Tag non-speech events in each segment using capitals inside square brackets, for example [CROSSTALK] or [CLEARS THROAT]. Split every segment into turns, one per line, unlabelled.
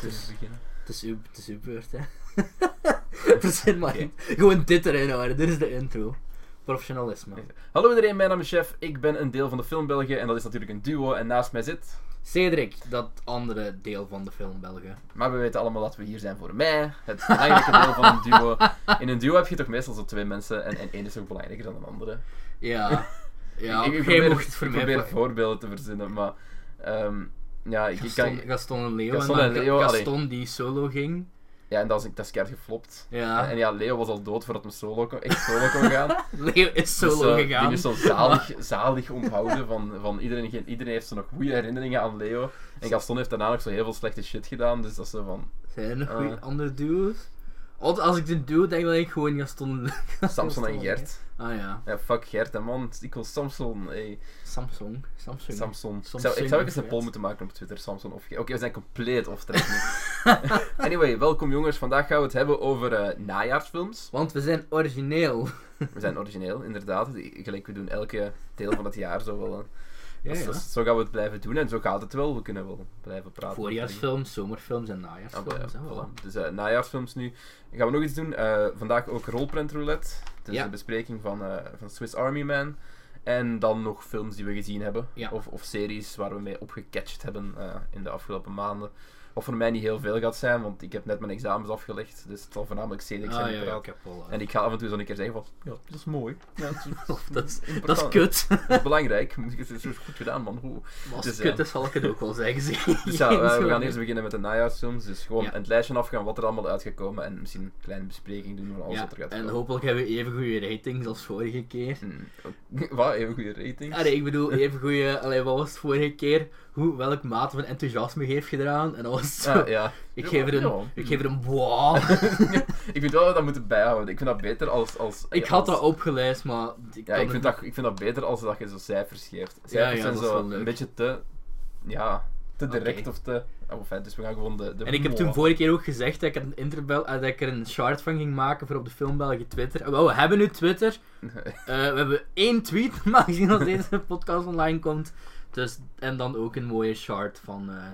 Dus- is uw, het is uw beurt,
[LAUGHS]
hè. Verzin maar niet. Gewoon dit erin houden, dit is de intro. Professionalisme.
Hallo iedereen, mijn naam is Chef. Ik ben een deel van de film België en dat is natuurlijk een duo. En naast mij zit.
Cedric, dat andere deel van de film België.
Maar we weten allemaal dat we hier zijn voor mij, het belangrijke deel van een duo. In een duo heb je toch meestal zo twee mensen en, en één is ook belangrijker dan de andere. [LAUGHS]
Ja. Ja,
ik, ik
Ah, jij
probeer,
mocht
ik
het voor mij
probeer
pakken.
voorbeelden te verzinnen, maar. ehm, ja, ik, ik
Gaston,
kan.
Gaston en Leo.
Gaston
en
en
dan
Leo,
Ga- Gaston die solo ging.
Ja, en dat is, dat is keihard geflopt.
Ja.
En ja, Leo was al dood voordat hem solo kon, echt solo kon gaan.
Leo is solo
Dus, eh,
gegaan.
Die is zo
[LAUGHS]
zalig, zalig onthouden van, van iedereen. geen- Iedereen heeft zo nog goede herinneringen aan Leo. En Gaston heeft daarna nog zo heel veel slechte shit gedaan. Dus dat is zo
[LAUGHS]
van
Zijn er nog
Ah.
goeie andere duo's? Altijd als ik dit duo denk, dan denk ik gewoon Gaston.
Samson en
Gaston,
Gert.
Ah ja,
Ja, fuck Gert en man. Ik wil Samson. Hey,
Samsung.
Samson.
Samsung.
Ik zou,
Samson
ik zou ook
of
eens een
Gert.
poll moeten maken op Twitter. Samson of Gert. Oké, we zijn compleet off track nu.
[LAUGHS]
anyway, welkom jongens. Vandaag gaan we het hebben over eh, najaarsfilms.
Want we zijn origineel.
We zijn origineel, inderdaad. Die- Gelijk, we doen elke deel van het jaar zo wel. eh.
Ja,
Dus-
ja.
dus zo gaan we het blijven doen en zo gaat het wel. We kunnen wel blijven praten.
Voorjaarsfilms, zomerfilms en
Ah, bah,
najaarsfilms.
ja,
hè, voilà.
voilà. Dus eh, najaarsfilms nu. Gaan we nog iets doen? Eh, vandaag ook rolprint roulette. Dus
Ja.
de bespreking van, eh, van Swiss Army Man. En dan nog films die we gezien hebben.
Ja.
Of, of series waar we mee opgecatcht hebben eh, in de afgelopen maanden. Wat voor mij niet heel veel gaat zijn, want ik heb net mijn examens afgelegd. Dus het zal voornamelijk series zijn
Ah,
die
ja, ja,
praten.
ik heb al.
En ik ga af en toe zo een keer zeggen van, ja, dat is mooi. Ja, [LAUGHS] dat, is,
dat, is, dat is
important.
[LAUGHS] kut.
dat is belangrijk. [LAUGHS] Het is goed gedaan, man. Hoe-
Maar Als
Dus
het
ja.
kut is, zal ik het ook wel zeggen. zeg.
[LAUGHS]
[LAUGHS]
Dus ja, eh, we gaan eerst
Ja.
beginnen met de najaarsfilms. Dus gewoon
Ja.
een lijstje afgaan wat er allemaal uitgekomen en misschien een kleine bespreking doen van alles wat er gaat
en
komen.
hopelijk hebben we even goede ratings als vorige keer.
Hmm. [LAUGHS] Wat, even goede ratings?
Allee, ik bedoel, even goede. Allee, wat was het vorige keer? Hoe, welk mate van enthousiasme je heeft gedaan? En dan was het zo.
Ah, ja.
[LAUGHS] Ik
Ja,
geef er
ja.
een, ik geef er een
[LAUGHS]
boah.
Ik vind wel dat we dat moeten bijhouden. Ik vind dat beter als... als
ik
ja,
had
als-
dat opgeleid, maar ik
Ja,
kan
ik vind,
het-
dat, ik vind dat beter als dat je zo cijfers geeft. Cijfers
ja,
zijn
dat is
zo
wel
een
leuk.
beetje te... Ja, te direct
Oké.
of te... Oh, fijn, dus we gaan gewoon de... de
En ik heb toen vorige keer ook gezegd dat ik, een interbel, eh, dat ik er een chart van ging maken voor op de Film België Twitter. En wel, we hebben nu Twitter. Eh, we hebben één tweet, [LAUGHS] maar gezien als deze podcast online komt. Dus, en dan ook een mooie chart van eh,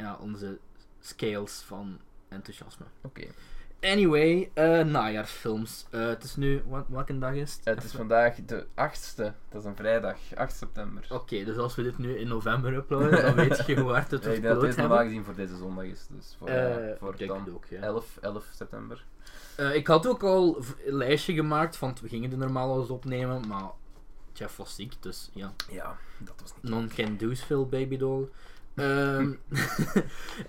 ja, onze scales van enthousiasme.
Oké.
Anyway, eh najaarsfilms. Eh, het is nu, wat, welke dag is het?
Het is vandaag de 8e. Dat is een vrijdag. 8 september.
Oké, dus als we dit nu in november uploaden, dan weet je hoe hard het
Ja, [LAUGHS]
wordt
ik denk dat
bloot
deze normaal
hebben.
gezien voor deze zondag is. Dus voor, eh,
Eh,
voor
ik denk
dan
het ook, ja.
11, 11 september.
Eh, ik had ook al v- een lijstje gemaakt, want we gingen er normaal al eens opnemen, maar Jeff was ziek, dus ja.
Ja, dat was niet.
Non can do's veel, baby doll. Ehm, [LAUGHS]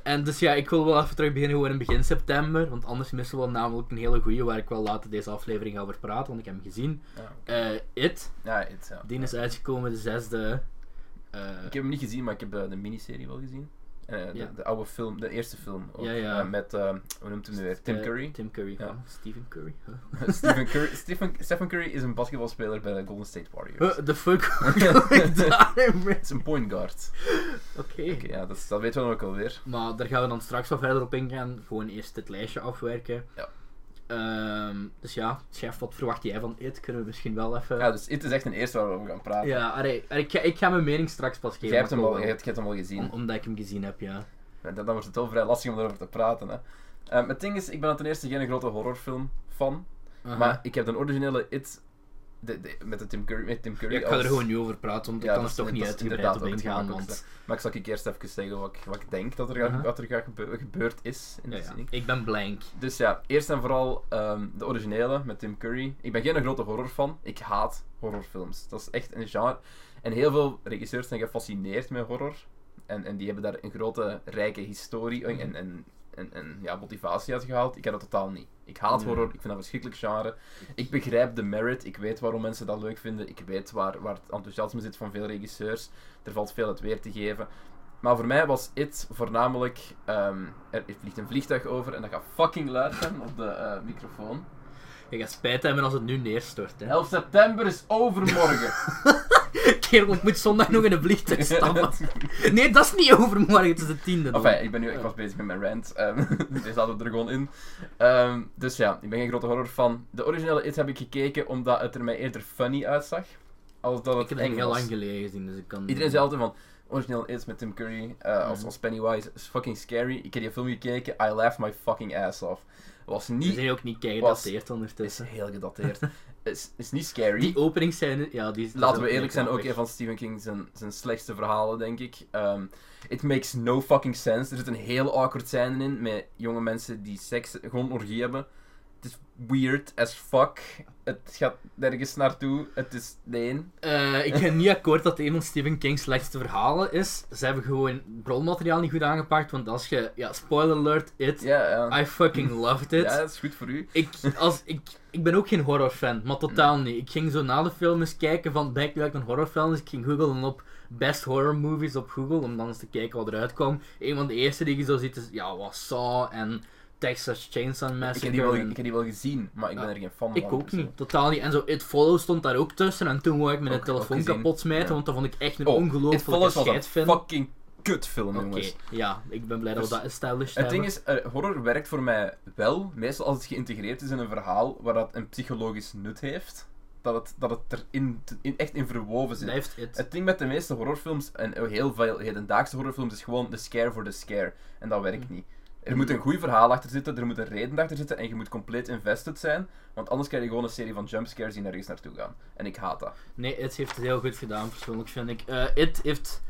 en dus ja, ik wil wel even terug beginnen gewoon in begin september, want anders missen we wel namelijk een hele goeie waar ik wel later deze aflevering over praat, want ik heb hem gezien.
Ja,
Eh, It,
ja, het, ja.
die is uitgekomen de zesde. eh,
Ik heb hem niet gezien, maar ik heb eh, de miniserie wel gezien. Eh, de,
Ja.
de oude film, de eerste film. ook,
Ja, ja.
eh, met, eh, hoe noemt hij hem nu weer? Tim
eh,
Curry.
Tim Curry,
Ja.
ja. Stephen Curry. huh?
[LAUGHS] Stephen, Curry Stephen, Stephen Curry is een basketbalspeler bij de Golden State Warriors.
Huh, the fuck [LAUGHS] hoor
[LAUGHS]
ik daarmee?
Het is een point guard.
Oké.
Oké, ja, dat, is- dat weten we dan ook alweer.
Maar daar gaan we dan straks wel verder op ingaan. Gewoon eerst dit lijstje afwerken.
Ja.
Ehm, dus ja, chef, wat verwacht jij van dit? Kunnen we misschien wel even...
Ja, dus het is echt een eerste waar we over gaan praten.
Ja, allee, ik, ga, ik ga mijn mening straks pas geven.
Jij hebt hem
maar
al,
ik
jij
wil wel.
hebt, jij hebt hem al gezien.
Om- omdat ik hem gezien heb, ja.
Ja, Dan dan wordt het wel vrij lastig om erover te praten. Hè. Ehm, het ding is, ik ben ten eerste geen grote horrorfilm fan.
Aha.
Maar ik heb de originele It de, de- met, de Tim Curry, met Tim Curry.
Ja, ik ga
als-
er gewoon niet over praten, want ik
Ja,
kan
dat
er toch
is-
niet
dat is
uitgebreid
inderdaad
op
ook niet
ingaan.
makkelijk,
Want...
Maar ik zal ik eerst even zeggen wat ik, wat ik denk dat er, gaat-
Aha.
wat er gaat gebe- gebeurd is in
Ja,
de
ja.
zin.
Ik ben blank.
Dus ja, eerst en vooral ehm, de originele met Tim Curry. Ik ben geen grote horrorfan. Ik haat horrorfilms. Dat is echt een genre. En heel veel regisseurs zijn gefascineerd met horror. En, en die hebben daar een grote, rijke historie
Mhm.
en, en, en, en, en, ja, motivatie uit gehaald. Ik heb dat totaal niet. Ik haat
Nee.
horror. Ik vind dat een verschrikkelijk genre. Ik begrijp de merit. Ik weet waarom mensen dat leuk vinden. Ik weet waar, waar het enthousiasme zit van veel regisseurs. Er valt veel het weer te geven. Maar voor mij was het voornamelijk... ehm, er vliegt een vliegtuig over en dat gaat fucking luid zijn op de eh, microfoon.
Je gaat spijt hebben als het nu neerstort, hè.
11 september is overmorgen.
[LAUGHS] Kerel, ik moet zondag nog in een vliegtuig
[LAUGHS]
stappen. Nee, dat is niet overmorgen, het is de tiende dan.
Enfin, eh, ik, ben nu, ik was bezig met mijn rant. ehm, [LAUGHS] dus zaten we er gewoon in. Ehm, dus ja, ik ben geen grote horrorfan. De originele It heb ik gekeken omdat het er mij eerder funny uitzag. Als dat het
Ik heb
eng
het heel
was.
lang geleden gezien, dus ik kan...
Iedereen zei altijd van, Origineel is met Tim Curry eh, als,
Mhm.
als Pennywise is fucking scary. Ik heb die film gekeken, I laughed my fucking ass off. Was
Die
niet...
zijn ook niet keigedateerd
Is
ondertussen.
heel gedateerd. [LAUGHS] is, is niet scary.
Die openingsscène, ja, die is... die is
Laten we
ook
eerlijk zijn, ook
grappig.
een van Stephen King zijn, zijn slechtste verhalen, denk ik. Ehm, it makes no fucking sense. Er zit een heel awkward scène in met jonge mensen die seks gewoon orgie hebben. Het is weird as fuck. Het gaat nergens naartoe. Het is... Nee.
Eh, ik ben niet akkoord dat het een van Stephen King's slechtste verhalen is. Ze hebben gewoon bronmateriaal niet goed aangepakt, want als je... Ja, spoiler alert, it.
Ja, ja.
I fucking loved it.
Ja, dat is goed voor u.
Ik, als, ik, ik ben ook geen horrorfan, maar totaal niet. Ik ging zo na de film eens kijken van, ben ik nu echt een horrorfan? Dus ik ging googlen op best horror movies op Google, om dan eens te kijken wat eruit kwam. Een van de eerste die je zo ziet is, ja, was Saw en Texas Chainsaw
Ik
Massacre.
heb, die wel,
en-
ik heb die wel gezien, maar ik ben
Ja.
er geen fan van.
ik ook
dus, eh.
niet, totaal niet. En zo It Follows stond daar ook tussen en toen wou ik mijn
Ook-
telefoon
ook gezien,
kapot smijten,
ja.
want dat vond ik echt een
Oh, It
ongelooflijke
Follows was een
scheidfilm.
fucking kutfilm,
Oké,
jongens.
ja, ik ben blij dat we
Dus
dat
Het
established hebben.
ding is, eh, horror werkt voor mij wel, meestal als het geïntegreerd is in een verhaal waar dat een psychologisch nut heeft, dat het, dat het er in, in- echt in verwoven zit.
Blijft It.
Het ding met de meeste horrorfilms, en heel veel hedendaagse horrorfilms, is gewoon de scare voor de scare. En dat werkt
Hm.
niet. Er moet een goed verhaal achter zitten, er moet een reden achter zitten en je moet compleet invested zijn, want anders krijg je gewoon een serie van jumpscares die nergens naartoe gaan. En ik haat dat.
Nee, It heeft het heel goed gedaan, persoonlijk vind ik. Eh, It heeft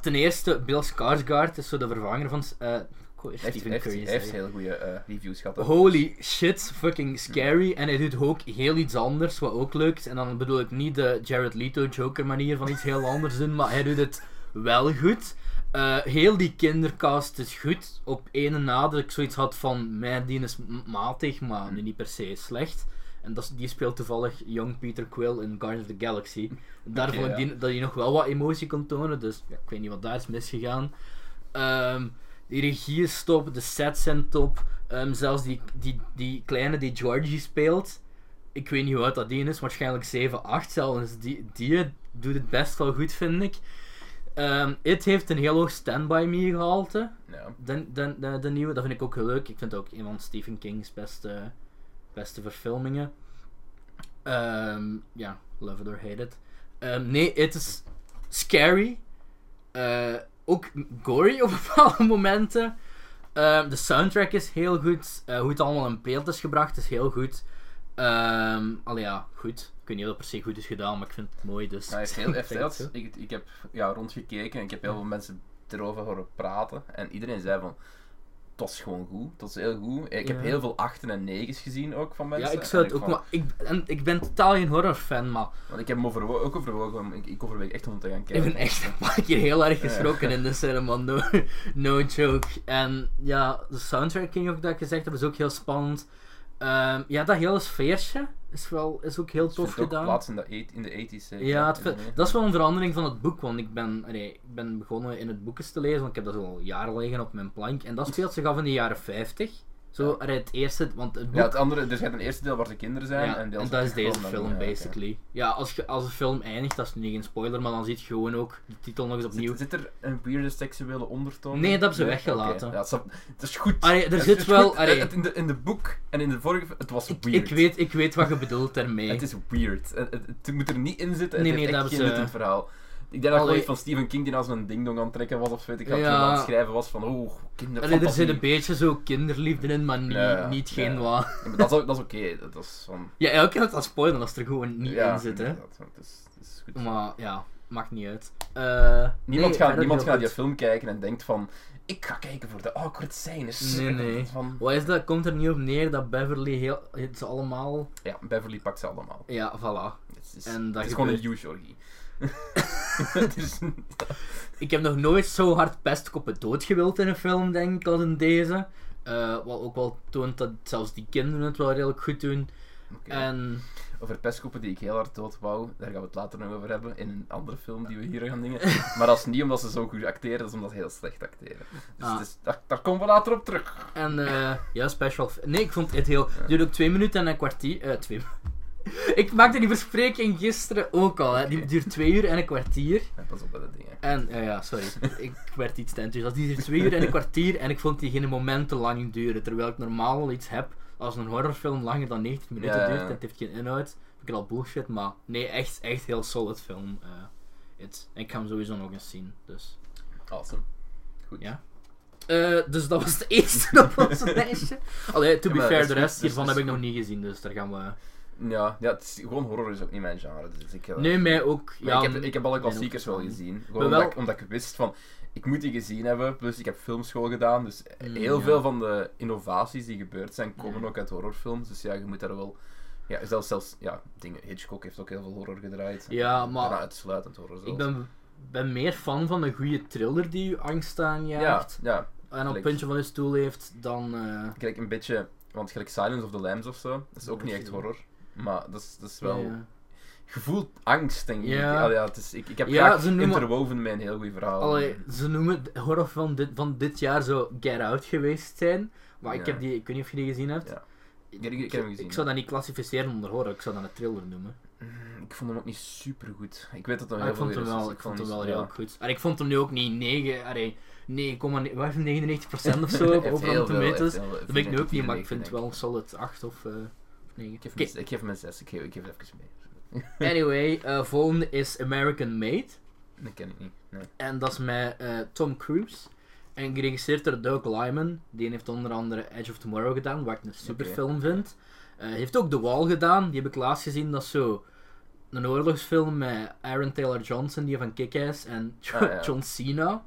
ten eerste Bill Skarsgård, is zo de vervanger van... eh, ik wou eerst
Heeft,
Stephen
heeft,
Curry
heeft
zeggen.
heel goede eh, reviews gehad. hè.
Holy shit, fucking scary. En hij doet ook heel iets anders, wat ook leuk is. En dan bedoel ik niet de Jared Leto Joker manier van iets heel anders doen, maar hij doet het wel goed. Eh, heel die kindercast is goed. Op ene na dat ik zoiets had van, mijn die is m- matig, maar nu niet per se slecht. En dat, is- die speelt toevallig Young Peter Quill in Guardians of the Galaxy. Daar
Oké,
vond ik
ja.
die, dat hij nog wel wat emotie kon tonen, dus ja, ik weet niet wat daar is misgegaan. Ehm, die regie is top, de sets zijn top. Ehm, zelfs die, die, die kleine die Georgie speelt. Ik weet niet hoe oud dat die is, waarschijnlijk 7, 8 zelfs. Die, die doet het best wel goed, vind ik. Ehm, It heeft een heel hoog standby me gehalte.
Ja.
De, de, de, de nieuwe, dat vind ik ook heel leuk. Ik vind het ook een van Stephen King's beste, beste verfilmingen. Ehm, ja, love it or hate it. Ehm, nee, het is scary. Eh, ook gory [LAUGHS] op bepaalde momenten. Ehm, de soundtrack is heel goed. Eh, hoe het allemaal in beeld is gebracht is heel goed. Ehm allee, ja, goed. Ik weet niet of dat per se goed is gedaan, maar ik vind het mooi. Dus
Hij heeft heel
[LAUGHS] ik
heeft
zeg
heel-
het zo.
ik, ik heb ja, rondgekeken en ik heb heel veel mensen erover horen praten. En iedereen zei van, het was gewoon goed, het was heel goed. Ik
Ja.
heb heel veel achten en negens gezien ook van mensen.
Ja, ik zou
En
het ook
van-
maar. Ik, en, ik ben totaal geen horrorfan, maar
Want ik heb hem overwo- ook overwogen, om- ik, ik overweeg echt om te gaan
Ik
kijken.
ben echt een paar keer heel erg
Ja.
geschrokken in de cinema, no, [LAUGHS] no joke. En ja, de soundtrack, ging ook dat ik gezegd heb, is ook heel spannend. Ehm, ja, dat hele sfeertje is, wel, is ook heel
Het vindt
tof
ook
gedaan.
plaats in de, eight- in de eh, 80s zeker.
ja, het
Ik
vind-
weet niet.
dat is wel een verandering van het boek, want ik ben, allee, ik ben begonnen in het boekjes te lezen, want ik heb dat al jaren liggen op mijn plank. En dat speelt zich af in de jaren 50. Zo,
Ja.
allee, het eerste, want het boek...
Ja, het andere, er zit een eerste deel waar de kinderen zijn.
Ja,
en,
en,
deels
dat is
gewoon
deze
dan-
film,
ja, oké.
basically. Ja, als, je, als de film eindigt, dat is nu geen spoiler, maar dan ziet je gewoon ook de titel nog eens opnieuw.
Zit, zit er een weirde seksuele ondertoon?
Nee, dat hebben ze
Oké,
weggelaten.
ja, het, is, het is goed.
Allee, er
Het
zit
is
wel-
goed.
allee.
Het- in, de, in de boek en in de vorige... Het was
Ik,
weird.
ik, weet, ik weet wat je bedoelt daarmee.
Het is weird. Het, het- het moet er niet in zitten. Het
Nee,
heeft
nee,
echt
dat
geen nut
is,
in het
eh,
verhaal. Ik denk dat
allee-
het van Stephen King die als een ding-dong aan het trekken was of weet ik wat,
Ja.
toen aan het schrijven was van oh,
Allee, er
kinderfantasie.
zit een beetje zo kinderliefde in, maar niet,
Ja,
niet
ja.
geen wat.
Ja, maar dat is, ook- dat is oké. Dat is van...
Ja, elke keer dat dat spoilen als er gewoon niet
ja,
in zit, hè.
inderdaad, want Het is, het is goed.
Maar ja, maakt niet uit. Eh,
Niemand
nee,
gaat,
verder
niemand
heel
gaat die
goed.
film kijken en denkt van ik ga kijken voor de awkward scènes. [LAUGHS]
Nee, nee.
Van,
Wat is dat? Komt er niet op neer dat Beverly heel... het Ze allemaal...
ja, Beverly pakt ze allemaal.
Ja, voilà.
Het is,
En
het is
dat gebeurt.
gewoon een huge orgie. [LAUGHS] Het is-
Ik heb nog nooit zo hard pestkoppen dood gewild in een film, denk ik, als in deze. Eh, wat ook wel toont dat zelfs die kinderen het wel redelijk goed doen.
Oké.
En...
Over pestkoppen die ik heel hard dood wou, daar gaan we het later nog over hebben in een andere film die we hier gaan
[LAUGHS]
dingen. Maar dat is niet omdat ze zo goed acteren, dat is omdat ze heel slecht acteren. Dus
Ah.
het is- daar, daar komen we later op terug.
En eh, ja, special. Nee, ik vond het heel. Het duurde ook twee minuten en een kwartier. eh twee. [LAUGHS] ik maakte die verspreking gisteren ook al. Hè. Die
Oké.
duurt twee uur en een kwartier.
Ja, pas op bij de dingen.
En ja, ja, sorry. ik werd iets te enthousiast. Die duurt twee uur en een kwartier en ik vond die geen moment te lang duren. Terwijl ik normaal al iets heb als een horrorfilm langer dan 90 minuten
Ja, ja, ja.
duurt en het heeft geen inhoud. Vind Ik het al bullshit, maar nee, echt, echt heel solid film. eh, het. En ik ga hem sowieso nog eens zien. Dus
Awesome. Goed.
Ja. Eh, dus dat was de eerste op
[LAUGHS]
ons lijstje. Allee, to
Ja,
be
maar
fair,
dat
de
is
rest
goed, dus
hiervan
dat
heb
is
ik nog niet gezien, dus daar gaan we...
Ja, ja het is, gewoon horror is ook niet mijn genre. Dus ik, eh,
Nee, mij ook.
maar
Ja,
ik, heb, ik heb alle
mijn
klassiekers
ook
wel
niet.
gezien. Gewoon
Maar
omdat,
wel-
ik, omdat ik wist van, ik moet die gezien hebben. Plus ik heb filmschool gedaan, dus
Mm,
heel
ja. Mm.
veel van de innovaties die gebeurd zijn, komen
Ja.
ook uit horrorfilms. Dus ja, je moet daar wel... Ja, zelfs, zelfs ja, dingen, Hitchcock heeft ook heel veel horror gedraaid.
Ja, maar-
Bijna uitsluitend horror zelfs.
Ik ben, ben meer fan van een goede thriller die je angst
Ja,
aanjaagt
ja,
en op
gelijk.
het puntje van je stoel heeft dan... eh,
gelijk een beetje, want gelijk Silence of the Lambs of zo, dat is ook niet echt horror. Maar dat is, dat is wel.
ja.
Je voelt angst, denk ik.
Ja.
Ah, ja, het is, ik, ik heb
Ja,
graag
ze noemen-
interwoven met een heel goed verhaal.
Allee, ze noemen de horror van dit, van dit jaar zo Get Out geweest zijn. Maar ik
Ja.
heb die, ik weet niet of je die gezien hebt.
Ja. Ik- ik- ik heb hem gezien.
zou dat niet klassificeren onder horror, ik zou dat een thriller noemen.
Mm, Ik vond hem ook niet super goed. Ik weet dat er
Maar
heel
Ah,
veel
ik vond hem
weer is,
wel,
dus
ik vond hem
niet-
wel
ja.
heel goed. En ik vond hem nu ook niet 9, allee, 9,9 waar is
[LAUGHS]
het, 99% of zo
Hij
op
heeft
Rotten
heel veel- hij
Tomatoes.
heeft heel veel-
Dat weet ik nu ook niet, maar ik
94,
vind het
denk
wel een solid 8 of eh 9.
Ik geef,
Oké,
hem een- ik geef hem een 6, ik geef, ik geef het even mee.
Anyway, eh, volgende is American Made.
Dat ken ik niet. Nee.
En dat is met eh, Tom Cruise. En geregisseerd door Doug Lyman. Die heeft onder andere Edge of Tomorrow gedaan, wat ik een superfilm vind. Eh, heeft ook The Wall gedaan, die heb ik laatst gezien. Dat is zo een oorlogsfilm met Aaron Taylor Johnson, die van Kick-Ass, en Jo-
Ah, ja.
John Cena.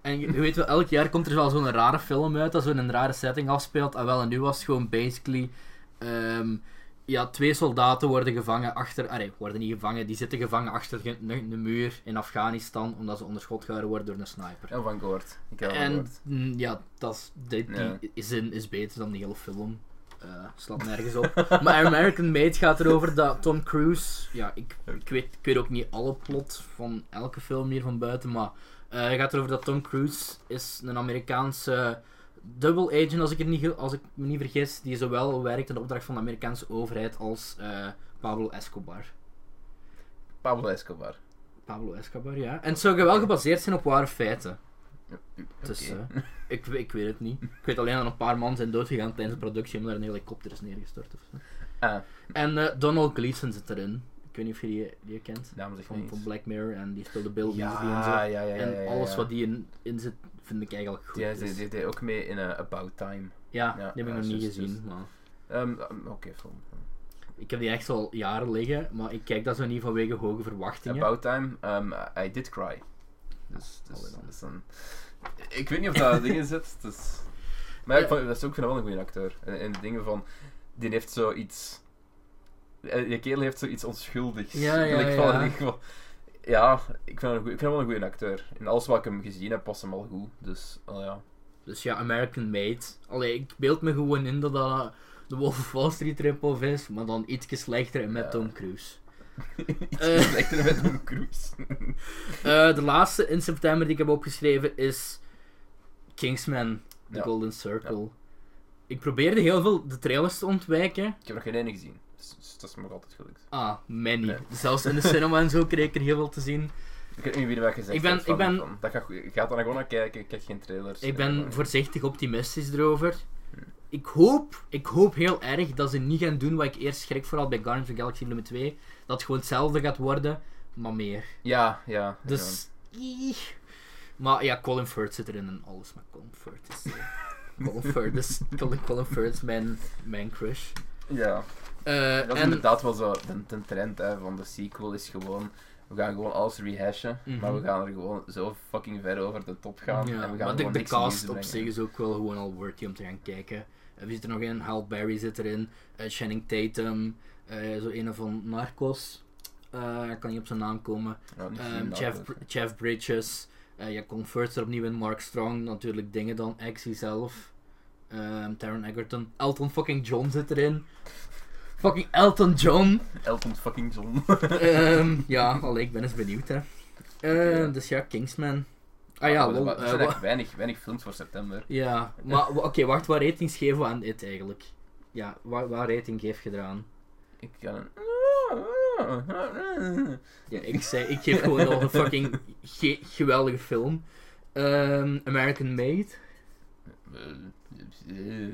En je, je weet wel, elk jaar komt er wel zo'n rare film uit, dat zo'n rare setting afspeelt. En wel, en nu was het gewoon basically... ehm, ja, twee soldaten worden gevangen achter... Allee, worden niet gevangen, die zitten gevangen achter ge- een, een muur in Afghanistan, omdat ze onder schot gehouden worden door een sniper.
Heel van gehoord. Ik heb ervan
En
gehoord.
mm, ja, dat is, die, die
Ja.
zin is beter dan die hele film. Eh slaat nergens op. maar American Made gaat erover dat Tom Cruise. Ja, ik, ik, weet, ik weet ook niet alle plot van elke film hier van buiten. Maar eh, het gaat erover dat Tom Cruise is een Amerikaanse double agent, als ik, het niet, ge- als ik me niet vergis. Die zowel werkt in de opdracht van de Amerikaanse overheid als eh, Pablo Escobar.
Pablo Escobar.
Pablo Escobar, ja. En het zou wel gebaseerd zijn op ware feiten. Dus,
Oké. [LAUGHS]
eh, ik, we- ik weet het niet. Ik weet alleen dat een paar man zijn doodgegaan tijdens de productie omdat er een helikopter is neergestort. Of zo.
Ah,
En eh, Donald Gleason zit erin. Ik weet niet of je die, die kent.
naam zegt me
Van,
niets.
van Black Mirror en die speelde Bill
ja,
Beasley en zo.
ja, ja, ja, ja,
En
ja,
alles
ja.
wat die in, in zit, vind ik eigenlijk goed.
Ja,
dus-
ze- ze deed ook mee in eh, About Time.
ja,
ja,
die heb ik
ja,
nog niet
juist,
gezien.
juist.
Maar
Ehm, ehm, Oké, film.
ik heb die echt al jaren liggen, maar ik kijk dat zo niet vanwege hoge verwachtingen.
About Time, ehm, I did cry. Dus,
Allee
dus,
dan.
dus dan- Ik weet niet of dat dingen zit. Dus... Maar ja, ik,
Ja.
vond, dat is ook, ik vind dat wel een goede acteur. En, en de dingen van, die heeft zoiets. eh, Die kerel heeft zoiets onschuldigs.
Ja, ja,
ik vond-
ja.
Ik, vond- ja, ik vind hem een goeie- ik vind hem wel een goede acteur. In alles wat ik hem gezien heb, was hem al goed. Dus, al ja.
Dus ja, American Made. Allee, ik beeld me gewoon in dat dat eh, de Wolf of Wall Street rip-off is, maar dan ietsje slechter en met
Ja.
Tom Cruise.
Iets
Eh.
slechter met een cruise.
Eh, de laatste in september die ik heb opgeschreven is Kingsman, The
Ja.
Golden Circle. Ik probeerde heel veel de trailers te ontwijken.
ik heb nog geen ene gezien. Dus, dus dat is me nog altijd gelukt.
Ah, many.
Nee.
Zelfs in de cinema en zo kreeg ik er heel veel te zien.
Ik weet niet wie er wat gezegd
Ik ben-
heeft van-
ik ben-
van, dat gaat, goed. gaat er gewoon naar kijken, ik kijk geen trailers.
Ik
Eh,
ben
maar-
voorzichtig optimistisch erover. Ik hoop, ik hoop heel erg dat ze niet gaan doen wat ik eerst schrik vooral bij Guardians of the Galaxy Volume 2. Dat het gewoon hetzelfde gaat worden, maar meer.
Ja, ja.
Dus... ieh. Maar ja, Colin Firth zit erin en alles, maar Colin Firth is... eh, Colin Firth is... Colin, Colin Firth is mijn, mijn crush.
Ja.
Eh,
ja. Dat is
en
inderdaad wel zo. De, de trend hè, van de sequel is gewoon. We gaan gewoon alles rehashen,
Mhm.
maar we gaan er gewoon zo fucking ver over de top gaan.
Ja,
en we gaan
maar de,
gewoon
de
niks
cast
nieuws
op
brengen.
zich is ook wel gewoon al worthy om te gaan kijken. Eh, wie zit er nog in? Hal Berry zit erin. eh Channing Tatum. eh, zo een van Narcos. Eh, ik kan niet op zijn naam komen.
Ja, niet
Ehm,
[LAUGHS] gezien, dat
Jeff,
ook.
Br- Jeff Bridges. eh ja, Colin Firth er opnieuw in. Mark Strong. Natuurlijk dingen dan. Axie zelf. Ehm Taron Egerton. Elton fucking John zit erin. Fucking Elton John.
Elton fucking John.
Ehm, [LAUGHS]
[LAUGHS]
ja, allee, ik ben eens benieuwd hè. Eh,
Ja.
Dus ja, Kingsman. Ah ja,
er
lol,
wa- er
eh,
zijn [LAUGHS]
wa-
echt weinig, weinig films voor september.
Ja, maar wa- oké, wacht, wat ratings geven we aan dit eigenlijk? Ja, waar, waar rating geef je eraan?
Ik kan een.
Ja, ik zei, ik geef gewoon al een
[LAUGHS]
fucking ge- geweldige film. Ehm, American Made.
Eh, eh.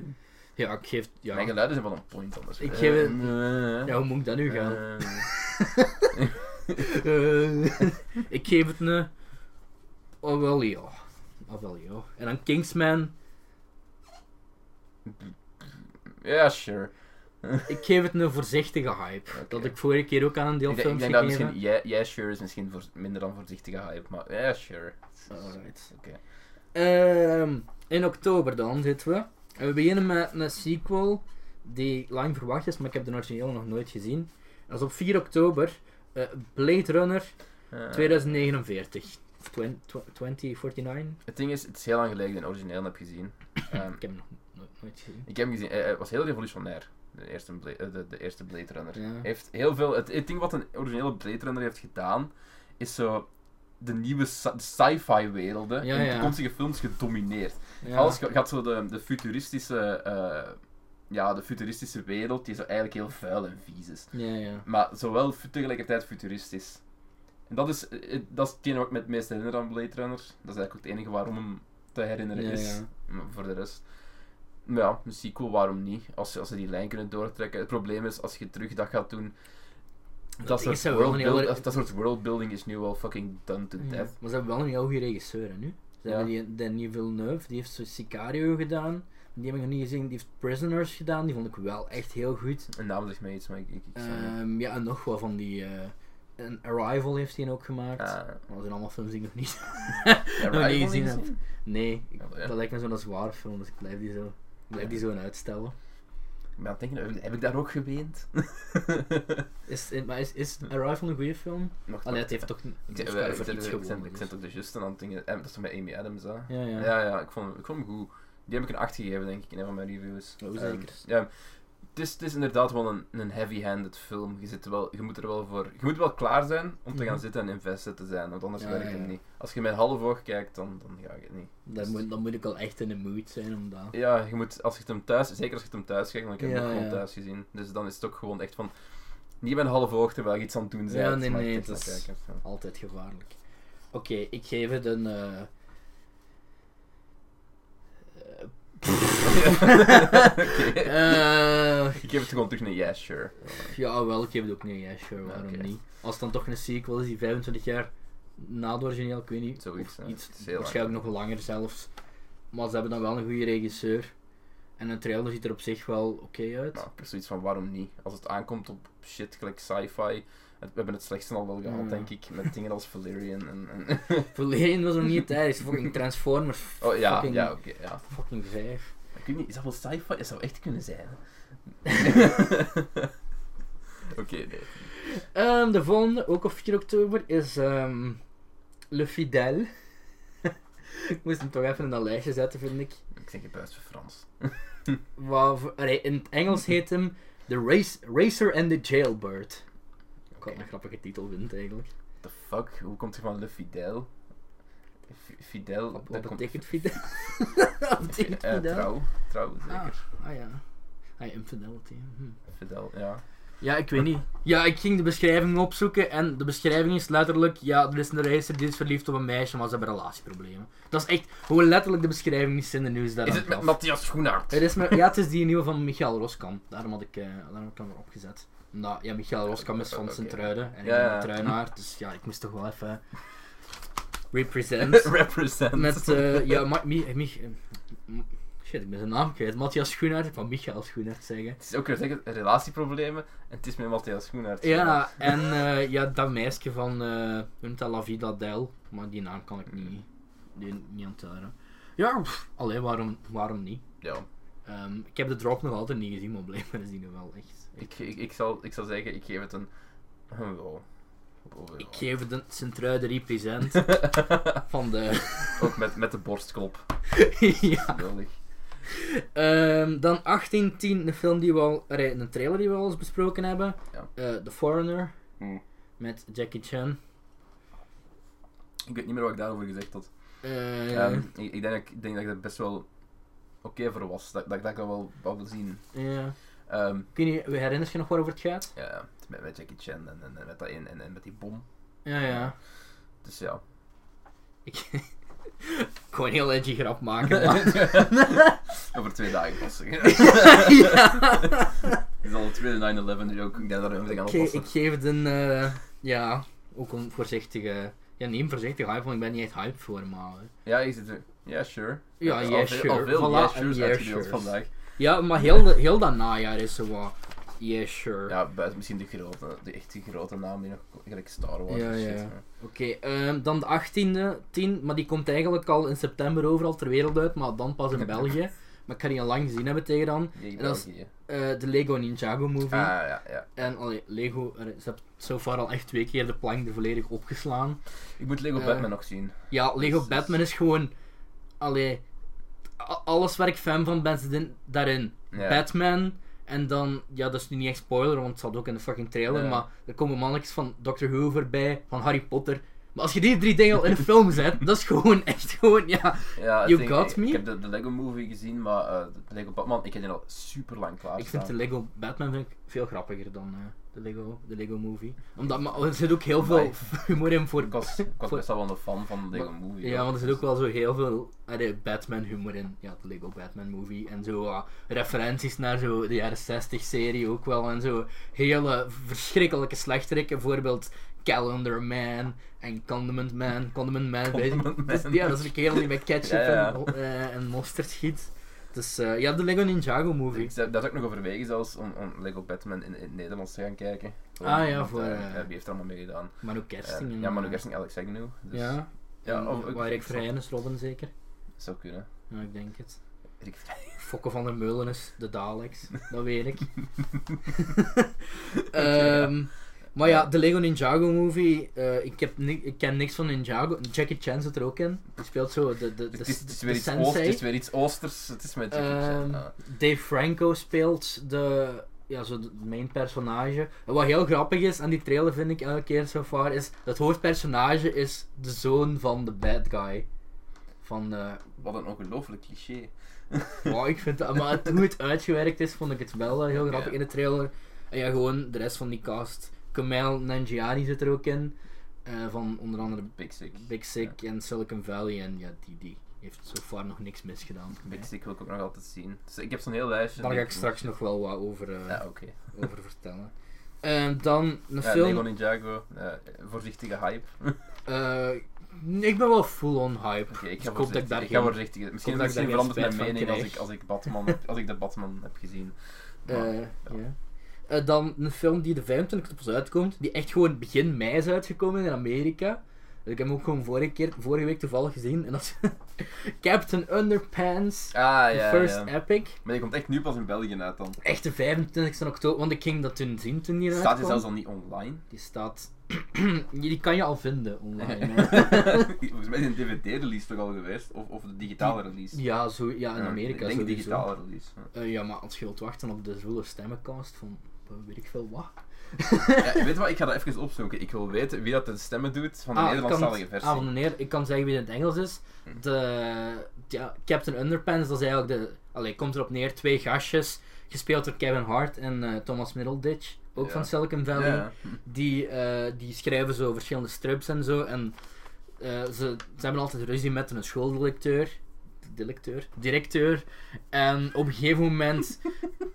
Ja, ik geef,
Mijn
ja,
geluiden zijn wel een point anders.
Ik geef het-
Eh,
ja hoe moet ik dat nu gaan?
eh,
[LAUGHS] Eh, ik geef het een, oh wel ja, Ah, wel, joh. En dan Kingsman.
Ja, sure.
Ik geef het een voorzichtige hype.
Oké.
Dat ik vorige keer ook aan een
Ik, denk- ik
deelfilm
denk
ging
dat
geven.
misschien... Ja, ja, sure is misschien voor, minder dan voorzichtige hype, maar... Ja, sure.
Alright.
Oké.
Ehm, in oktober dan zitten we. En we beginnen met een sequel die lang verwacht is, maar ik heb de origineel nog nooit gezien. Dat is op 4 oktober. eh, Blade Runner
Eh,
2049. Of twen- tw- 2049?
Het ding is, het is heel lang geleden dat ik de origineel heb gezien.
[LAUGHS]
Ehm,
Ik heb hem nog nooit, nooit gezien.
ik heb hem gezien, eh, het was heel revolutionair. De eerste, Bla- eh, de, de eerste Blade Runner.
Ja.
heeft heel veel. Het, het ding wat een originele Blade Runner heeft gedaan, is zo de nieuwe sci- de sci-fi werelden
Ja,
in
ja.
toekomstige films gedomineerd.
Ja.
Alles ga- gaat zo de, de futuristische, eh, ja, de futuristische wereld die zo eigenlijk heel vuil en vies is,
Ja, ja.
maar zowel fu- tegelijkertijd futuristisch. En dat is, eh, eh, dat is hetgeen wat ik me het meest herinner aan Blade Runner. Dat is eigenlijk ook het enige waarom hem te herinneren
Ja,
is.
ja.
Maar voor de rest. Maar ja, een sequel, waarom niet? Als, ze- als ze die lijn kunnen doortrekken. Het probleem is, als je terug dat gaat doen. Dat,
Dat
soort,
is wel een
worldbuild-
heel erg-
dat, dat soort worldbuilding is nu wel fucking done to
Ja.
death.
Maar ze hebben wel een heel goede regisseur hè, nu. Ze
Ja.
hebben die Denis Villeneuve, die heeft zo Sicario gedaan. Die heb ik nog niet gezien. Die heeft Prisoners gedaan. Die vond ik wel echt heel goed.
Een naam zegt mij iets, maar ik. ik, ik zal niet.
Ehm, ja, en nog wel van die. eh, een Arrival heeft hij ook gemaakt.
Ah,
Maar dat zijn allemaal films die ik nog niet. [LAUGHS]
Arrival
nog niet
niet
gezien
gezien?
Nee, ik-
Oh, ja.
dat lijkt me zo'n zware film, dus ik blijf die zo, ik blijf die zo aan uitstellen.
Ik ben aan het denken, heb ik- heb ik daar ook geweend? [LAUGHS]
Is, is- maar is, is Arrival een goede film?
Nog
Allee,
nog-
het heeft toch.
Ik
het
zit-
heeft
eh,
wel
ik
voor
zit-
iets
ik zit-
gewonnen,
ik
dus.
zit ook de juiste aan het dingen. Eh, Dat is met Amy Adams, hè?
Ja, ja.
Ja, ja, ik vond, ik vond hem goed. Die heb ik een 8 gegeven, denk ik, in een van mijn reviews.
Oh,
Ehm,
zeker.
ja, het is, het is inderdaad wel een, een heavy-handed film. Je, zit er wel, je moet er wel voor... Je moet wel klaar zijn om te gaan
Mhm.
zitten en invested te zijn, want anders
Ja,
werkt
ja,
het
ja.
niet. Als je met half oog kijkt, dan, dan ga ik het niet.
Dan, moet, dan moet ik al echt in de mood zijn om dat.
Ja, je moet, als je het hem thuis... Zeker als je het hem thuis kijkt, want ik heb hem
Ja,
ook gewoon
ja.
thuis gezien. Dus dan is het ook gewoon echt van... Niet met half oog terwijl je iets aan het doen bent.
Ja, nee,
maar
nee,
echt
het
naar
is- [LAUGHS]
kijken.
Altijd gevaarlijk. Oké, ik geef het een. eh, [LAUGHS] eh,
[LAUGHS] Oké.
[LAUGHS] eh,
Ik geef het gewoon terug een yes, sure.
Ja, wel, ik geef het ook niet. Ja, sure,
Ja,
waarom
oké.
niet? Als het dan toch een sequel is die 25 jaar na het origineel, ik weet niet.
Zoiets,
of
hè.
iets,
Het is heel
waarschijnlijk nog langer zelfs. Maar ze hebben dan wel een goede regisseur. En een trailer ziet er op zich wel oké uit.
Nou, ik heb zoiets van waarom niet? Als het aankomt op shit gelijk sci-fi. het- We hebben het slechtste al wel gehad,
Ja.
denk ik. Met dingen als Valerian en.
[LAUGHS]
en
Verleden was nog niet tijdens. Fucking Transformers.
oh ja,
fucking,
ja, oké. ja.
Fucking 5.
Ik weet niet, is dat wel sci-fi? Het zou echt kunnen zijn.
[LAUGHS]
hè. oké, nee.
Ehm, de volgende, ook op 4 oktober, is ehm, Le Fidèle. [LAUGHS] ik moest hem toch even in dat lijstje zetten, vind ik.
Ik denk het buiten voor Frans.
Wat, voor- allee, in het Engels heet hem The Race, Racer and the Jailbird. Ik had
Oké.
een grappige titel vindt eigenlijk.
The fuck? Hoe komt hij van Le Fidel? F- Fidel.
Wat,
dat
wat
komt-
betekent
[LAUGHS]
Fidel? [LAUGHS] wat betekent
Eh,
Fidel?
trouw, trouw zeker.
Ah ja. Ah ja, infidelity. hm.
Fidel, ja.
Ja, ik weet niet. Ja, ik ging de beschrijving opzoeken en de beschrijving is letterlijk... Ja, er is een racer die is verliefd op een meisje, maar ze hebben relatieproblemen. Dat is echt... Hoe letterlijk de beschrijving is in de nieuws daar
Is het met Matthias Schoenaert?
Het is met, ja, het is die nieuwe van Michael Roskam. Daarom had ik, eh daarom heb ik hem erop gezet. Omdat, ja, Michael Roskam is van
Oké.
Sint-Truiden. En ik
Ja,
ben
ja.
een truinaar, dus ja, ik moest toch wel
[LAUGHS]
even... Represent.
Represent.
Met, eh, ja, Ma Mi- eh, Mich- eh, M- Shit, ik ben zijn naam kwijt. Matthias Schoenaert, ik wou Michael Schoenaert zeggen.
Het is ook weer zeggen, relatieproblemen. En het is met Matthias Schoenaert.
Ja, en eh, ja, dat meisje van, eh hoe noemt dat, La Vida Del. Maar die naam kan ik niet, die, niet onthouden. Ja, pff, allee, waarom, waarom niet?
Ja,
Ehm, ik heb de drop nog altijd niet gezien, maar blijkbaar is die nog wel echt...
ik, ik, ik, zal, ik zal zeggen, ik geef het een. een wel. Boven
Ik
wel.
geef het een Sint-Truiden represent van de... [LAUGHS]
Ook met, met de borstklop.
ja.
Geweldig.
Ehm, dan 1810, een film die we al... allee, Een trailer die we al eens besproken hebben.
Ja.
Eh, The Foreigner,
Hmm.
met Jackie Chan.
Ik weet niet meer wat ik daarover gezegd had.
Eh,
Ehm, ik, ik, denk, dat ik ik denk dat ik er best wel oké voor was. Dat, dat, ik- dat ik dat wel wat wil zien.
ja.
Ehm,
Kun je, herinner je nog waarover het gaat?
ja, met, met Jackie Chan en, en, en met dat in, en, en met die bom.
Ja, ja.
Dus ja.
Ik, ik kon een heel edgy grap [LAUGHS] maken, maar...
Over twee dagen pas. Het
[LAUGHS] ja.
is al de tweede 9-11 joke. dus Ik denk dat er een aan
Oké,
oppassen.
ik geef het een... eh, ja, ook een voorzichtige... Ja, neem voorzichtig hype, want ik ben niet echt hype voor eh. hem hè.
Ja, je zit er. Ja, sure.
Ja,
Al veel-
yeah, sure.
Al veel
Voilà,
yeah,
een
sure's
yeah,
uitgedeeld
sure's.
vandaag.
Ja, maar heel, de- heel dat najaar is zo wat. Yeah, sure.
Ja, buiten misschien de grote, de echt die grote naam die nog gelijk Star Wars
Ja,
en
ja.
shit. maar-
Oké, ehm, dan de 18e, 10, maar die komt eigenlijk al in september overal ter wereld uit, maar dan pas in België. Maar ik ga die al lang gezien hebben tegen dan.
Die
En dat is-
België.
Eh, de Lego Ninjago movie.
Ah, ja, ja.
En allee, Lego, er, ze hebben so far al echt twee keer de plank er volledig opgeslaan.
Ik moet Lego
Eh,
Batman nog zien.
Ja, Lego
Dus-
Batman is gewoon. Allee, a- alles waar ik fan van ben, zit in- daarin.
Ja.
Batman. En dan, ja, dat is nu niet echt spoiler, want het zat ook in de fucking trailer.
Ja.
Maar er komen mannetjes van Doctor Who voorbij, van Harry Potter. Maar als je die drie dingen al in een film
[LAUGHS]
zet, dat is gewoon echt gewoon, ja.
Ja, ik
You
denk-
Got
ik,
Me?
Ik heb de, de Lego Movie gezien, maar eh, de Lego Batman, ik heb die al super lang klaar.
Ik vind de Lego Batman vind ik veel grappiger dan eh, de, Lego, de Lego Movie. Omdat, maar er zit ook heel veel
Amai.
humor in voor.
Ik was, ik was
voor-
best wel wel een fan van de Lego Movie.
Ja,
hoor.
want er zit ook wel zo heel veel allee, Batman humor in. Ja, de Lego Batman movie. En zo ah, referenties naar zo de jaren 60 serie ook wel. En zo hele verschrikkelijke slechterikken. Bijvoorbeeld Calendar Man en Condiment Man. Condiment Man, weet je.
Condiment
dat is-
Man.
Ja, dat is een kerel die met ketchup
Ja, ja.
En, mo- eh, en mosterd schiet. Dus eh, ja, de Lego Ninjago movie.
Ik zou dat ook nog overwegen zelfs om, om Lego Batman in, in het Nederlands te gaan kijken.
Ah, ja,
Want,
voor,
eh,
eh,
ja, wie heeft er allemaal mee gedaan?
Manu Kersting.
Eh,
en,
ja, Manu
eh,
Gersting, Alex Agnew. Dus
Ja.
Ja,
En,
of-
eh, waar Rick Vrijen is, Robin zeker.
Zou kunnen.
Ja, ik denk het.
Rick Vrij.
Fokke van der Meulen is de Daleks, dat
[LAUGHS]
weet ik.
Oké,
Ehm,
ja.
Maar ja, de Lego Ninjago movie, eh, ik, heb ni- ik ken niks van Ninjago. Jackie Chan zit er ook in. Die speelt zo de, de, de,
Het is, het is
de
weer iets Oost,
sensei.
het is weer iets Oosters, het is met Jackie Chan.
Ehm,
ah.
Dave Franco speelt de, ja, zo de main personage. En wat heel grappig is aan die trailer vind ik elke keer so far, is dat hoofdpersonage is de zoon van de bad guy. Van de,
Wat een ongelooflijk cliché.
Wow, ik vind dat, maar het- hoe het uitgewerkt is, vond ik het wel eh, heel grappig
Ja.
in de trailer. En ja, gewoon de rest van die cast. Kamal Nanjiani zit er ook in. eh, van onder andere
Big Sick.
Big Sick en Silicon Valley. En ja, die, die heeft zo far nog niks misgedaan. voor mij.
Big Sick wil ik ook nog altijd zien. Dus ik heb zo'n heel lijstje.
Daar
die
ga ik straks nog wel wat over, eh,
Ja, oké.
over vertellen. Ehm, dan een
Ja,
film.
Lego Ninjago, eh, voorzichtige hype. Oké,
eh, ik ben wel full on hype.
ik
Dus
ga
ik hoop dat ik daar
voorzichtig. Ik
geen-
ga voorzichtig. Misschien,
dat ik
misschien
daar geen
verandert
spijt
mijn
van
mening als
krijg.
ik, als, ik Batman heb, als ik de Batman heb gezien. Maar,
Eh,
Ah, ja.
ja. Eh, dan een film die de 25 op ons uitkomt, die echt gewoon begin mei is uitgekomen in Amerika. Dus ik heb hem ook gewoon vorige, keer, vorige week toevallig gezien. En dat is [LAUGHS] Captain Underpants,
Ah
The
ja,
First
ja.
Epic.
Maar die komt echt nu pas in België uit dan.
Echt de 25 oktober, want ik ging dat toen zien toen die
Staat
eruit
die
kwam.
zelfs al niet
[LAUGHS]
online?
Die staat... [CLEARS THROAT] die kan je al vinden online. hè. [LAUGHS]
Volgens mij is een DVD-release toch al geweest? Of, of de digitale release?
ja, zo, ja, in Amerika
Ik denk de
sowieso.
digitale release. ja.
Eh, ja, maar als je wilt wachten op de zwoele stemmencast van eh, weet ik veel wat.
Ja, weet je wat, ik ga dat even opzoeken. Ik wil weten wie dat de stemmen doet van de
Ah, ik
Nederlandstalige
kan het-
versie. Hm.
Ah, meneer, ik kan zeggen wie het in het Engels is. De, ja, Captain Underpants, dat is eigenlijk de... Allee, komt erop neer, twee gastjes, gespeeld door Kevin Hart en eh, Thomas Middleditch, ook
Ja.
van Silicon
Ja,
Valley.
ja.
Die, eh, die schrijven zo verschillende strips en zo. En eh, ze, ze hebben altijd ruzie met een schooldirecteur. Directeur, directeur. En op een gegeven
[LAUGHS]
moment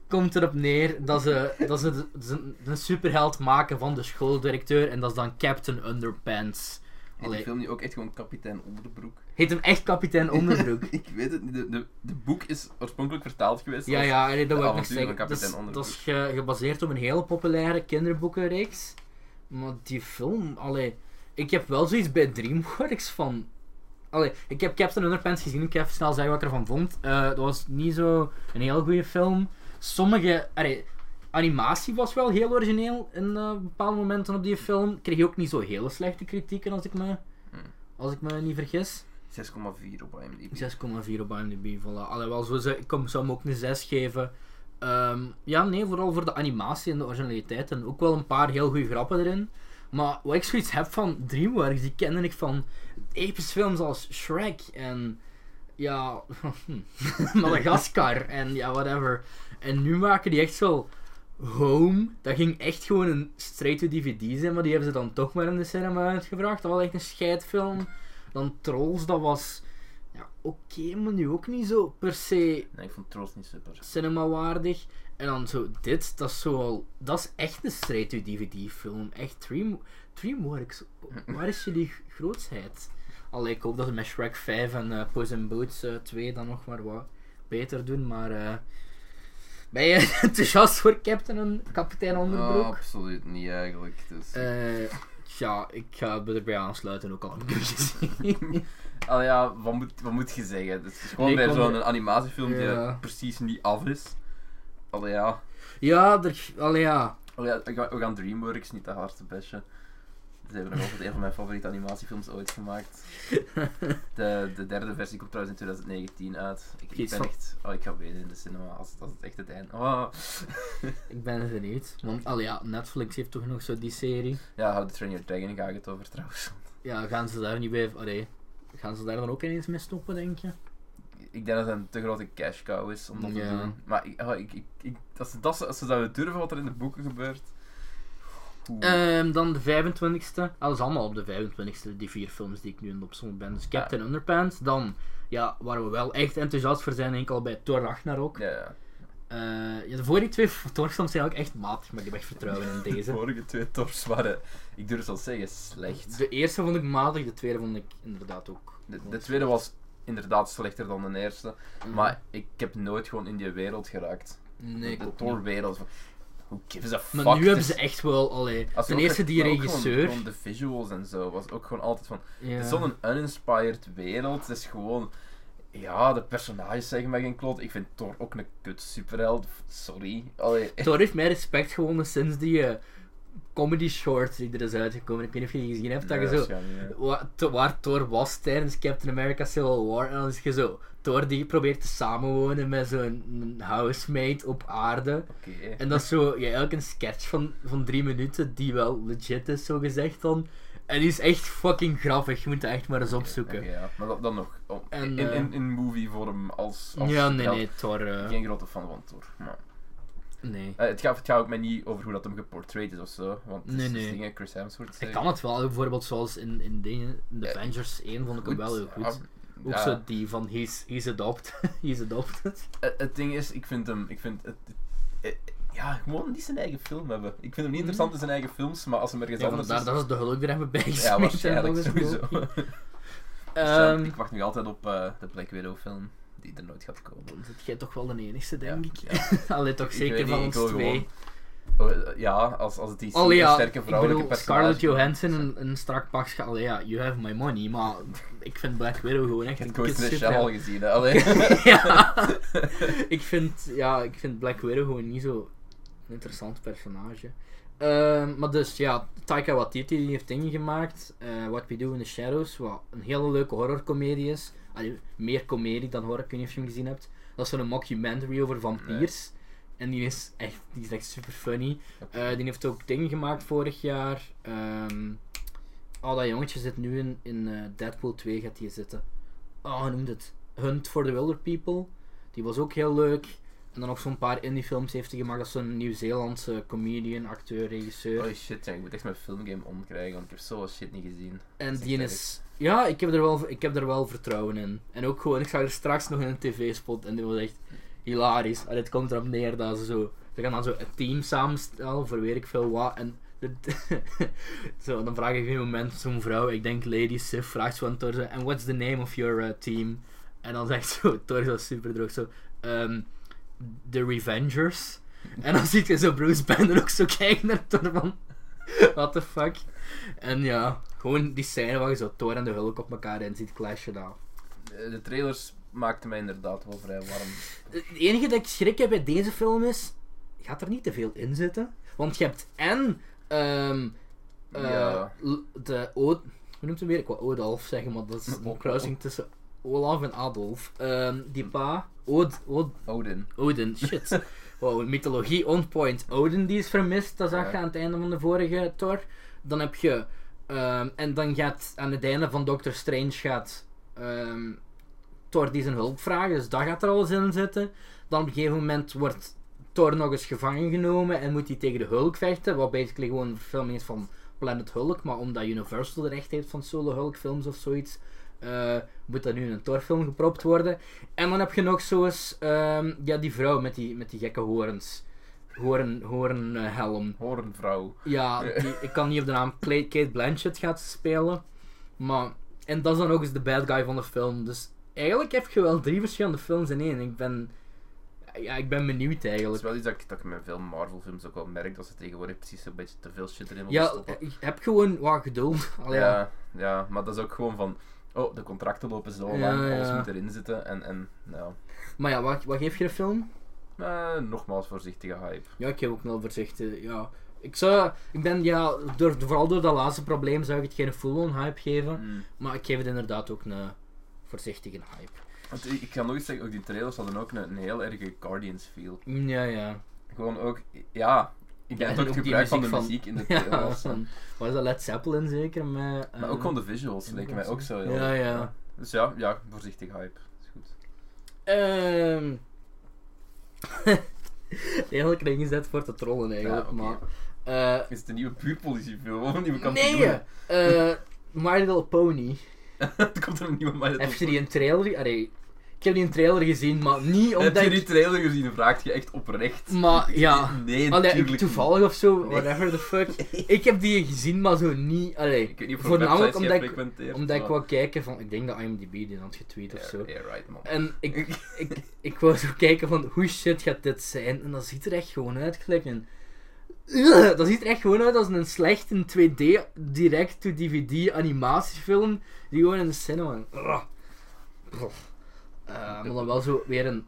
komt erop neer dat ze, dat ze de- ze een superheld maken van de schooldirecteur. En dat is dan Captain Underpants.
Heet
Allee,
die film nu ook echt gewoon Kapitein Onderbroek?
heet hem echt kapitein [LAUGHS]
[LAUGHS]
Onderbroek.
ik weet het niet. De, de, de boek is oorspronkelijk vertaald geweest.
ja,
als-
ja,
de
nee, dat wil ik nog
avonturen
zeggen.
van
Dat is,
kapitein
dat is ge- gebaseerd op een hele populaire kinderboekenreeks. Maar die film, allee, ik heb wel zoiets bij Dreamworks van. Allee, ik heb Captain Underpants gezien, ik ga even snel zeggen wat ik ervan vond. Eh, dat was niet zo een heel goede film. Sommige, allee, animatie was wel heel origineel in eh, bepaalde momenten op die film. Kreeg ook niet zo hele slechte kritieken als ik me,
Hmm.
als ik me niet vergis.
6,4 op IMDb.
6,4 op IMDb, voilà. Alhoewel, zo ze- ik kom- zou hem ook een 6 geven. Ehm, ja, nee, vooral voor de animatie en de originaliteit. En ook wel een paar heel goede grappen erin. Maar wat ik zoiets heb van DreamWorks, die kende ik van epische films als Shrek en... Ja, [LAUGHS] hm, Madagaskar en ja, whatever. En nu maken die echt zo... Home, dat ging echt gewoon een straight-to-DVD zijn, maar die hebben ze dan toch maar in de cinema uitgebracht. Dat was echt een scheidfilm. Dan Trolls, dat was Ja, oké, maar nu ook niet zo per se
Nee, ik vond Trolls niet super.
cinema-waardig. En dan zo dit, dat is zo al... Dat is echt een straight to DVD-film. Echt, Dream, DreamWorks, waar is jullie g- grootsheid? Allee, ik hoop dat ze met Shrek 5 en eh Puss in Boots eh, 2 dan nog maar wat beter doen, maar... eh, ben je [LAUGHS] enthousiast voor Captain en Kapitein
Oh,
Onderbroek?
absoluut niet eigenlijk. Dus.
Eh, ja, ik ga me erbij aansluiten, ook al heb ik hem gezien.
Al ja, wat moet, wat moet je zeggen? Het is gewoon
Nee,
weer
ik kon-
zo'n animatiefilm die
Ja.
er precies niet af is. Al ja.
ja, er, allee, ja.
Allee, ja, we gaan- we gaan DreamWorks niet te hard te bashen. Ze hebben nog altijd een van mijn favoriete animatiefilms ooit
[LAUGHS]
gemaakt. De, de derde versie komt trouwens in 2019 uit. Ik, ik
Iets
ben
van-
echt... Oh, ik ga weer in de cinema als, als het echt het einde... Oh.
ik ben benieuwd. Want allee, ja, Netflix heeft toch nog zo die serie.
Ja, How to Train Your Dragon ga ik het over trouwens.
Ja, gaan ze daar niet bij... Allee, gaan ze daar dan ook ineens mee stoppen, denk je?
Ik denk dat het een te grote cash cow is om dat te
Ja.
doen. Maar ik, oh, ik, ik, ik- als, ze dat, als ze zouden durven wat er in de boeken gebeurt... Oeh.
Ehm, dan de 25e. Dat is allemaal op de 25e, die vier films die ik nu in de opzomming ben. Dus Captain Underpants, dan... Ja, waar we wel echt enthousiast voor zijn, enkel bij Thor Ragnarok.
Ja, ja.
Eh, ja, de vorige twee Thor-films zijn ook echt matig, maar ik heb echt vertrouwen
[LAUGHS]
in
De
deze.
vorige twee tors waren, ik durf het al zeggen, slecht.
De eerste vond ik matig, de tweede vond ik inderdaad ook.
De, de tweede was inderdaad slechter dan de eerste. Maar ik heb nooit gewoon in die wereld geraakt.
Eh, Mhm. Nee, ik
de
ook niet.
Thor-wereld. van, Who gives a fuck?
Maar
Het
nu hebben
is-
ze echt wel, allee,
als je
ten
ook
eerste
kijkt,
die
maar ook gewoon-
regisseur.
gewoon de visuals en zo was ook gewoon altijd van.
ja.
Het is zo'n uninspired wereld. Het is gewoon. Ja, de personages zeggen mij geen klot. Ik vind Thor ook een kut superheld. Sorry. Allee,
Thor heeft mij respect gewonnen sinds die eh, comedy short die er is uitgekomen. Ik weet niet of je die gezien hebt, dat je zo...
waarschijnlijk,
Waar, to- waar Thor was tijdens Captain America Civil War. En dan is je zo... Thor die probeert te samenwonen met zo'n housemate op aarde.
Oké.
En dat is zo, ja, elk een sketch van, van drie minuten die wel legit is, zo gezegd dan. En die is echt fucking grappig, je moet dat echt maar eens opzoeken.
Oké, ja. Maar dat- dan nog. om-
En,
in, in,
eh,
in movievorm als, als
Ja, nee,
superheld.
nee, Thor. eh,
Geen grote fan van Thor. Maar.
nee.
Eh, het, gaat, het gaat ook mij niet over hoe dat hem geportrayed is of zo. Want het
Nee,
is dus
nee.
dingen Chris Hemsworth.
Ik kan het wel, bijvoorbeeld zoals in, in, dingen, in The
Eh,
Avengers 1 vond ik hem wel heel goed. Ah,
Ah,
Ook zo die van he's, he's adopted. [LAUGHS] he's adopted.
Eh, Het ding is, ik vind hem. Ik vind het, eh, eh, ja, gewoon niet zijn eigen film hebben. Ik vind hem niet interessant in zijn eigen films, maar als hem ergens
Ja,
anders
vandaar
is.
dat is de hulk er even bij [LAUGHS]
ja,
gesmeed en
waarschijnlijk
nog eens
sowieso. [LAUGHS]
boven.
Dus ja,
Ehm,
ik wacht nog altijd op eh, de Black Widow film, die er nooit gaat komen.
Dan Ehm, zit jij toch wel de enigste, denk
Ja,
ik. [LAUGHS]
ja.
Allee, toch
Ik
zeker
weet
van
niet,
ons
ik wil
twee.
gewoon- Oh, eh, ja, als, als het die
Allee, ja,
sterke
ik
vrouwelijke
bedoel, Scarlett Johansson in een strak pakje. Allee, ja, you have my money. Maar [LAUGHS] ik vind Black Widow gewoon
Ik
echt een
heb Ghost in the
kutshit,
Shell
ja.
al gezien, hè. Allee.
ja. [LAUGHS] ik, vind, ja, ik vind Black Widow gewoon niet zo'n interessant personage. Ehm, maar dus ja, Taika Waititi die heeft dingen gemaakt. eh, What We Do in the Shadows, wat een hele leuke horrorcomedie is. Allee, meer comedie dan horror, ik weet niet of je hem gezien hebt. Dat is zo'n mockumentary over vampiers. En die is echt, die is echt super funny. Eh, die heeft ook dingen gemaakt vorig jaar. Ehm, oh, dat jongetje zit nu in, in eh, Deadpool 2 gaat die zitten. Oh, hoe noemde het? Hunt for the Wilder People. Die was ook heel leuk. En dan nog zo'n paar indie films heeft hij gemaakt. Dat is zo'n Nieuw-Zeelandse comedian, acteur, regisseur.
Oh shit, ja, ik moet echt mijn filmgame omkrijgen, want ik heb zoveel shit niet gezien.
en
is
die
echt
is... Ja, ik heb, er wel, ik heb er wel vertrouwen in. En ook gewoon, ik zag er straks nog in een tv-spot en die was echt hilarisch. En het komt erop neer dat ze zo... Ze gaan dan zo een team samenstellen voor weet ik veel wat. En de- [LAUGHS] zo, dan vraag ik op een moment zo'n vrouw, ik denk Lady Sif, vraagt zo aan Thor zo, And what's the name of your eh, team? En dan zegt zo, [LAUGHS] Thor zo super droog zo... ehm, the Revengers. En dan [LAUGHS] ziet je zo Bruce Banner ook zo [LAUGHS] kijken naar Thor van... What the fuck? En ja, gewoon die scène waar je zo Thor en de Hulk op elkaar in ziet clashen nou. daar.
Eh, De trailers maakten mij inderdaad wel vrij warm.
Het enige dat ik schrik heb bij deze film is, gaat er niet te veel in zitten. Want je hebt en ehm, eh,
Ja.
l- de Od hoe noemt hem weer? Ik wou Odolf zeggen, maar dat [LAUGHS] is een kruising tussen Olaf en Adolf. Ehm, die pa, Od, Od,
Odin.
Odin, shit. Wow, mythologie on point. Odin die is vermist, dat zag je
Ja.
aan het einde van de vorige Thor. Dan heb je, ehm, en dan gaat aan het einde van Doctor Strange gaat ehm, Thor die zijn hulp vragen, dus dat gaat er al eens in zitten. Dan op een gegeven moment wordt Thor nog eens gevangen genomen en moet hij tegen de Hulk vechten, wat basically gewoon een verfilming is van Planet Hulk, maar omdat Universal de recht heeft van solo Hulk films of zoiets, eh, eh, moet dat nu in een torfilm gepropt worden? En dan heb je nog zo eens ehm, ja, die vrouw met die, met die gekke horens. Horen, horenhelm.
Hoornvrouw.
Ja, die, ik kan niet op de naam Cla- Kate Blanchett gaat spelen. Maar, en dat is dan ook eens de bad guy van de film. Dus eigenlijk heb je wel drie verschillende films in één. Ik ben, ja, ik ben benieuwd
Dat is
eigenlijk.
wel iets dat ik, dat ik met veel Marvel-films ook wel merk, dat ze tegenwoordig precies zo'n beetje te veel shit erin willen
Ja,
stoppen.
ik heb gewoon wat geduld. [LAUGHS] Allee, ja.
Ja, ja, maar dat is ook gewoon van. Oh, de contracten lopen zo
Ja,
lang, alles
ja.
moet erin zitten. En, en nou,
Maar ja, wat, wat geef je de film?
eh, nogmaals voorzichtige hype.
Ja, ik heb ook wel voorzichtig. Ja. Ik zou, ik ben ja, door, vooral door dat laatste probleem zou ik het geen full-on hype geven.
Hmm.
Maar ik geef het inderdaad ook een voorzichtige hype.
Want ik ik kan nog iets zeggen, ook die trailers hadden ook een, een heel erge Guardians feel.
Ja, ja.
Gewoon ook, ja, Mm, ik
Ja,
denk
en
ook
ook
het
die
gebruik van de
muziek van-
muziek in de
[LAUGHS] ja
trailers.
van- was dat Led Zeppelin zeker? Met,
Maar
eh,
ook gewoon de visuals leken mij ook zo heel
Ja, ja.
Dus ja, ja, voorzichtig hype. Is goed.
Ehm. [LAUGHS] Eigenlijk een ingezet voor te trollen eigenlijk,
Ja, oké.
maar... eh,
Is het een nieuwe puurpolitiefilm of een nieuwe [LAUGHS] kampioen?
nee! eh, My Little Pony.
er komt er een nieuwe My Little
Heb je
Pony.
die een trailer... Allee, ik heb die een trailer gezien, maar niet
Heb
omdat...
je die
ik-
trailer gezien? Vraagt je echt oprecht.
Maar Mm, ah, ja...
Nee, natuurlijk
Allee,
niet.
toevallig of zo,
Nee.
whatever the fuck.
[LAUGHS]
Ik heb die gezien, maar zo niet... Allee,
Ik weet niet of er
voornamelijk
websites
omdat ik-
gefrequenteerd,
omdat ik
maar-
wou kijken van... Ik denk dat IMDb die had getweet of
Ja,
zo. Eh.
ja, right, man.
En ik, ik, ik wou zo kijken van hoe shit gaat dit zijn. En dat ziet er echt gewoon uit gelijk een... [CLEARS THROAT] Ugh, dat ziet er echt gewoon uit als een slechte 2D direct-to-DVD animatiefilm die gewoon in de cinema... Ugh. Ugh. Eh, maar dan wel zo weer een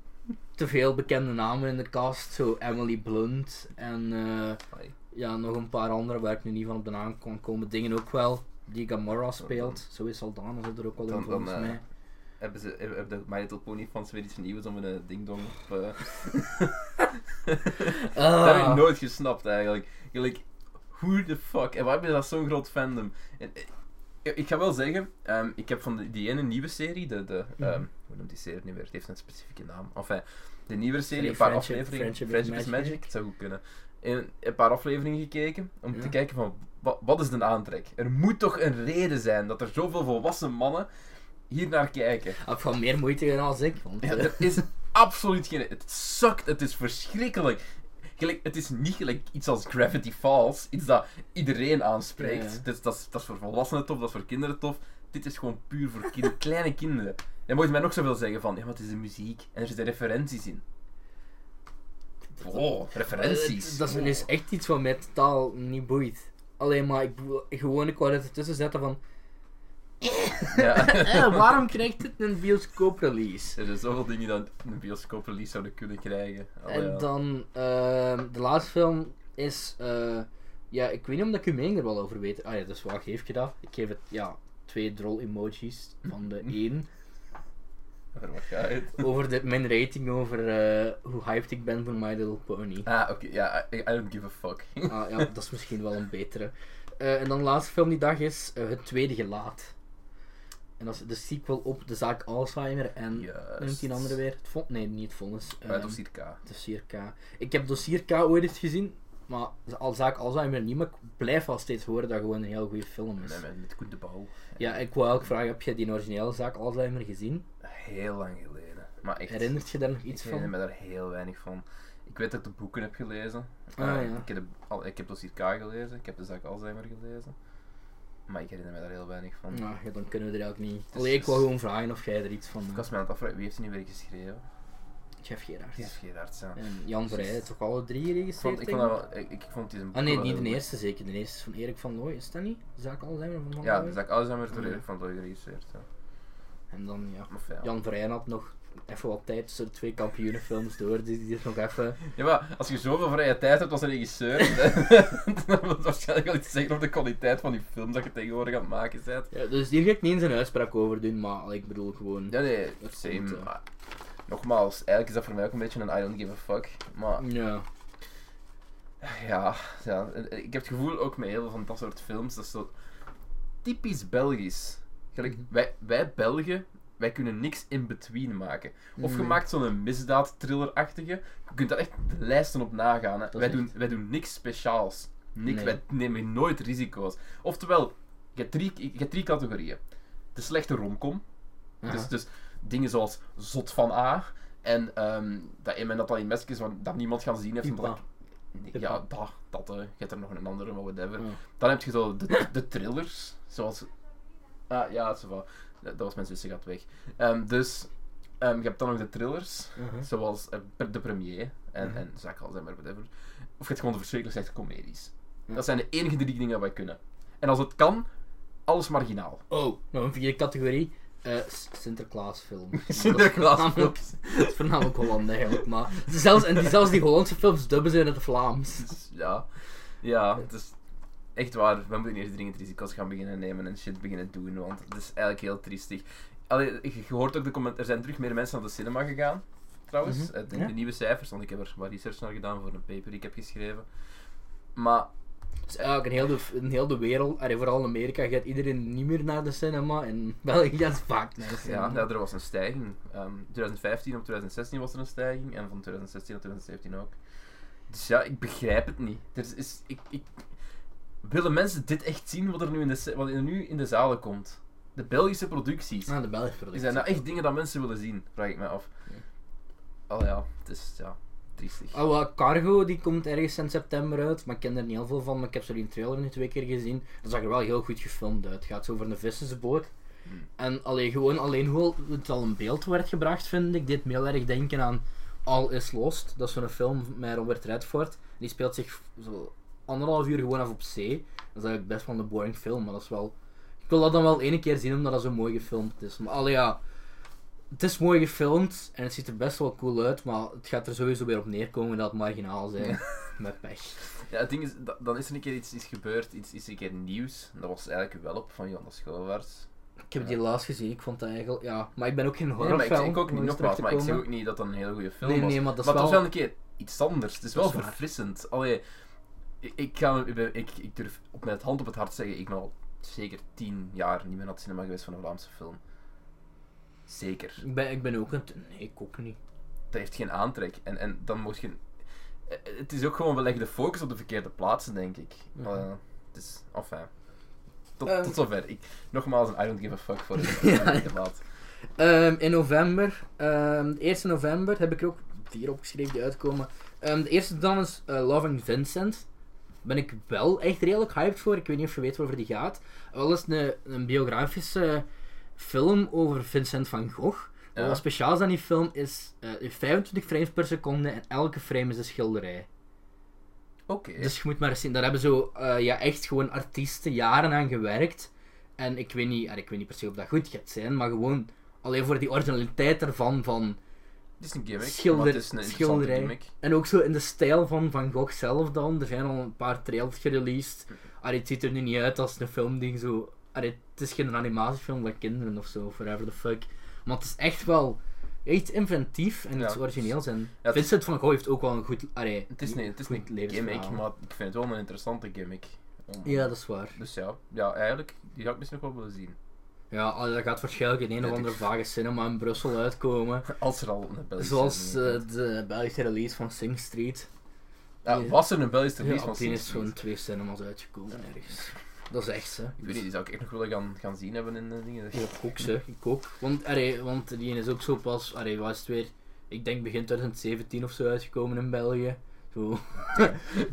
te veel bekende namen in de cast. Zo Emily Blunt en eh,
Ai.
ja, nog een paar andere waar ik nu niet van op de naam kon komen. Dingen ook wel. Die Gamora speelt. Zo is Saldana zit er ook wel
Oh. Dan-
in
dan,
volgens
eh,
mij.
Hebben ze, hebben hebben de My Little Pony fans weer iets nieuws om een ding-dong op... eh, Dat heb
Ah.
ik nooit gesnapt eigenlijk. Gelijk, who the fuck? En waarom is dat zo'n groot fandom? En, eh, ik ga wel zeggen, ehm, ik heb van die, die ene nieuwe serie, de, de, ehm,
Mhm.
hoe noemt die serie nu weer? Het heeft een specifieke naam. Enfin, de nieuwe serie,
die
een paar
Friendship-
afleveringen.
Friendship is Magic.
het zou goed kunnen. En een paar afleveringen gekeken om
Ja.
te kijken van wa- wat is de aantrek? Er moet toch een reden zijn dat er zoveel volwassen mannen hier naar kijken.
Heb van meer moeite gedaan als ik. Want,
Ja,
eh,
er is absoluut geen. Het sukt, het is verschrikkelijk. Gelijk, het is niet gelijk iets als Gravity Falls, iets dat iedereen aanspreekt.
Ja, ja.
Dus dat, is, dat is voor volwassenen tof, dat is voor kinderen tof. Dit is gewoon puur voor kin- [LAUGHS] kleine kinderen. Dan moet je mij nog zoveel zeggen van, ja, maar het is de muziek en er zitten referenties in. Oh, referenties.
eh, Dat is,
Oh.
is echt iets wat mij totaal niet boeit. Alleen maar, ik, bedoel, gewoon, ik wou het ertussen zetten van...
Ja.
[LAUGHS]
[LAUGHS]
Eh, waarom krijgt dit een bioscoop-release?
Er zijn zoveel dingen dat een bioscoop release zouden kunnen krijgen. Allee, ja.
En dan, ehm, de laatste film is... eh, ja, ik weet niet omdat ik uw mening er wel over weet. Ah ja, dus waar geef je dat? Ik geef het, ja, twee drol-emojis van [LAUGHS] de één.
Daar mag je uit.
Over de, mijn rating over eh, hoe hyped ik ben voor My Little Pony.
Ah, oké, ja, I, I don't give a fuck. [LAUGHS]
Ah, ja, dat is misschien wel een betere. Eh, en dan de laatste film die dag is eh, Het Tweede Gelaat. En dat is de sequel op de zaak Alzheimer en... hoe Noemt die andere weer? Het vond, nee, niet het vonnis.
Uit
ehm,
dossier K.
Dossier K. Ik heb Dossier K ooit eens gezien, maar de al- zaak Alzheimer niet, maar ik blijf wel steeds horen dat het gewoon een heel goede film is.
Nee, met, met Koen de Bouw.
Ja, ik wou ook vragen, heb jij die originele zaak Alzheimer gezien?
Heel lang geleden. Maar echt,
Herinnert je daar nog iets
ik herinner
van?
me daar heel weinig van. Ik weet dat ik de boeken heb gelezen.
Ah,
Eh,
ja.
ik, heb de- al, ik heb dossier K gelezen, ik heb de zaak Alzheimer gelezen. Maar ik herinner me daar heel weinig van.
Nou, ja, dan kunnen we er eigenlijk niet.
is-
Allee, ik wou gewoon vragen of jij er iets van...
Ik was me aan het afvragen, wie heeft die nu weer geschreven?
Jeff Gerard.
Jeff Gerards, ja.
En Jan Vrijen, toch alle drie geregistreerd?
Ik vond, ik, vond dat wel, ik, ik vond die zijn
Ah nee,
boeken wel
niet de
heel
eerste zeker. De eerste is van Erik van Looy, is dat niet? Zaak Alzheimer van Van
goed. Ja,
Looy?
de zaak Alzheimer door
Ja.
Erik van Looy geregisseerd. Ja.
En dan, ja.
Maar fijn.
Jan Vrijen had nog even wat tijd tussen de twee kampioenenfilms door, dus die is nog even...
Ja, maar als je zoveel vrije tijd hebt als een regisseur, [LAUGHS] dan wil het waarschijnlijk wel iets zeggen over de kwaliteit van die film dat je tegenwoordig aan het maken bent.
Ja, dus hier ga ik niet eens een uitspraak over doen, maar allee, ik bedoel gewoon...
Ja, nee,
Dat
same.
komt, ja.
maar nogmaals, eigenlijk is dat voor mij ook een beetje een I don't give a fuck. Maar
Ja.
ja, ja, en- en ik heb het gevoel ook met heel veel van dat soort films, dat is zo typisch Belgisch. Gelijk,
Mhm.
wij, wij Belgen, wij kunnen niks in between maken. Of je
Nee.
maakt zo'n misdaad thriller-achtige, je kunt daar echt de lijsten op nagaan. Hè.
is
Wij, doen,
echt-
wij doen niks speciaals. Niks,
Nee.
Wij nemen nooit risico's. Oftewel, je hebt drie, je hebt drie categorieën. De slechte romcom,
Ja.
Dus, dus dingen zoals Zot van A. En ehm, dat in men dat dan in Mesk is, want dat niemand gaan zien heeft.
Pipa.
Omdat ik- nee, ja, dat, dat eh, je hebt er nog een andere, maar whatever.
Ja.
Dan heb je zo de, de thrillers, zoals... Ah, ja, ça va. Dat dat was mijn zusje gaat weg. Ehm, dus, ehm, je hebt dan nog de thrillers, zoals eh, pre- De Premier en,
Mhm.
en Zack Alzheimer, whatever. Of je hebt gewoon de verschrikkelijk slechte comedies.
Ja.
Dat zijn de enige drie dingen dat wij kunnen. En als het kan, alles
[LAUGHS]
marginaal.
Oh, nog een vierde categorie. eh, S- [LAUGHS] Sinterklaasfilm.
Sinterklaasfilm.
Dat is voornamelijk- Dat is [LAUGHS] voornamelijk Holland eigenlijk, maar... Zelfs, en die, zelfs die Hollandse films dubben zijn uit het Vlaams.
Dus, ja. Ja, het is echt waar. We moeten eerst dringend risico's gaan beginnen nemen en shit beginnen doen, want het is eigenlijk heel triestig. Allee, je je hoort ook de comment, er zijn terug meer mensen naar de cinema gegaan, trouwens.
Mhm,
uit de,
ja.
de nieuwe cijfers, want ik heb er wat research naar gedaan voor een paper die ik heb geschreven. Maar
Dus eigenlijk in heel de, in heel de wereld, allee, vooral in Amerika, gaat iedereen niet meer naar de cinema. En België gaat vaak naar de
ja,
cinema.
ja, er was een stijging. Ehm, 2015 op 2016 was er een stijging en van 2016 op 2017 ook. Dus ja, ik begrijp het niet. Er is- is, ik, ik, willen mensen dit echt zien wat er, nu in de, ce- wat er nu in de zalen komt? De Belgische producties.
Ah, de Belgische productie.
Zijn dat nou echt dingen dat mensen willen zien? Vraag ik mij af.
Nee.
Oh ja, het is ja, triestig.
Oh, wel, Cargo die komt ergens in september uit, maar ik ken er niet heel veel van. Maar ik heb zo die trailer nu twee keer gezien. Dat zag er wel heel goed gefilmd uit. Het gaat zo over een vissersboot.
Hmm.
En alleen, gewoon, alleen hoe het al in beeld werd gebracht, vind ik, deed me heel erg denken aan All Is Lost. Dat is zo'n film met Robert Redford. Die speelt zich zo anderhalf uur gewoon af op zee. Dat is eigenlijk best wel een boring film, maar dat is wel... Ik wil dat dan wel ene keer zien, omdat dat zo mooi gefilmd is. Maar allee, ja... Het is mooi gefilmd en het ziet er best wel cool uit, maar het gaat er sowieso weer op neerkomen dat het marginaal zijn. [LAUGHS] met pech.
Ja, het ding is, da- dan is er een keer iets, iets gebeurd, iets, is er een keer nieuws. Dat was eigenlijk wel op van Jonas Schoolwaarts.
Ik heb die laatst gezien, ik vond dat eigenlijk... Ja, maar ik ben ook geen
Nee, maar ik,
horrorfan.
zeg ook
om
niet
eens terug
nogmaals,
te
maar ik zeg
komen.
ook niet dat dat een hele goede film
Nee,
was.
nee, maar dat is
het was
wel-
wel een keer iets anders. Het is
Dat
wel
is waar.
verfrissend. Allee, ik, ik, ga, ik, ben- ik, ik durf op met hand op het hart zeggen, ik ben al zeker tien jaar niet meer naar het cinema geweest van een Vlaamse film. Zeker.
Ik ben, ik ben ook een... Nee, ik ook niet.
dat heeft geen aantrek. En, en dan moet je... eh, Het is ook gewoon, we leggen de focus op de verkeerde plaatsen, denk ik.
Mhm.
Eh, het is, enfin. Tot,
Ehm.
tot zover. Ik, nogmaals, een I don't give a
[LAUGHS]
fuck voor het
Ja, ja.
debat.
Ehm, in november, ehm, de 1 november, heb ik er ook vier opgeschreven die uitkomen. Ehm, de eerste dan is eh, Loving Vincent. Ben ik wel echt redelijk hyped voor. Ik weet niet of je weet waarover die gaat. Wel is een, een biografische film over Vincent van Gogh. Maar
Ja.
Wat speciaal is aan die film is eh, 25 frames per seconde en elke frame is een schilderij.
Eh, Oké.
Dus je moet maar eens zien, daar hebben zo eh, ja, echt gewoon artiesten jaren aan gewerkt. En ik weet niet, eh, ik weet niet per se of dat goed gaat zijn, maar gewoon alleen voor die originaliteit ervan. Van,
Het is een gimmick,
schilder-
maar het is een interessante
schilderij.
gimmick.
en ook zo in de stijl van Van Gogh zelf dan. Er zijn al een paar trailers gereleased. Allee, het ziet er nu niet uit als een film die zo. Allee, het is geen animatiefilm van kinderen of zo, of whatever the fuck. Maar het is echt wel echt inventief en
Ja,
iets origineels. En
het is-
Vincent van Gogh heeft ook wel een goed. Allee,
Het is, een, het is een
goed levensverhaal.
gimmick, maar ik vind het wel een interessante gimmick. Om-
Ja, dat is waar.
Dus ja, ja, eigenlijk, die had ik misschien nog wel willen zien.
Ja, allee, dat gaat waarschijnlijk in een
Weet
of
ik
andere vage cinema in Brussel uitkomen.
[LAUGHS] Als er al een Belgische
Zoals
release
eh, de Belgische release van Sing Street.
komt. Ja, was er een Belgische
Ja,
release
op
van
die
Sin
is
Street?
gewoon twee cinemas uitgekomen ergens. Dat is echt, hè.
Ik weet niet, die zou ik echt nog willen gaan, gaan zien hebben in de dingen.
Ja, ik ook, ze. Ik ook. Want, arre, want die is ook zo pas... Arre, was het weer... Ik denk begin 2017 of zo uitgekomen in België.
[LAUGHS]
Zo.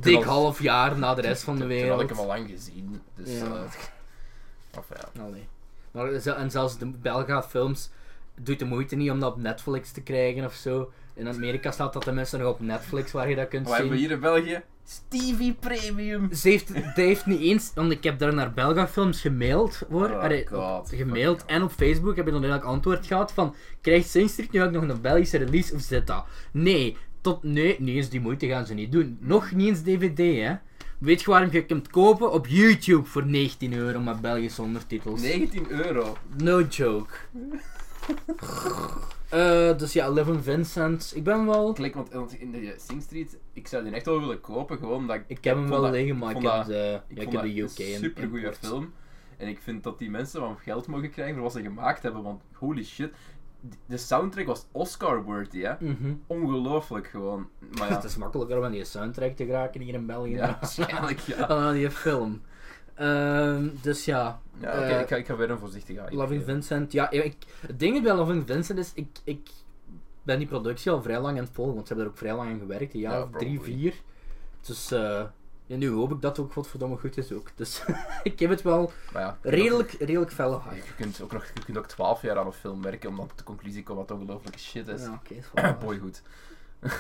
Dik
was-
half jaar na de rest van de
Toen had ik hem al
wereld.
lang gezien. Dus,
Ja.
eh, of ja.
Allee. Maar, ze- en zelfs de Belga films doet de moeite niet om dat op Netflix te krijgen of zo. In Amerika staat dat de mensen nog op Netflix waar je dat kunt
Wat hebben we
zien.
hier in België? Stevie Premium.
Ze heeft, die heeft niet eens, want ik heb daar naar Belga films gemaild hoor.
Oh,
Allee,
God.
op- gemaild en op Facebook heb ik dan eigenlijk antwoord gehad van krijgt Saint Street nu ook nog een Belgische release of zit dat? Nee, tot nee, niet eens die moeite gaan ze niet doen.
Hmm.
Nog niet eens DVD hè. Weet je waarom je kunt kopen? Op YouTube voor 19 euro met Belgische ondertitels.
19 euro.
No
[LAUGHS]
joke. Eh, dus ja, Eleven Vincent. Ik ben wel...
Klik, want want in de Sing Street, ik zou die echt wel willen kopen, gewoon omdat ik...
Ik heb hem
vond
wel
dat-
liggen, maar ik,
vond
heb
dat-
de,
ik
ja, ik
vond
heb
dat
de
een
UK in-
supergoeie
import.
film. En ik vind dat die mensen van geld mogen krijgen voor wat ze gemaakt hebben, want holy shit. d- De soundtrack was Oscar-worthy, hè.
Mhm.
Ongelooflijk gewoon. Maar ja, [LAUGHS]
[LAUGHS] Het is makkelijker om aan die soundtrack te geraken hier in België.
ja waarschijnlijk, ja.
Dan aan die film. Ehm, dus ja,
Ja, oké,
Eh,
ik, ga, ik ga weer een voorzichtig AI.
Loving
geven.
Vincent. Ja, ik, het ding bij Loving Vincent is, ik, ik ben die productie al vrij lang aan het volgen, want ze hebben er ook vrij lang aan gewerkt, een jaar
Ja,
of drie,
probably.
vier. Dus eh, ja, nu hoop ik dat het ook godverdomme goed is ook. Dus [LAUGHS] ik heb het wel
Maar ja,
redelijk, redelijk felle
Je
hype.
kunt ook nog, je kunt ook 12 jaar aan een film werken om dan tot de conclusie te komen wat ongelooflijke shit is.
Ja, oké, is
[COUGHS] [CLEARS THROAT]
wel waar.
Boy, goed.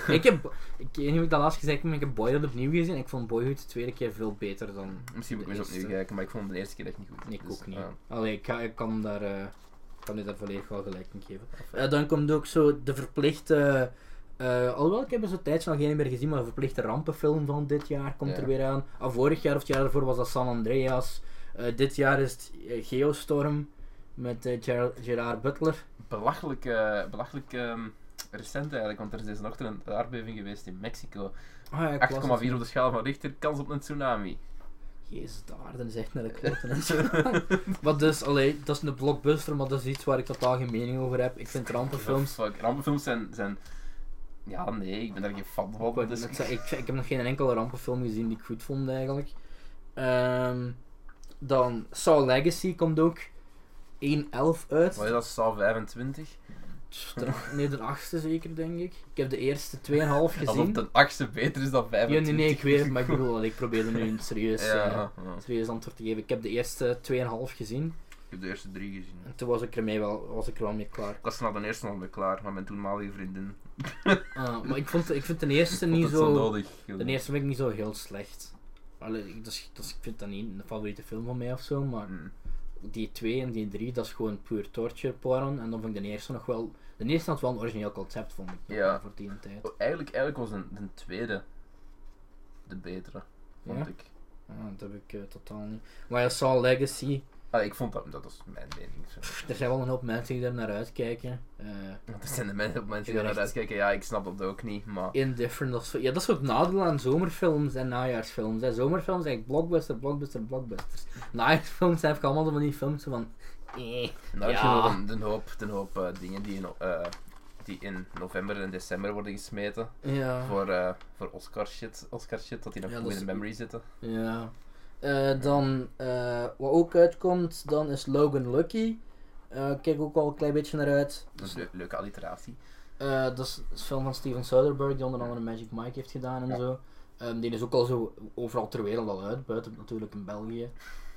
ik heb, ik weet niet of ik dat laatst gezegd heb, maar ik heb Boyhood opnieuw gezien en ik vond Boyhood de tweede keer veel beter dan...
Misschien moet ik
De
eens opnieuw
eerste.
kijken, maar ik vond hem de eerste keer echt niet goed.
Nee, ik
Dus,
ook niet.
ja.
Allee, ik, ga- ik kan daar, eh, ik kan u daar volledig wel gelijk in geven. Eh, dan komt ook zo de verplichte. eh, alhoewel, ik heb er zo'n tijdje nog geen meer gezien, maar de verplichte rampenfilm van dit jaar komt
Ja.
er weer aan. Al vorig jaar of het jaar daarvoor was dat San Andreas. Eh, dit jaar is het eh, Geostorm met eh, Ger- Gerard Butler.
belachelijk, eh, belachelijk ehm, recent eigenlijk, want er is deze ochtend een aardbeving geweest in Mexico. 8,4
Ah ja, ik las het.
op de schaal van Richter, kans op een tsunami.
Jezus, de aarde is echt naar de kloten. en zo. [LAUGHS] Wat dus, allee, dat is een blockbuster, maar dat is iets waar ik totaal geen mening over heb. Ik vind rampenfilms.
Fuck, rampenfilms zijn, zijn... Ja, nee, ik ben daar geen fan van.
Ik,
Dus
net zei, ik, ik heb nog geen enkele rampenfilm gezien die ik goed vond eigenlijk. Ehm, dan Saw Legacy komt ook 1.11 uit.
Wat is dat, Saal 25?
Tch, de- nee, de achtste zeker, denk ik. Ik heb de eerste 2,5
Alsof
gezien.
de achtste beter is dan
Ja,
25.
nee, nee, ik
[LAUGHS]
weet het, maar ik bedoel, ik probeerde nu een serieus,
Ja,
eh,
ja.
serieus antwoord te geven. Ik heb de eerste 2,5 gezien
Ik heb de eerste drie gezien.
en toen was ik er, mee wel, was ik er wel mee klaar.
Ik was na de eerste nog mee klaar, maar mijn toenmalige vriendin.
Ah, maar ik, vond, ik vind de eerste
vond
niet
het
zo...
nodig.
De eerste vind ik niet zo heel slecht. Allee, ik- dus, dus ik vind dat niet een favoriete film van mij of zo, maar
Mm.
die 2 en die 3, dat is gewoon puur torture porn. En dan vond ik de eerste nog wel. De eerste had wel een origineel concept, vond ik. nog
Ja.
wel Voor die tijd.
Oh, eigenlijk, eigenlijk was een, de tweede de betere, vond
Ja?
ik.
Ja, dat heb ik eh, totaal niet. Maar ja, Saw Legacy.
Ah, ik vond dat, dat was mijn mening. [LAUGHS] Zo.
pff, er zijn wel een hoop mensen die daar naar uitkijken. Eh,
Want er zijn de men- op mensen
Ik
die
ben
naar
echt-
uitkijken, ja, ik snap dat ook niet, maar...
indifferent of zo. Ja, dat is ook het nadeel aan zomerfilms en najaarsfilms. Hè. Zomerfilms zijn eigenlijk blockbuster, blockbuster, blockbusters. Najaarsfilms zijn eigenlijk allemaal zo van die films zo van. Eh.
Nou, heb je
Ja.
nog een, een hoop, een hoop eh, dingen die in, eh, die in november en december worden gesmeten.
Ja.
Voor, eh, voor Oscar shit, Oscar shit, dat die nog
Ja,
goed in
dat
de
is-
memory zitten.
Ja. Eh, dan, eh, wat ook uitkomt, dan is Logan Lucky. Eh, Ik kijk ook al een klein beetje naar uit.
Dat is een leu- leuke alliteratie.
Eh, dat is een film van Steven Soderbergh, die onder andere Magic Mike heeft gedaan en
Ja.
zo. Ehm, die is ook al zo overal ter wereld al uit, buiten natuurlijk in België.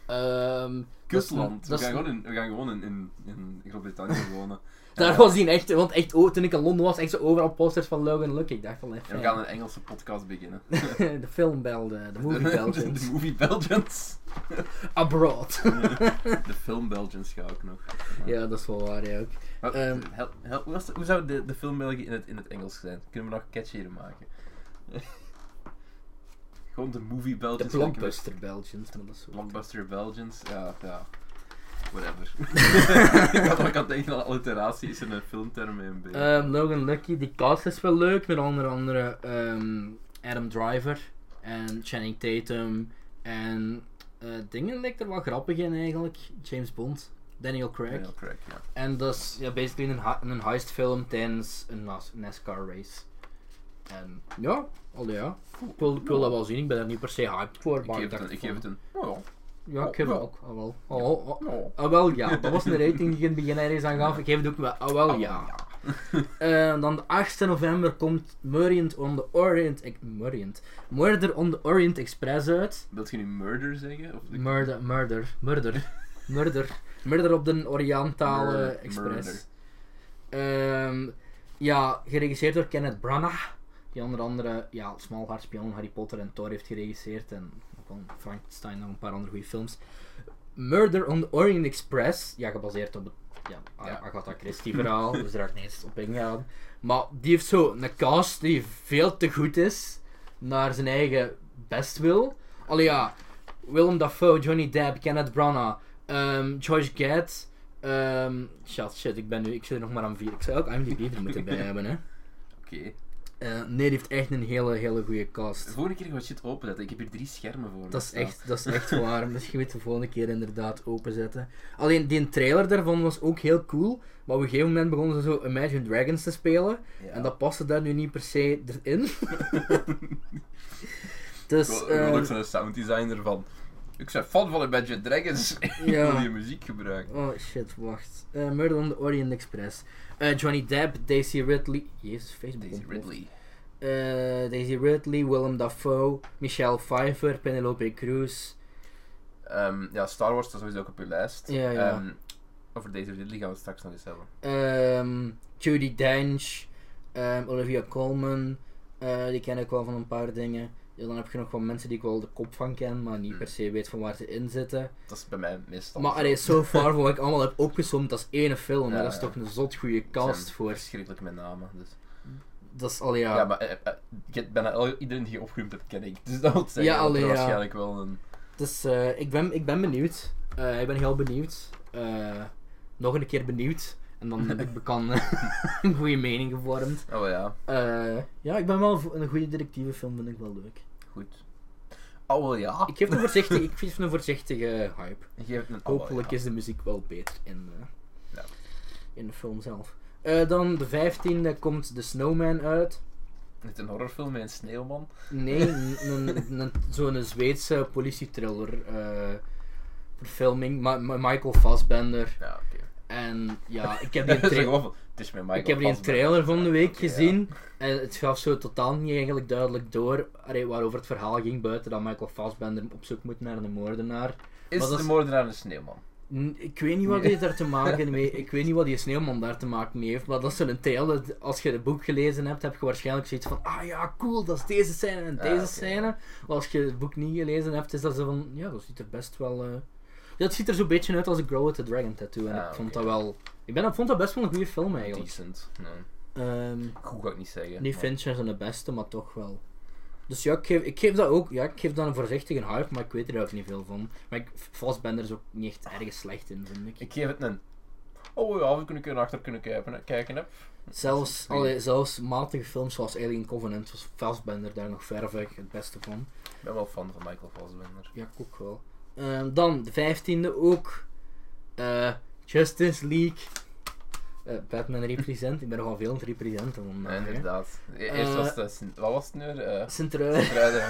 Ehm, dat is een- dat is een-
in, we gaan gewoon in, in, in Groot-Brittannië [LAUGHS] wonen.
[LAUGHS] Daar was hij echt, want echt, oh, toen ik in Londen was, echt zo overal posters van Logan Lucky. Ik dacht van, eh,
En we gaan een Engelse podcast beginnen.
[LAUGHS] de film Belden, de
[LAUGHS]
movie
de
Belgians,
movie Belgians.
abroad. [LAUGHS]
De film Belgians ga ik nog.
ja, dat is wel waar, ja ook.
Maar,
Ehm.
hel- hel- hoe, was de- hoe zou de, de film België in het, in het Engels zijn? Kunnen we nog catchier
[LAUGHS]
maken? Gewoon de movie
De
Belgians.
blockbuster Belgians, maar dat is zo.
Blockbuster Belgians, ja, ja. Whatever.
[LAUGHS]
[LAUGHS] ik had ook aan het denken aan alliteratie, is er een filmterm in bij.
Ehm, Logan Lucky, die cast is wel leuk, met onder andere ehm, Adam Driver en Channing Tatum en eh, dingen lijkt er wel grappig in eigenlijk. James Bond, Daniel Craig.
Daniel Craig, ja.
En dat is ja, basically een, ha- een heistfilm tijdens een nas- NASCAR race. En ja, al ja. Ik wil, ik wil dat wel zien, ik ben er niet per se hyped voor,
Ik
maar
geef het
dacht
een. Ik geef
van-
het een. Oh,
Ja, ik geef het
Ja.
ook, ah wel. Ah, wel, ah-
oh.
ah, wel ja, dat was een rating die ik in het begin ergens aan gaf, ik geef het ook wel, ah
Oh,
wel ja. Eh, dan de 8 november komt Murient on the Orient... Ex- Murient. Murder on the Orient Express uit.
Wilt je nu murder zeggen? Of
Murder, murder, murder, murder. Murder op de Orientale
Murder, murder.
Express. Ehm, ja, geregisseerd door Kenneth Branagh. Die onder andere ja, Smalhart, Spion, Harry Potter en Thor heeft geregisseerd. En ook al Frankenstein nog een paar andere goede films. Murder on the Orient Express. Ja, gebaseerd op het ja,
Ja.
Agatha Christie verhaal. dus daar ga ik niet eens op ingaan. Maar die heeft zo een cast die veel te goed is naar zijn eigen best wil. Allee ja, Willem Dafoe, Johnny Depp, Kenneth Branagh, ehm Josh Gad. ehm shit, shit, ik ben nu, ik zit er nog maar aan vier. Ik zou ook IMDb er moeten bij hebben, hè.
Oké.
Eh, nee, die heeft echt een hele, hele goede
De
cast.
volgende keer ga ik shit openzetten. Ik heb hier drie schermen voor. me
Dat is
staan.
echt, dat is
[LAUGHS]
echt waar. Misschien moet je de volgende keer inderdaad openzetten. Alleen die trailer daarvan was ook heel cool. Maar op een gegeven moment begonnen ze zo Imagine Dragons te spelen.
Ja.
En dat paste daar nu niet per se
[LAUGHS]
erin. dus.
Ik wil- ik wil ook
ehm,
zo'n sound designer van.
Ik ben fan van Imagine Dragons. Ik
Ja.
wil je muziek gebruiken.
Oh shit, wacht. Eh Murder on the Orient Express. Eh, Johnny Depp, Daisy Ridley. Jezus, Facebook.
Daisy
ontploft.
Ridley.
Eh, Daisy Ridley, Willem Dafoe, Michelle Pfeiffer, Penelope Cruz.
Ehm, ja, Star Wars staat sowieso ook op uw lijst.
Ja, ja.
Ehm, over deze Ridley gaan we het straks nog eens hebben.
ehm Judy Dench, ehm, Olivia Colman, eh, die ken ik wel van een paar dingen. Ja, dan heb je nog wel mensen die ik wel de kop van ken, maar niet
Hmm.
per se weet van waar ze in zitten.
Dat is bij mij meestal.
maar
zo.
allee, so far van wat ik allemaal heb opgesomd, dat is één film.
Ja,
dat is
ja.
toch een zot goede
Het zijn
cast voor.
[LAUGHS] Verschrikkelijk met namen. Dus.
Dat is al ja.
Ja. maar eh, eh, ik heb bijna el- iedereen die je opgeroemd hebt, ken ik. Dus dat wil zeggen
Ja,
dat er
allee, ja.
waarschijnlijk wel een...
Dus eh, ik, ben, ik ben benieuwd. Eh, ik ben heel benieuwd. Eh, nog een keer benieuwd. En dan
[LAUGHS]
heb ik bekan eh, [LAUGHS] een goede mening gevormd.
Oh ja,
Eh, ja, ik ben wel voor- een goede detectivefilm, vind ik wel leuk.
goed. Oh wel ja.
Ik geef een voorzichtige, ik geef een voorzichtige hype.
Ik geef het een oh, wel
Hopelijk
ja.
is de muziek wel beter in, eh,
Ja.
in de film zelf. Eh, dan de 15e komt The Snowman uit.
Is het een horrorfilm met een sneeuwman? [LAUGHS]
Nee, n- een- een- zo'n Zweedse politiethriller eh verfilming. Ma- Ma- Michael Fassbender.
Ja, [LAUGHS] oké.
En ja, ik
[LAUGHS]
heb die,
Dat is
tra-
gewoon van, het is met Michael
ik heb die een
Fassbender.
trailer van de week
Oké, ja.
gezien. En het gaf zo totaal niet eigenlijk duidelijk door allee, waarover het verhaal ging. Buiten dat Michael Fassbender op zoek moet naar een moordenaar.
Is
Maar dat
de
is-
moordenaar een sneeuwman?
N- Ik weet niet wat
Nee.
die daar te maken
[LAUGHS]
mee. Ik weet niet wat die sneeuwman daar te maken mee heeft. Maar dat is zo'n trailer. dat Als je het boek gelezen hebt, heb je waarschijnlijk zoiets van. Ah ja, cool, dat is deze scène en
Ah,
deze
oké,
scène. Maar als je het boek niet gelezen hebt, is dat zo van. Ja, dat ziet er best wel. eh, Ja, het ziet er zo'n beetje uit als een Grow with the Dragon tattoo. En
Ah,
ik
oké.
vond dat wel. Ik ben, ik vond dat best wel een goede film eigenlijk.
Decent. Nee.
Ehm
Goed ga ik niet zeggen.
niet
maar-
Fincher zijn de beste, maar toch wel. Dus ja, ik geef, ik geef dat ook. Ja, ik geef dat een voorzichtige hype, maar ik weet er ook niet veel van. Maar ik, Fassbender is ook niet echt erg slecht in, vind ik.
Ik geef het een... Oh ja, we kunnen kunnen achter kunnen kijken. kijken hè.
Zelfs,
Dat is een
allee, zelfs matige films zoals Alien Covenant was Fassbender daar nog ver weg het beste van.
Ik ben wel fan van Michael Fassbender.
Ja, ik ook wel. Ehm, dan de vijftiende ook. eh, Justice League. Eh, Batman Represent. Ik ben nogal veel aan het representen vandaag.
Nee,
hè.
inderdaad. E- Eerst was
Eh,
het... eh, Sint- Wat was het nu? weer? Eh,
Sint-Truiden.
Sint-Truiden.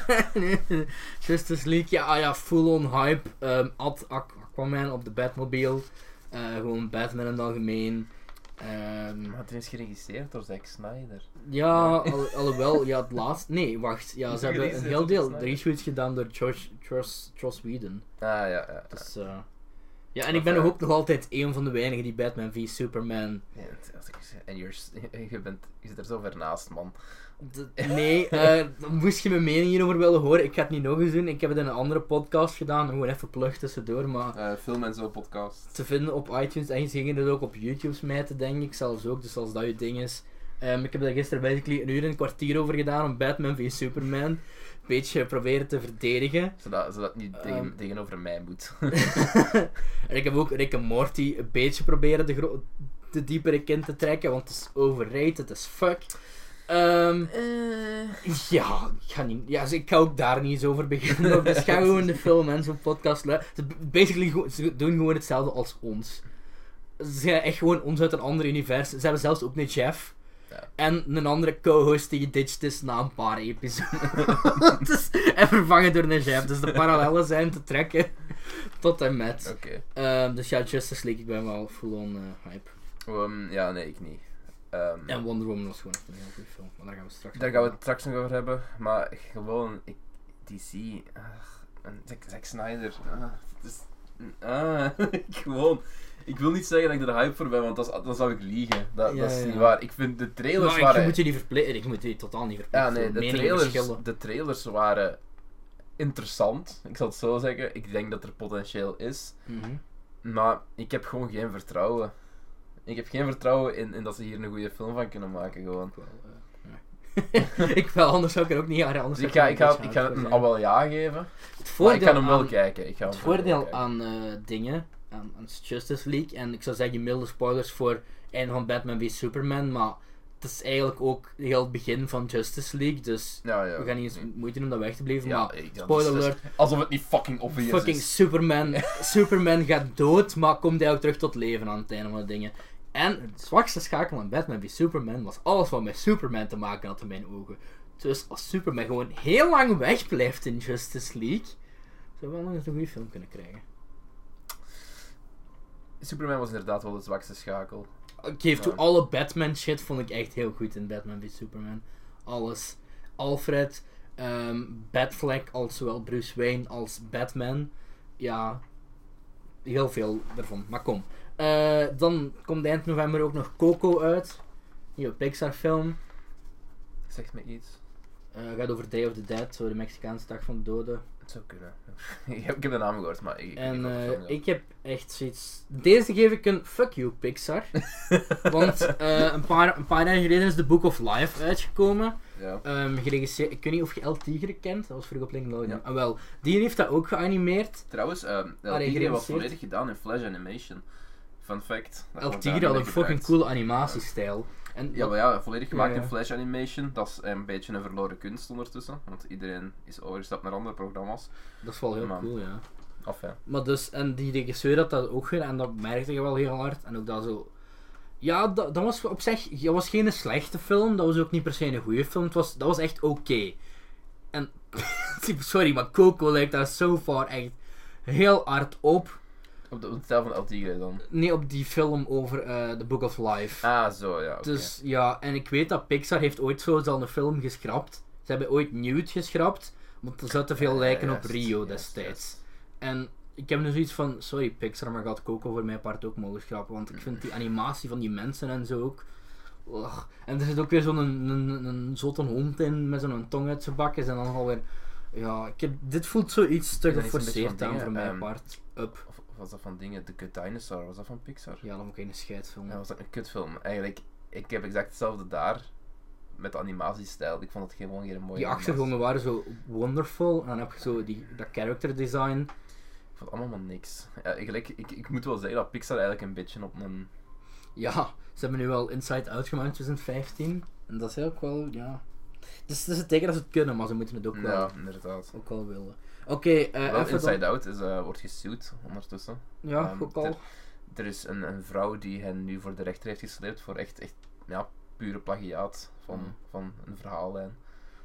[LAUGHS] Nee, Justice League, ja, ah ja full on hype. Ehm, Ad Aqu- Aquaman op de Batmobile. Eh, gewoon Batman in het algemeen. Ehm,
maar het is geregisseerd door Zack Snyder.
ja, al- alhoewel, ja, het laatste. Nee, wacht. Ja,
Is
ze
er
hebben een
iets-
heel
is er iets
deel
naar?
reshoots gedaan door Josh, Josh, Joss Whedon.
Ah ja, ja. ja.
Dus, eh, ja, en
Maar
ik ben
fijn.
ook nog altijd een van de weinigen die Batman v Superman.
Ja, het- als ik zeg- En you're s- [LAUGHS] je, bent, je zit er zo ver naast, man.
D- [LAUGHS] nee, eh, dan moest je mijn mening hierover willen horen. Ik ga het niet nog eens doen. Ik heb het in een andere podcast gedaan. Gewoon even plug tussendoor, maar.
Eh, film en zo podcast.
te vinden op iTunes en ze gingen het ook op YouTube smijten, denk ik zelfs ook. Dus als dat je ding is. Ehm, ik heb daar gisteren basically een uur en een kwartier over gedaan om Batman v Superman een beetje proberen te verdedigen.
Zodat, zodat het niet tegen,
Ehm.
tegenover mij moet. [LAUGHS]
en ik heb ook Rick en Morty een beetje proberen de, gro- de diepere kind te trekken, want het is overrated, het is fuck. Ehm, ja, ik ga, niet, ja, dus ik ga ook daar niet eens over beginnen. ook. Dus ga gewoon de film en zo'n podcast luisteren. Ze- Basically, go- ze doen gewoon hetzelfde als ons. Ze zijn echt gewoon ons uit een ander universum. Ze hebben zelfs ook een Jeff.
Ja.
En een andere co-host die geditcht is na een paar episodes. [LAUGHS] Dus- en vervangen door een Jeff. Dus de parallellen zijn te trekken. Tot en met.
Oké.
Ehm, dus ja, Justice League, ik ben wel full on eh, hype.
Ehm, ja, nee, ik niet. Ehm,
En Wonder Woman was gewoon echt een heel goede film. Maar daar gaan we straks
Daar gaan we het straks nog over hebben. Maar gewoon, ik, DC. ach, en Zack, Zack Snyder. ah, het is, ah, [LAUGHS] ik gewoon. Ik wil niet zeggen dat ik er hype voor ben, want dat is- dan zou ik liegen. Dat,
Ja,
dat is
ja,
niet
ja.
waar. Ik vind de trailers
Maar ik
waren.
moet je niet verplichten. Ik moet je totaal niet verplichten.
Ja, nee, de
Meningen
trailers,
verschillen.
de trailers waren interessant. Ik zal het zo zeggen. Ik denk dat er potentieel is.
Mhm.
Maar ik heb gewoon geen vertrouwen. Ik heb geen vertrouwen in, in dat ze hier een goede film van kunnen maken, gewoon.
Ik wel, eh, nee. [LAUGHS] ik wel, anders zou ik er ook niet aan. Anders
Dus ik ga,
zou
ik
er
ga,
niet
ik ga het
aan
een
het
al wel ja geven.
Het
Maar ik
voordeel
kan hem wel
aan-
kijken. Ik ga hem
Het
wel
voordeel
kijken.
aan eh, dingen, aan, aan Justice League, en ik zou zeggen milde spoilers voor einde van Batman v Superman, maar het is eigenlijk ook heel het begin van Justice League, dus
Ja, ja.
we gaan niet eens moeite doen om dat weg te blijven,
Ja,
maar
ik- dat is-
spoiler alert,
Alsof het niet fucking obvious
fucking
is. [LAUGHS]
Superman, Superman gaat dood, maar komt hij ook terug tot leven aan het einde van de dingen. En het zwakste schakel aan Batman v Superman was alles wat met Superman te maken had in mijn ogen. Dus als Superman gewoon heel lang wegblijft in Justice League, Zou wel nog eens een goede film kunnen krijgen.
Superman was inderdaad wel de zwakste schakel.
Ik geef toe,
Ja.
alle Batman shit vond ik echt heel goed in Batman v Superman. Alles. Alfred, ehm Batfleck als zowel Bruce Wayne als Batman. Ja, heel veel daarvan. Maar kom. Eh, dan komt eind november ook nog Coco uit. Nieuwe Pixar film.
Zegt me iets.
Eh, gaat over Day of the Dead, zo de Mexicaanse dag van de doden.
Het zou kunnen. [LAUGHS] ik, heb, ik heb de naam gehoord, maar ik, ik weet
En
niet of het
eh,
zo
ik heb echt zoiets. Deze geef ik een fuck you,
[LAUGHS]
Pixar.
gaat.
Want eh, een, paar, een paar jaar geleden is The Book of Life uitgekomen.
Ja.
Ehm, geregisseerd, ik weet niet of je El Tigre kent, dat was vroeger op Nickelodeon.
Ja.
Ah, wel, die heeft dat ook geanimeerd.
Trouwens, ehm
eh,
El
Allee,
Tigre was
gerealiseerd.
volledig gedaan in Flash Animation. Fun fact. dat
El
wordt
Tigre had
daarmee
een fucking
gebruikt.
coole animatiestijl. En
Ja, maar ja, volledig gemaakt
Ja.
in Flash Animation. Dat is een beetje een verloren kunst ondertussen. Want iedereen is overgestapt naar andere programma's.
dat is wel heel
Man.
cool, ja.
Of ja.
Maar dus, en die regisseur had dat ook gedaan en dat merkte je wel heel hard. En ook dat zo... Ja, dat, dat was op zich dat was geen slechte film, dat was ook niet per se een goede film. Het was, dat was echt oké. En, [LAUGHS] sorry, maar Coco lijkt daar so far echt heel hard op.
Op de, op de stijl van El Tigre dan.
Nee, op die film over eh The Book of Life.
Ah, zo ja. oké.
Dus ja, en ik weet dat Pixar heeft ooit zo al een film geschrapt. Ze hebben ooit Newt geschrapt, want er zou te veel
Ja,
lijken
Eh, juist,
op Rio
juist,
destijds.
juist.
En ik heb nu zoiets van, sorry Pixar, maar gaat Coco voor mijn part ook mogen schrappen, want ik
Mm.
vind die animatie van die mensen en zo ook... Ugh. En er zit ook weer zo'n een, een, een zotte hond in, met zo'n tong uit zijn bakjes en dan alweer... Ja, ik heb, dit voelt zoiets te
Ja, dat is een beetje
geforceerd
van
aan
dingen,
voor mijn
ehm,
part. Up.
Of, of was dat van dingen? The Good Dinosaur, was dat van Pixar?
Ja, dan moet ik een scheidfilm.
Ja, was dat een kutfilm? Eigenlijk, ik heb exact hetzelfde daar. Met de animatiestijl. Ik vond het gewoon geen mooie
Die
animatie.
achtergronden waren zo wonderful. En dan heb je zo die, dat character design.
Ik vond het allemaal maar niks. Ja, eigenlijk, ik, ik moet wel zeggen dat Pixar eigenlijk een beetje op een...
Ja, ze hebben nu wel Inside Out gemaakt in 2015. En dat is ook wel, ja. Dus het is het teken dat ze het kunnen, maar ze moeten het ook, wel,
Ja, inderdaad.
ook wel willen. Oké, eh
Wel,
even
Inside
dan-
Out is, eh, wordt gesuwd ondertussen.
Ja,
Ehm,
ook al.
ter- Er is een, een vrouw die hen nu voor de rechter heeft gesleept voor echt, echt ja, pure plagiaat van,
Mm.
van een verhaallijn.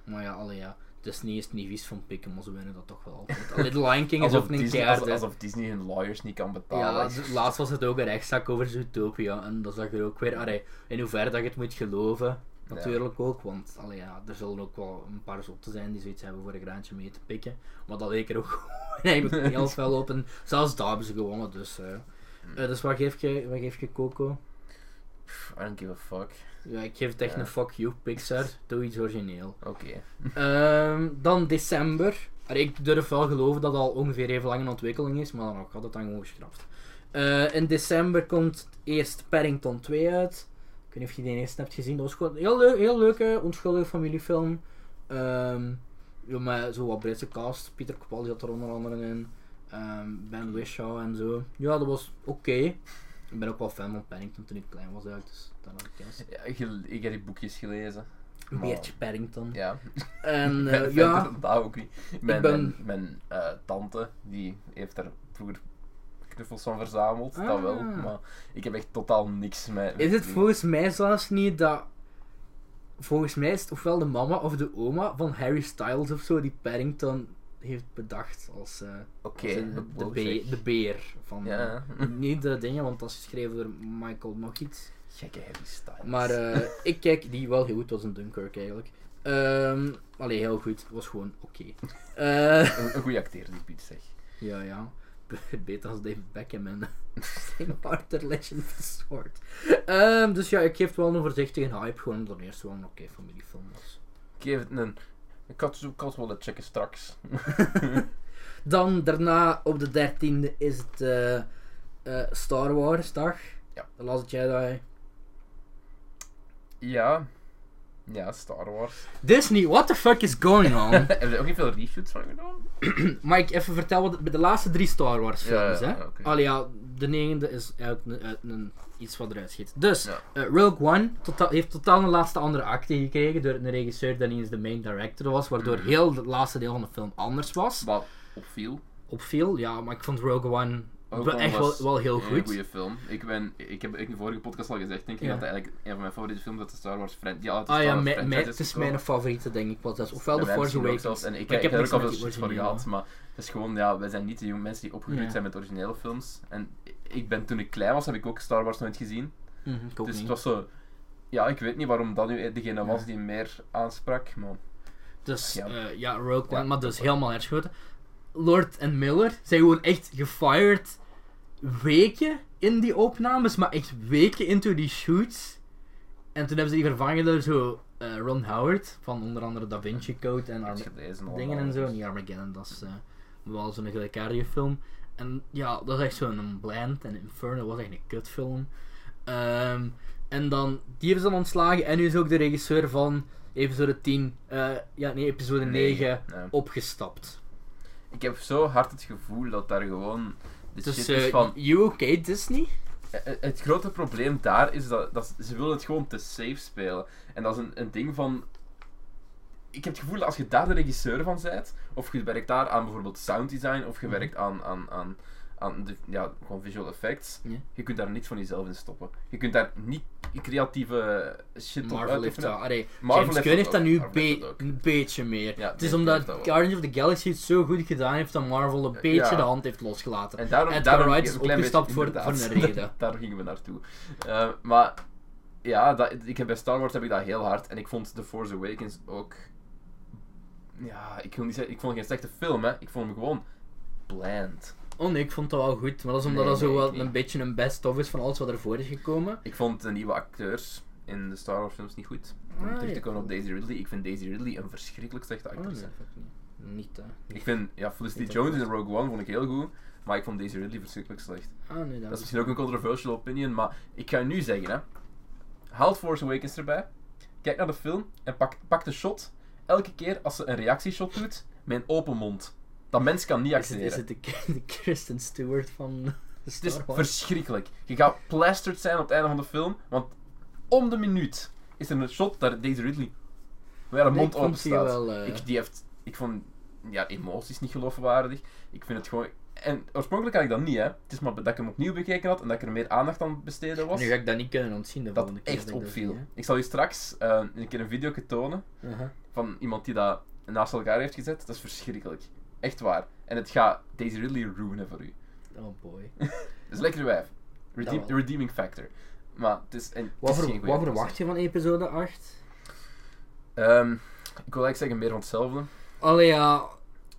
Maar ja, alle ja. Disney is het niet vies van pikken, maar ze winnen dat toch wel altijd. Allee, The Lion King is
Alsof
ook niet
Disney,
keihard.
als-
hè.
alsof Disney hun lawyers niet kan betalen.
Ja, d- laatst was het ook een rechtszaak over Zootopia. En dat zag er ook weer, allee, in hoeverre dat je het moet geloven.
Ja.
Natuurlijk ook, want allee, ja, er zullen ook wel een paar zotten zijn die zoiets hebben voor een graantje mee te pikken. Maar dat leek er ook [LAUGHS] gewoon eigenlijk heel fel op. En zelfs daar hebben ze gewonnen, dus... eh. Eh, dus wat geef, je, wat geef je Coco?
Pff, I don't give a fuck.
Ja, ik geef het echt
Ja.
een fuck you, Pixar. Doe iets origineel.
Oké.
Ehm, dan december. Allee, ik durf wel geloven dat het al ongeveer even lang in ontwikkeling is, maar dan ook had het dan gewoon geschrapt. Eh, in december komt eerst Paddington 2 uit. Ik weet niet of je die eerst hebt gezien. Dat was gewoon een heel, leuk, heel leuke, onschuldige familiefilm. Ehm ja, met zo wat Britse cast. Peter Capaldi zat er onder andere in. Ehm, ben Whishaw en zo. Ja, dat was oké. Ik ben ook wel fan van Paddington toen ik klein was eigenlijk, dus daar had ik kennis.
Ja, ik, ik heb die boekjes gelezen. Maar-
Beertje Paddington.
Ja.
En
[LAUGHS] Ik
eh,
ben- ik
ja...
ben het daar ook niet. Mijn,
ben-
mijn, mijn, eh, tante, die heeft er vroeger knuffels van verzameld, dat wel.
Ah.
Maar ik heb echt totaal niks met...
Is het
die-
volgens mij zelfs niet dat. Volgens mij is het ofwel de mama of de oma van Harry Styles of zo die Paddington heeft bedacht als, eh,
Oké.
als een- de,
wow,
be-
zeg.
de beer. Van,
Ja.
eh, niet de dingen, want dat is geschreven door Michael nog iets.
Gekke Harry Styles.
Maar eh, ik kijk die wel heel goed was in Dunkirk eigenlijk. Ehm allee, heel goed. Het was gewoon oké. Eh,
Een, een goede acteer, die Piet, zeg.
ja, ja. [LAUGHS] Beter als David Beckham en [LAUGHS] St. Arthur Legend of the Sword. Ehm, dus ja, ik geef het wel een voorzichtige hype, gewoon omdat het eerst wel een oké familiefilm was.
Ik geef het een... Ik had zo- ik had wel het checken straks.
Dan daarna, op de 13e, is het eh, eh, Star Wars dag.
Ja.
The Last Jedi.
ja. Ja, Star Wars.
Disney, what the fuck is going
[LAUGHS]
on?
Hebben ze ook niet veel reshoots van gedaan?
Mag ik even vertellen wat bij de laatste drie Star Wars films,
Ja, ja,
hè?
oké.
Allee, ja, de negende is uit, een- uit een, iets wat eruit schiet. Dus,
Ja.
eh, Rogue One tota- heeft totaal een laatste andere acte gekregen door een regisseur die niet eens de main director was, waardoor
Mhm.
heel het laatste deel van de film anders was.
Wat opviel.
Opviel, ja, maar ik vond Rogue One
Ook
Wel
al
echt
was
wel- wel heel
een
goed.
goede film. Ik, ben, ik heb in de vorige podcast al gezegd, denk ik,
Ja.
dat eigenlijk een van mijn favoriete films uit de Star Wars fran- die uit de
Ah
Star
ja,
Wars
mijn-
franchise
mijn- het is
gekomen.
mijn favoriete, denk ik. Was dat. Ofwel
Ja,
The
wij
Force
misschien ook
Awakens.
zelfs- En ik,
Ik heb
heb er ook
niks
al
met
veel
die
shit voor
originele.
gehad, maar het is gewoon, ja, wij zijn niet de jonge mensen die opgegroeid
Ja.
zijn met originele films. En ik ben, toen ik klein was, heb ik ook Star Wars nooit gezien.
Mhm, ik ook
dus
niet.
het was zo... Ja, ik weet niet waarom dat nu degene
Ja.
was die meer aansprak, maar...
Dus
Ja.
ja, ja Rogue One,
Ja.
maar dus helemaal herschoten. Lord en Miller zijn gewoon echt gefired weken in die opnames, maar echt weken into die shoots. En toen hebben ze die vervangen door zo eh, Ron Howard, van onder andere Da Vinci Code en
iets
Arma-
gelezen al. dus
dingen en zo. Niet Armageddon, dat is eh, wel zo'n gelijkaardige film. En ja, dat is echt zo'n Bland en Inferno was echt een kutfilm. Ehm, en dan, die hebben ze dan ontslagen en nu is ook de regisseur van episode 10, eh, ja nee, episode 9
Nee.
opgestapt.
Ik heb zo hard het gevoel dat daar gewoon... De
Dus
shit is
eh,
van...
you okay Disney?
Eh, eh, Het grote probleem daar is dat, dat ze- ze willen het gewoon te safe spelen. En dat is een, een ding van... Ik heb het gevoel dat als je daar de regisseur van bent, of je werkt daar aan bijvoorbeeld sound design, of je
Mhm.
werkt aan, aan, aan, aan de, ja, gewoon visual effects,
Ja.
je kunt daar niets van jezelf in stoppen. Je kunt daar niet creatieve shit op
Marvel heeft
uitoefenen.
dat, allee,
Marvel
James
heeft dat
Gunn heeft dat
ook,
nu
Marvel heeft
be-
dat ook.
een beetje meer.
Ja,
het is
James Gunn
omdat
heeft dat wel.
Guardians of the Galaxy het zo goed gedaan heeft dat Marvel een
Ja.
beetje de hand heeft losgelaten.
En daarom,
Edgar
daarom
Wright is
een klein
opgestapt
beetje-
voor- voor een
inderdaad, [LAUGHS]
reden.
daar gingen we naartoe. Eh, maar ja, dat, ik heb bij Star Wars heb ik dat heel hard. En ik vond The Force Awakens ook. Ja, ik wil niet zeggen, ik vond het geen slechte film, hè. Ik vond hem gewoon bland.
Oh nee, ik vond dat wel goed, maar dat is omdat
Nee,
dat zo
nee, ik
wel
niet.
een beetje een best-of is van alles wat ervoor is gekomen.
Ik vond de nieuwe acteurs in de Star Wars films niet goed. Om
Ah,
terug te
ja.
komen op Daisy Ridley. Ik vind Daisy Ridley een verschrikkelijk slechte
Oh, nee,
actrice.
fuck niet. Niet, eh,
Ik
niet.
vind, ja, Felicity
Niet dat
Jones in
goed.
Rogue One vond ik heel goed. Maar ik vond Daisy Ridley verschrikkelijk slecht.
Ah, nee, dat
Dat is misschien ook een controversial opinion, maar ik ga nu zeggen, hè. Haal Force Awakens erbij, kijk naar de film en pak, pak de shot. Elke keer als ze een reactieshot doet, met een open mond. Dat mens kan niet
is het,
accepteren.
is het de, [LAUGHS] de Kristen Stewart van [LAUGHS]
Het is
Star Wars?
verschrikkelijk. Je gaat plastered zijn op het einde van de film, want om de minuut is er een shot daar Daisy Ridley waar haar
Nee,
mond
ik vond
open
die
staat.
wel, eh,
ik, die heeft, ik vond ja, emoties niet geloofwaardig. Ik vind het gewoon... En oorspronkelijk had ik dat niet, hè. Het is maar dat ik hem opnieuw bekeken had en dat ik er meer aandacht aan besteden was.
Nu ga ik dat niet kunnen ontzien de
dat
volgende keer.
echt
ik dat
opviel. Uh-huh.
zie,
ik zal je straks eh, een keer een video tonen
hè. Aha.
van iemand die dat naast elkaar heeft gezet. Dat is verschrikkelijk. Echt waar. En het gaat Daisy Ridley ruinen voor u.
Oh boy.
Dat is lekker wijf. Redeem,
Dat wel.
redeeming factor. Maar het is, en, het
Wat,
is
ver-
geen goeie
wat
film.
verwacht je van episode 8?
Ehm, ik wil eigenlijk zeggen meer van hetzelfde.
Allee ja,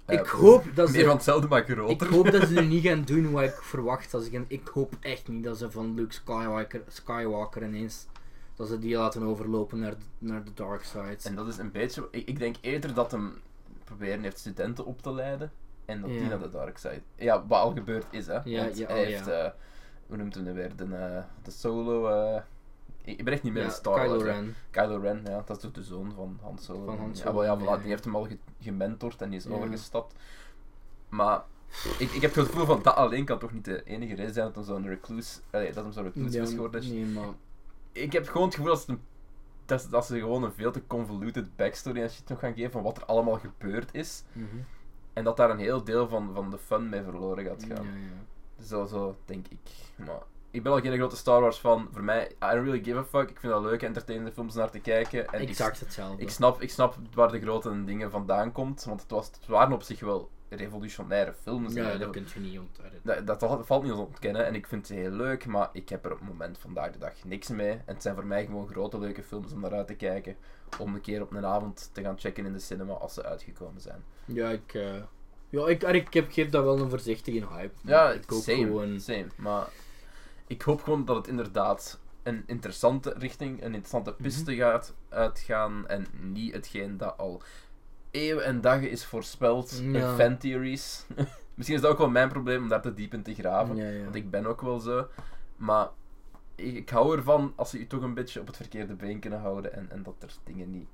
Eh,
ik hoop dat
Meer van
ze...
hetzelfde, maar
Ik
groter.
hoop dat ze
[LAUGHS]
nu niet gaan doen wat ik verwacht. Als ik, een- ik hoop echt niet dat ze van Luke Skywalker, Skywalker ineens... Dat ze die laten overlopen naar de, naar de dark side.
En dat is een beetje... Ik, ik denk eerder dat hem proberen heeft studenten op te leiden. En dat die
Ja.
naar de dark side... Ja, wat al gebeurd is, hè.
Ja,
Want
ja,
hij
oh,
heeft...
ja.
eh, hoe noemt hem dat weer? De, eh, de solo... eh, ik ik ben echt niet meer
ja,
een Star Wars. hè.
Kylo Ren.
Kylo Ren, ja, dat is toch de zoon van Han Solo.
Van Han
Ja, wel, ja,
Solo,
voilà,
ja.
die heeft hem al ge- gementord en die is
Ja.
overgestapt. Maar ik, ik heb het gevoel van dat alleen kan toch niet de enige reden zijn dat hem zo'n recluse, allee, dat hem zo'n recluse is geworden. Dus
nee, maar...
Ik heb gewoon het gevoel dat ze, hem- dat, ze- dat ze gewoon een veel te convoluted backstory en shit nog gaan geven van wat er allemaal gebeurd is.
mhm.
En dat daar een heel deel van, van de fun mee verloren gaat
Ja,
gaan.
ja.
Zo, zo denk ik. Maar ik ben al geen grote Star Wars fan. Voor mij, I don't really give a fuck. Ik vind dat leuke, entertainende films naar te kijken. En ik-
Exact hetzelfde.
ik snap, ik snap waar de grote dingen vandaan komt, want het, was, het waren op zich wel revolutionaire films. En
ja,
revo-
dat kun je niet onthouden.
dat, dat valt- valt niet te ontkennen en ik vind ze heel leuk, maar ik heb er op het moment vandaag de dag niks mee. En het zijn voor mij gewoon grote leuke films om naar uit te kijken, om een keer op een avond te gaan checken in de cinema als ze uitgekomen zijn.
Ja, ik, eh, ja, ik, ik heb, geef dat wel een voorzichtige hype.
Ja,
ik ook
same,
gewoon.
same. Maar ik hoop gewoon dat het inderdaad een interessante richting, een interessante
Mhm.
piste gaat uitgaan en niet hetgeen dat al eeuwen en dagen is voorspeld
Ja.
in fan theories. [LAUGHS] Misschien is dat ook wel mijn probleem om daar te diep in te graven,
Ja, ja.
want ik ben ook wel zo. Maar ik, ik hou ervan als ze u toch een beetje op het verkeerde been kunnen houden en, en dat er dingen niet...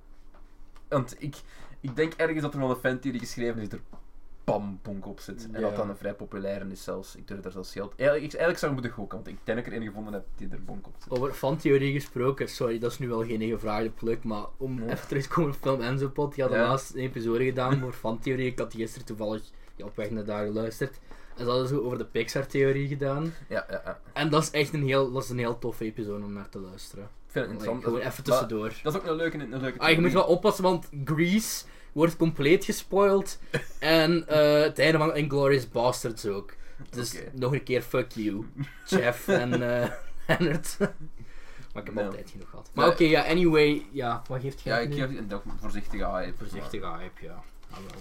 Want ik, ik denk ergens dat er wel een fantheorie geschreven is die er bam bonk op zit. En dat
Ja.
dan een vrij populaire is zelfs. Ik durf daar zelfs geld... Eigenlijk, ik- eigenlijk zou ik moeten gokken, want ik denk dat ik er een gevonden heb die er bonk op zit.
Over fantheorie gesproken, sorry, dat is nu wel geen gevraagde pluk, maar om
Nee.
even terug te komen op film Enzo Pot, die had de
Ja.
laatste episode gedaan voor fantheorie. Ik had die gisteren toevallig die op weg naar daar geluisterd. En ze hadden zo over de Pixar-theorie gedaan.
Ja, ja, ja.
En dat is echt een heel, dat is een heel toffe episode om naar te luisteren.
Ik vind het interessant.
Like, gewoon
Dat is-
even
maar-
tussendoor.
Dat is ook een leuke, een leuke
Ah, je moet
theorie.
wel oppassen, want Grease wordt compleet gespoild. en eh het einde van Inglourious Bastards ook. Dus
Oké.
nog een keer fuck you, Jeff en eh [LAUGHS] Leonard. maar ik heb
Nou.
altijd genoeg gehad. Maar
Ja.
oké, ja, anyway, ja, wat geeft jij
Ja, ik
nu?
geef een dat- voorzichtige hype.
Voorzichtige hype, ja. Ah, wel.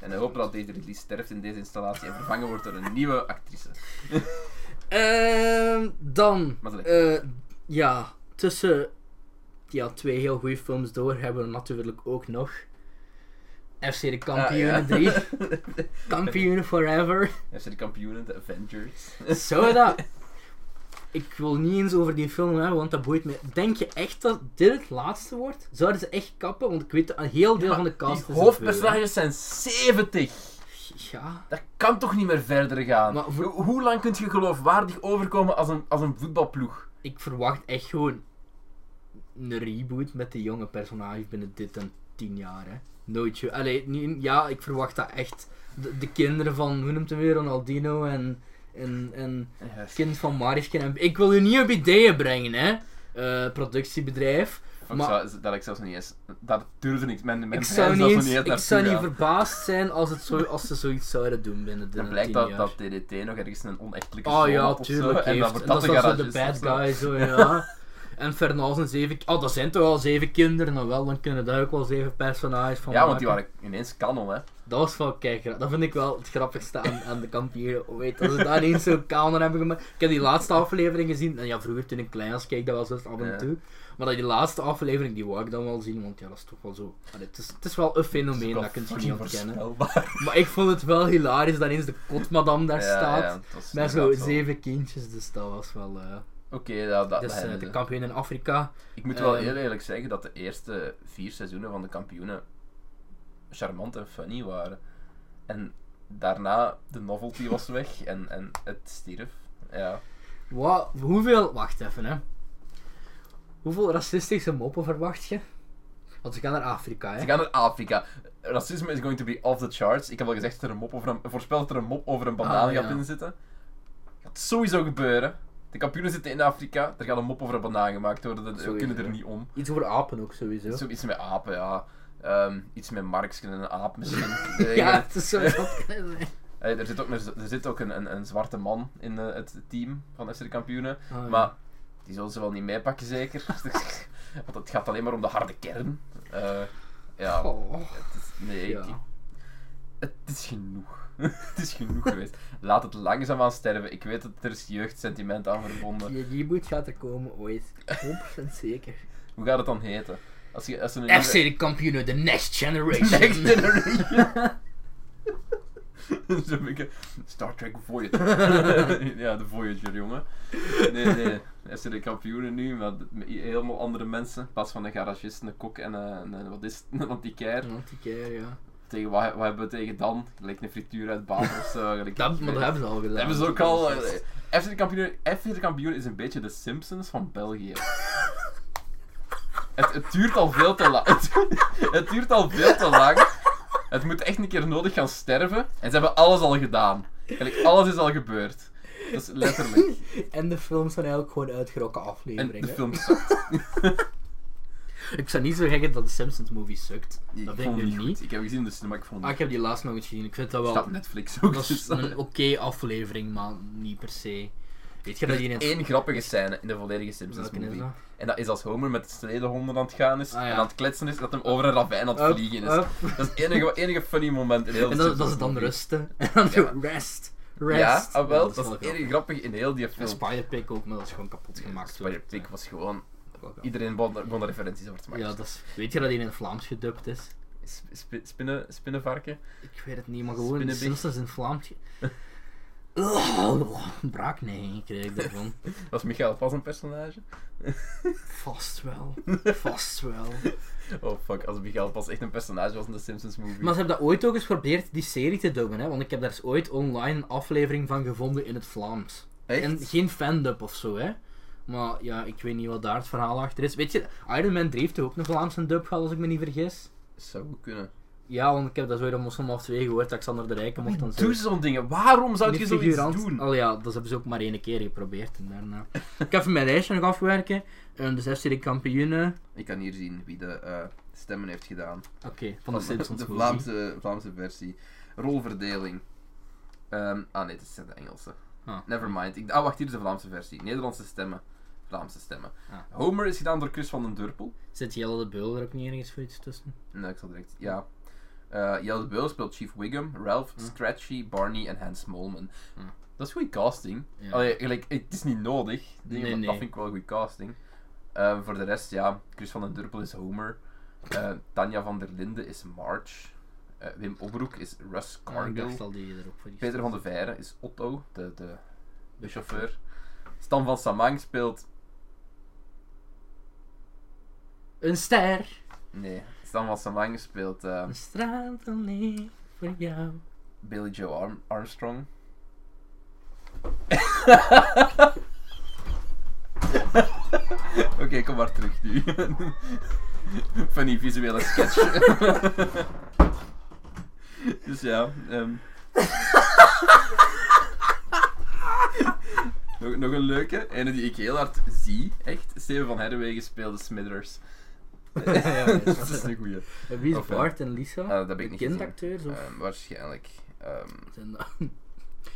En we hopen dat deze release sterft in deze installatie en vervangen wordt door een nieuwe actrice.
Ehm, dan,
Maar dat
eh, ja, tussen ja, twee heel goede films door hebben we natuurlijk ook nog FC de Kampioenen
Ah,
[LAUGHS]
3. Kampioenen Forever.
FC de kampioenen, de Avengers.
Zou dat... Ik wil niet eens over die film hebben, want dat boeit me. Denk je echt dat dit het laatste wordt? Zouden ze echt kappen? Want ik weet, een heel deel van de
Die
cast is
hoofdpersonages zijn 70.
vrouw, hè. Ja.
Dat kan toch niet meer verder gaan?
Maar voor-
Ho- Hoe lang kun je geloofwaardig overkomen als een, als een voetbalploeg?
Ik verwacht echt gewoon een reboot met de jonge personages binnen dit en tien jaar. Hè. Nooit je. Allee, niet- ja, ik verwacht dat echt. De, de kinderen van, hoe noemt hem weer, Ronaldinho en, en, en
Yes.
kind van Marisken. En, ik wil u niet op ideeën brengen, hè. eh, productiebedrijf.
Fuck,
Maar-
zou- dat ik zelfs niet eens... Dat durfde ik. Mijn, mijn
Ik
brein
zou niet,
zelfs
eens-
nog niet
ik zou niet
ver...
verbaasd zijn als, het zo, als ze zoiets zouden doen binnen de
Dan blijkt dat, dat DDT nog ergens een onechtelijke
Oh
zoon had
ja,
of zo,
tuurlijk.
En
heeft-
dan
En
wordt
dat
dat
is
de
dan zo
garage.
de bad guy,
[LAUGHS]
zo ja. En Fernals en zeven... Oh, dat zijn toch al zeven kinderen? Nou wel, dan kunnen daar ook wel zeven personages van
Ja, want
maken.
die waren ineens kanon, hè.
Dat was wel kijk, dat vind ik wel het grappigste aan, aan de kampioenen. Oh, Weet, als ze daar [LAUGHS] ineens zo'n kamer hebben gemaakt. Ik heb die laatste aflevering gezien. En ja, vroeger toen ik klein was, keek ik dat wel eens af en
Ja.
toe. Maar dat die laatste aflevering, die wou ik dan wel zien. Want ja, dat is toch wel zo... Allee, het, is, het is wel een fenomeen, dat kun je niet ontkennen. Maar ik vond het wel hilarisch dat eens de kotmadam daar staat. Met zo zeven kindjes, dus dat was wel... eh,
Oké, dat, dat,
Dus
dat
eh,
hebben
de
ze.
kampioen in Afrika.
Ik moet wel
Ehm.
heel eerlijk zeggen dat de eerste vier seizoenen van de kampioenen charmant en funny waren. En daarna de novelty was weg en, en het stierf. Ja.
Wat, hoeveel, wacht even hè. Hoeveel racistische moppen verwacht je? Want ze gaan naar Afrika hè.
Ze gaan naar Afrika. Racisme is going to be off the charts. Ik heb al gezegd dat er een mop over een, voorspeld dat er een mop over een banaan
Ah,
gaat
ja.
inzitten. Gaat sowieso gebeuren. De kampioenen zitten in Afrika. Er gaat een mop over een banaan gemaakt worden. Dat- We
Sowieso.
kunnen er niet om.
Iets over apen ook sowieso.
Zo, iets met apen, ja. Ehm, iets met Marx en een aap misschien.
[LAUGHS]
Eh,
ja, het is zo dat kan
[LAUGHS]
zijn.
Eh, er zit ook, een, er zit ook een, een, een zwarte man in eh, het team van FC de Kampioenen.
Ah, ja.
Maar die zullen ze wel niet meepakken, zeker. [LAUGHS] Want het gaat alleen maar om de harde kern. Eh, ja,
Goh.
het is, nee,
Ja.
ik- het is genoeg. [LAUGHS] het is genoeg geweest. Laat het langzaamaan sterven. Ik weet dat er is jeugdsentiment aan verbonden.
Die reboot gaat er komen ooit. 100%
[LAUGHS]
zeker.
Hoe gaat het dan heten? Als je, als er een
FC de kampioenen, the
[LAUGHS]
next generation.
Next
[LAUGHS]
Generation. [LAUGHS] Zo ben ik, eh, Star Trek Voyager. [LAUGHS] ja, de Voyager, jongen. Nee, nee. Er zijn de kampioenen nu, maar d- met i- helemaal andere mensen. In plaats van een garagist, een kok en een, een- wat is het, [LAUGHS] een antiquair.
Antiquair, ja.
Tegen, wat, wat hebben we tegen dan? Gelijk een frituur uit Baal of zo. gelijk-
Dat, maar dat hebben ze al gedaan.
Dat hebben ze ook al. eh, FC de, kampioen, FC de kampioen is een beetje de Simpsons van België. het, het duurt al veel te lang. [LAUGHS] Het, het duurt al veel te lang. Het moet echt een keer nodig gaan sterven. En ze hebben alles al gedaan. Eigenlijk alles is al gebeurd. Dat is
[LAUGHS]
letterlijk.
En de films zijn eigenlijk gewoon uitgerokken
En
afleveringen.
de film sukt.
Ik zou niet zo zeggen dat de Simpsons movie sukt.
Ik
Dat
vond
vind ik
hem
nu
goed.
niet.
Ik heb hem gezien in de cinema, ik vond
Ah,
hem
ik heb die laatst nog eens gezien. Ik vind dat wel...
Staat op Netflix ook. [LAUGHS]
Dat is
Dus.
een oké aflevering, maar niet per se. Weet je dat die in het...
Eén grappige scène in de volledige Simpsons
Welke is
movie.
dat?
En dat is als Homer met de sledehonden aan het gaan is.
Ah, ja.
En aan het kletsen is dat hem over een ravijn aan het
Up,
vliegen is.
up.
Dat is het enige, enige funny moment in heel
En
de
dat, dat is
Simpsons
dan
movie.
rusten. [LAUGHS] En dan
Ja.
rest.
Ja,
Rest.
ah, wel, dat is
wel
het enige grappige in heel die
En
film.
Spider-Pig ook, maar dat is gewoon kapot gemaakt.
Spider Pig was gewoon...
Wel grappig.
Iedereen won won de referenties over te maken.
Ja, dat is, weet je dat die in het Vlaams gedubt is?
Sp- sp- spinnen, spinnenvarken.
Ik weet het niet, maar gewoon de
Spinnenbig.
Simpsons in het Vlaams ge... [LAUGHS] Oh, braak nee, kreeg ik daarvan.
Was Michael Pas een personage?
Vast wel. Vast wel.
Oh fuck, als Michael Pas echt een personage was in de Simpsons movie.
Maar ze hebben dat ooit ook eens geprobeerd, die serie te dubben, hè? Want ik heb daar eens ooit online een aflevering van gevonden in het Vlaams.
Echt?
En geen fandub of zo, hè. Maar ja, ik weet niet wat daar het verhaal achter is. Weet je, Iron Man 3 heeft toch ook een Vlaamse dub gehad, als ik me niet vergis?
Zou goed kunnen.
Ja, want ik heb dat zo in Moslim of 2 gehoord, dat Xander de Rijken mocht dan zo...
Doe zo'n dingen. Waarom zou
Niet
je zoiets
figurant.
doen?
Al ja, dat hebben ze ook maar één keer geprobeerd en daarna. [LAUGHS] ik heb even mijn lijstje nog afwerken. En dus FC de kampioenen.
Ik kan hier zien wie de eh, stemmen heeft gedaan.
Oké, van de Simpsons.
de
versie.
Vlaamse, Vlaamse versie. Rolverdeling. Ehm, ah nee, het is de Engelse.
Ah.
Never mind. Ik, ah, wacht, hier is de Vlaamse versie. Nederlandse stemmen. Vlaamse stemmen.
Ah.
Homer is gedaan door Chris van den Durpel.
Zit Jelle de Beul er ook niet ergens voor iets tussen?
Nee, ik zal direct. Ja. Eh Jelle de Beul speelt Chief Wiggum, Ralph,
Hm.
Stretchy, Barney en Hans Molman.
Hm.
Dat is goede casting.
Ja. Ah,
Allee, gelijk, het is niet nodig, dingen,
Nee,
maar
nee.
dat vind ik wel een goede casting. Eh, voor de rest, ja, Chris van den Durpel is Homer. Eh, Tanja van der Linden is Marge. Eh, Wim Obroek is Russ
Ah, ik
Cargill.
dacht al die erop voor die
Peter van de Veire is Otto, de, de, de chauffeur. Stan van Samang speelt...
Een ster,
Nee, Stan van Samang speelt eh,
een straal dan niet voor
[LAUGHS]
jou.
Billy Joe Arm-
[LAUGHS]
Armstrong. Oké, kom maar terug nu. [LAUGHS] Van die visuele sketch. [LAUGHS] dus ja. ehm. [LAUGHS] nog, nog een leuke. Ene die ik heel hard zie, echt. Steven van Herwegen speelde Smithers. [LAUGHS]
Ja, dat is
dat is een goeie.
En Wie is
Of, eh,
Bart en Lisa?
Ah, dat heb ik niet gezien.
Kindacteurs of...
Ehm, waarschijnlijk. ehm,
[LAUGHS] zijn dat- [LAUGHS]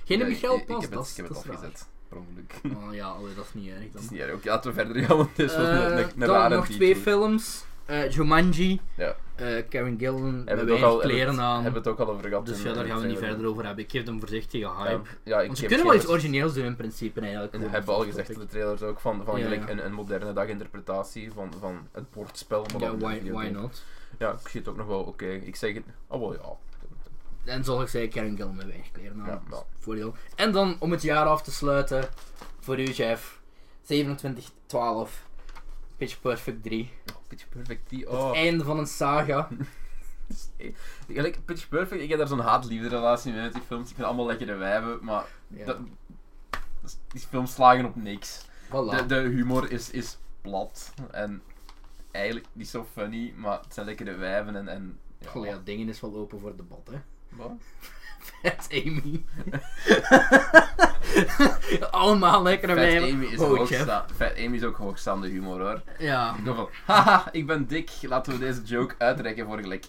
Geen
ja,
Michel
ik- ik-
Pas,
Ik heb
dat
het,
is
ik heb het
dat is raar.
afgezet. Per ongeluk.
Oh ja, allee, dat is niet
[LAUGHS]
erg
Het
dan.
is niet erg. Oké, laten we verder gaan, want dit was
Eh,
een, een, een
dan
rare
nog
titel.
twee films. Eh, Jumanji.
Ja.
eh, Karen Gillan.
Hebben
Met
we het ook
weinig
al-
kleren
hebben,
aan.
Hebben we het ook al over gehad.
dus
in-
ja, daar
in
gaan we niet
trailer.
verder over hebben. Ik geef hem voorzichtige hype.
Ja, ja, ik
Want ze
heb
kunnen wel
geen-
iets origineels doen in principe eigenlijk.
En dat hebben we al gezegd in de trailers ook, van, van
Ja,
gelijk
ja.
Een, een moderne daginterpretatie van, van het bordspel. maar
Ja,
dan een
why,
video
why
game.
not?
Ja, ik zie het ook nog wel oké. Ik zeg het... Oh, wel ja.
En zoals ik zei, Karen Gillan met weinig kleren aan.
Ja,
Dat is
ja.
Voordeel. En dan, om het jaar af te sluiten, voor u Jeff, 27-12, Pitch Perfect 3.
Oh, Pitch Perfect, die... Oh. eh,
Einde van een
[LAUGHS]
saga.
Gelijk, Pitch Perfect, ik heb daar zo'n haat-liefde relatie mee met die films. Ik vind allemaal lekkere wijven, maar
Ja,
dat, dat is- die films slagen op niks.
voilà.
De, de humor is, is plat en eigenlijk niet zo funny, maar het zijn lekkere wijven en... en ja.
Goh, ja, dingen is wel open voor debat, hè.
Wat?
Fat Amy. [LAUGHS] Allemaal lekkere
Fat
wijven.
Amy, is
Oh, Jeff.
hoogsta- Fat Amy is ook hoogstaande humor hoor. [LAUGHS]
Ja.
Ik dacht van, haha, ik ben dik, laten we deze joke uitrekken voor gelijk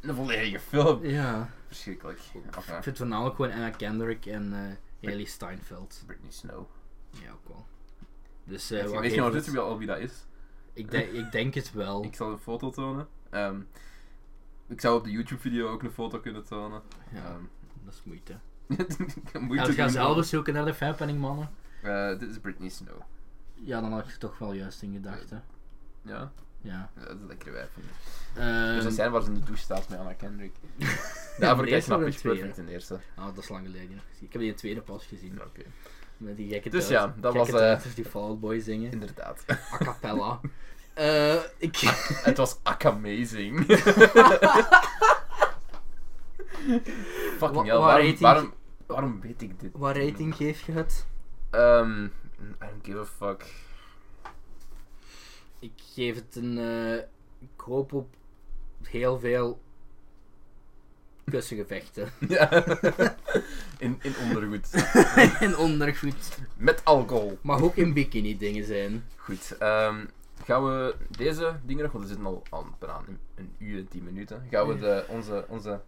een volledige film.
Ja.
Verschrikkelijk.
Ik
Enfin,
vind voornamelijk gewoon Anna Kendrick en eh Haley Steinfeld.
Britney Snow.
Ja, ook wel. Dus eh
Weet je
wacht
weet je
even.
ondertussen wel al wie dat is?
ik, denk- ik denk het wel.
Ik zal een foto tonen. Ehm, ik zou op de YouTube-video ook een foto kunnen tonen.
Ja,
Ehm, [LAUGHS]
dat is moeite. Ja,
moeite
we gaan
doen.
zelf eens zoeken naar de fanpanning mannen.
Eh, dit is Britney Snow.
Ja, dan had ik er toch wel juist in gedacht, hè.
Ja,
Ja.
dat is een lekkere wijf. van haar.
Ehm,
Er zijn scène waar ze in de douche staat met Anna Kendrick.
[LAUGHS]
Daarvoor kijk
de
je
eerste
naar
of de
Pitch
tweede?
Perfect in de eerste.
Ah, dat is lang geleden. nog gezien. Ik heb die in de tweede pas gezien.
Ja, Oké.
Met die gekke
Dus
duit-
ja, dat
gekke
was, eh,
duiters die Fallout Boy zingen.
Inderdaad.
A cappella. Eh, ik...
[LAUGHS]
[LAUGHS]
Het was akamazing.
Wa-
Fucking hell,
waar
waarom,
rating-
waarom, waarom weet ik dit?
Wat rating geef je het?
Ehm, I don't give a fuck.
[LAUGHS] Ik geef het een. eh, ik hoop op heel veel. kussengevechten.
Ja. [LAUGHS] in, in ondergoed.
[LAUGHS] en ondergoed.
Met alcohol.
Mag ook in bikini dingen zijn.
Goed. ehm, gaan we deze dingen nog, want we zitten al aan, bijna een, een uur en tien minuten. Gaan we de, onze, onze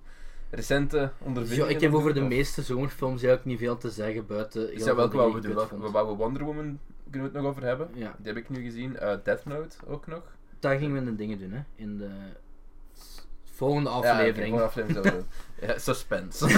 recente
Dus
ondervindingen...
ja, ik heb over de
doen, of-
meeste zomerfilms eigenlijk niet veel te zeggen buiten. heel
Is
veel
dat welke wat we
dingen die
doen?
ik kut
Welke-
vond.
Waar we Wonder Woman kunnen we het nog over hebben.
Ja,
Die heb ik nu gezien. Eh, Death Note ook nog.
daar gingen we de dingen doen, hè? In de s- volgende
Ja,
aflevering.
oké, volgende aflevering zullen
[LAUGHS]
we doen. Ja, dus suspense.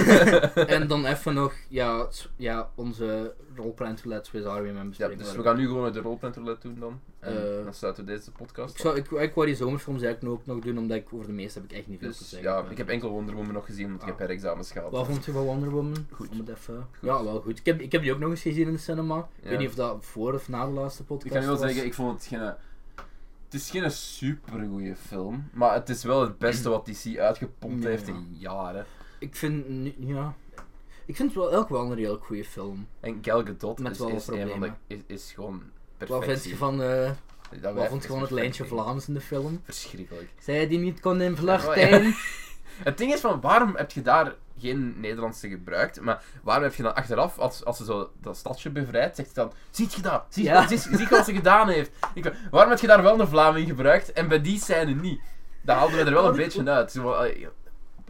en dan even nog ja, s- ja, onze rolplan to Let's With Army Man
ja,
bespreken.
dus
waar
we
ik-
gaan nu gewoon de rolplantroulette doen dan. En
Eh,
dan sluiten we deze podcast
ik,
af.
zou, ik, ik wou die zomerfilms eigenlijk ook nog doen, omdat ik over de meeste heb ik echt niet veel te
Dus
zeggen. eh,
ja, ik heb enkel Wonder Woman nog gezien, want ik
Ah.
heb herexamens gehad.
Wat vond je van Wonder Woman?
Goed.
Om het even... Ja, wel goed. Ik heb, ik heb die ook nog eens gezien in de cinema. Ik
Ja.
weet niet of dat voor of na de laatste podcast
Ik kan nu wel
was.
zeggen, ik vond het geen... Het is geen supergoeie film, maar het is wel het beste wat DC uitgepompt
Ja,
heeft
ja.
in jaren.
Ik vind... nu- Ja... Ik vind het wel elk wel een redelijk goede film.
En Gal Gadot
Met
is,
wel wat
is, een van de,
problemen.
is, is gewoon
Wat
perfectie.
vind je van... eh,
Dat
wat
wijf
vond je
is
van het lijntje
perfectie.
Vlaams in de film?
Verschrikkelijk.
Zij die niet kon in
Ja,
Vlachtijn.
Het ding is van, waarom heb je daar geen Nederlandse gebruikt? Maar waarom heb je dan achteraf, als, als ze zo dat stadje bevrijdt, zegt ze dan, ziet je dat? Ziet je
Ja.
dat? Zie- zie je wat ze gedaan heeft? Ik, van, waarom heb je daar wel een Vlaam in gebruikt en bij die scène niet? Dat haalden we er wel een beetje uit. Zo, van, eh,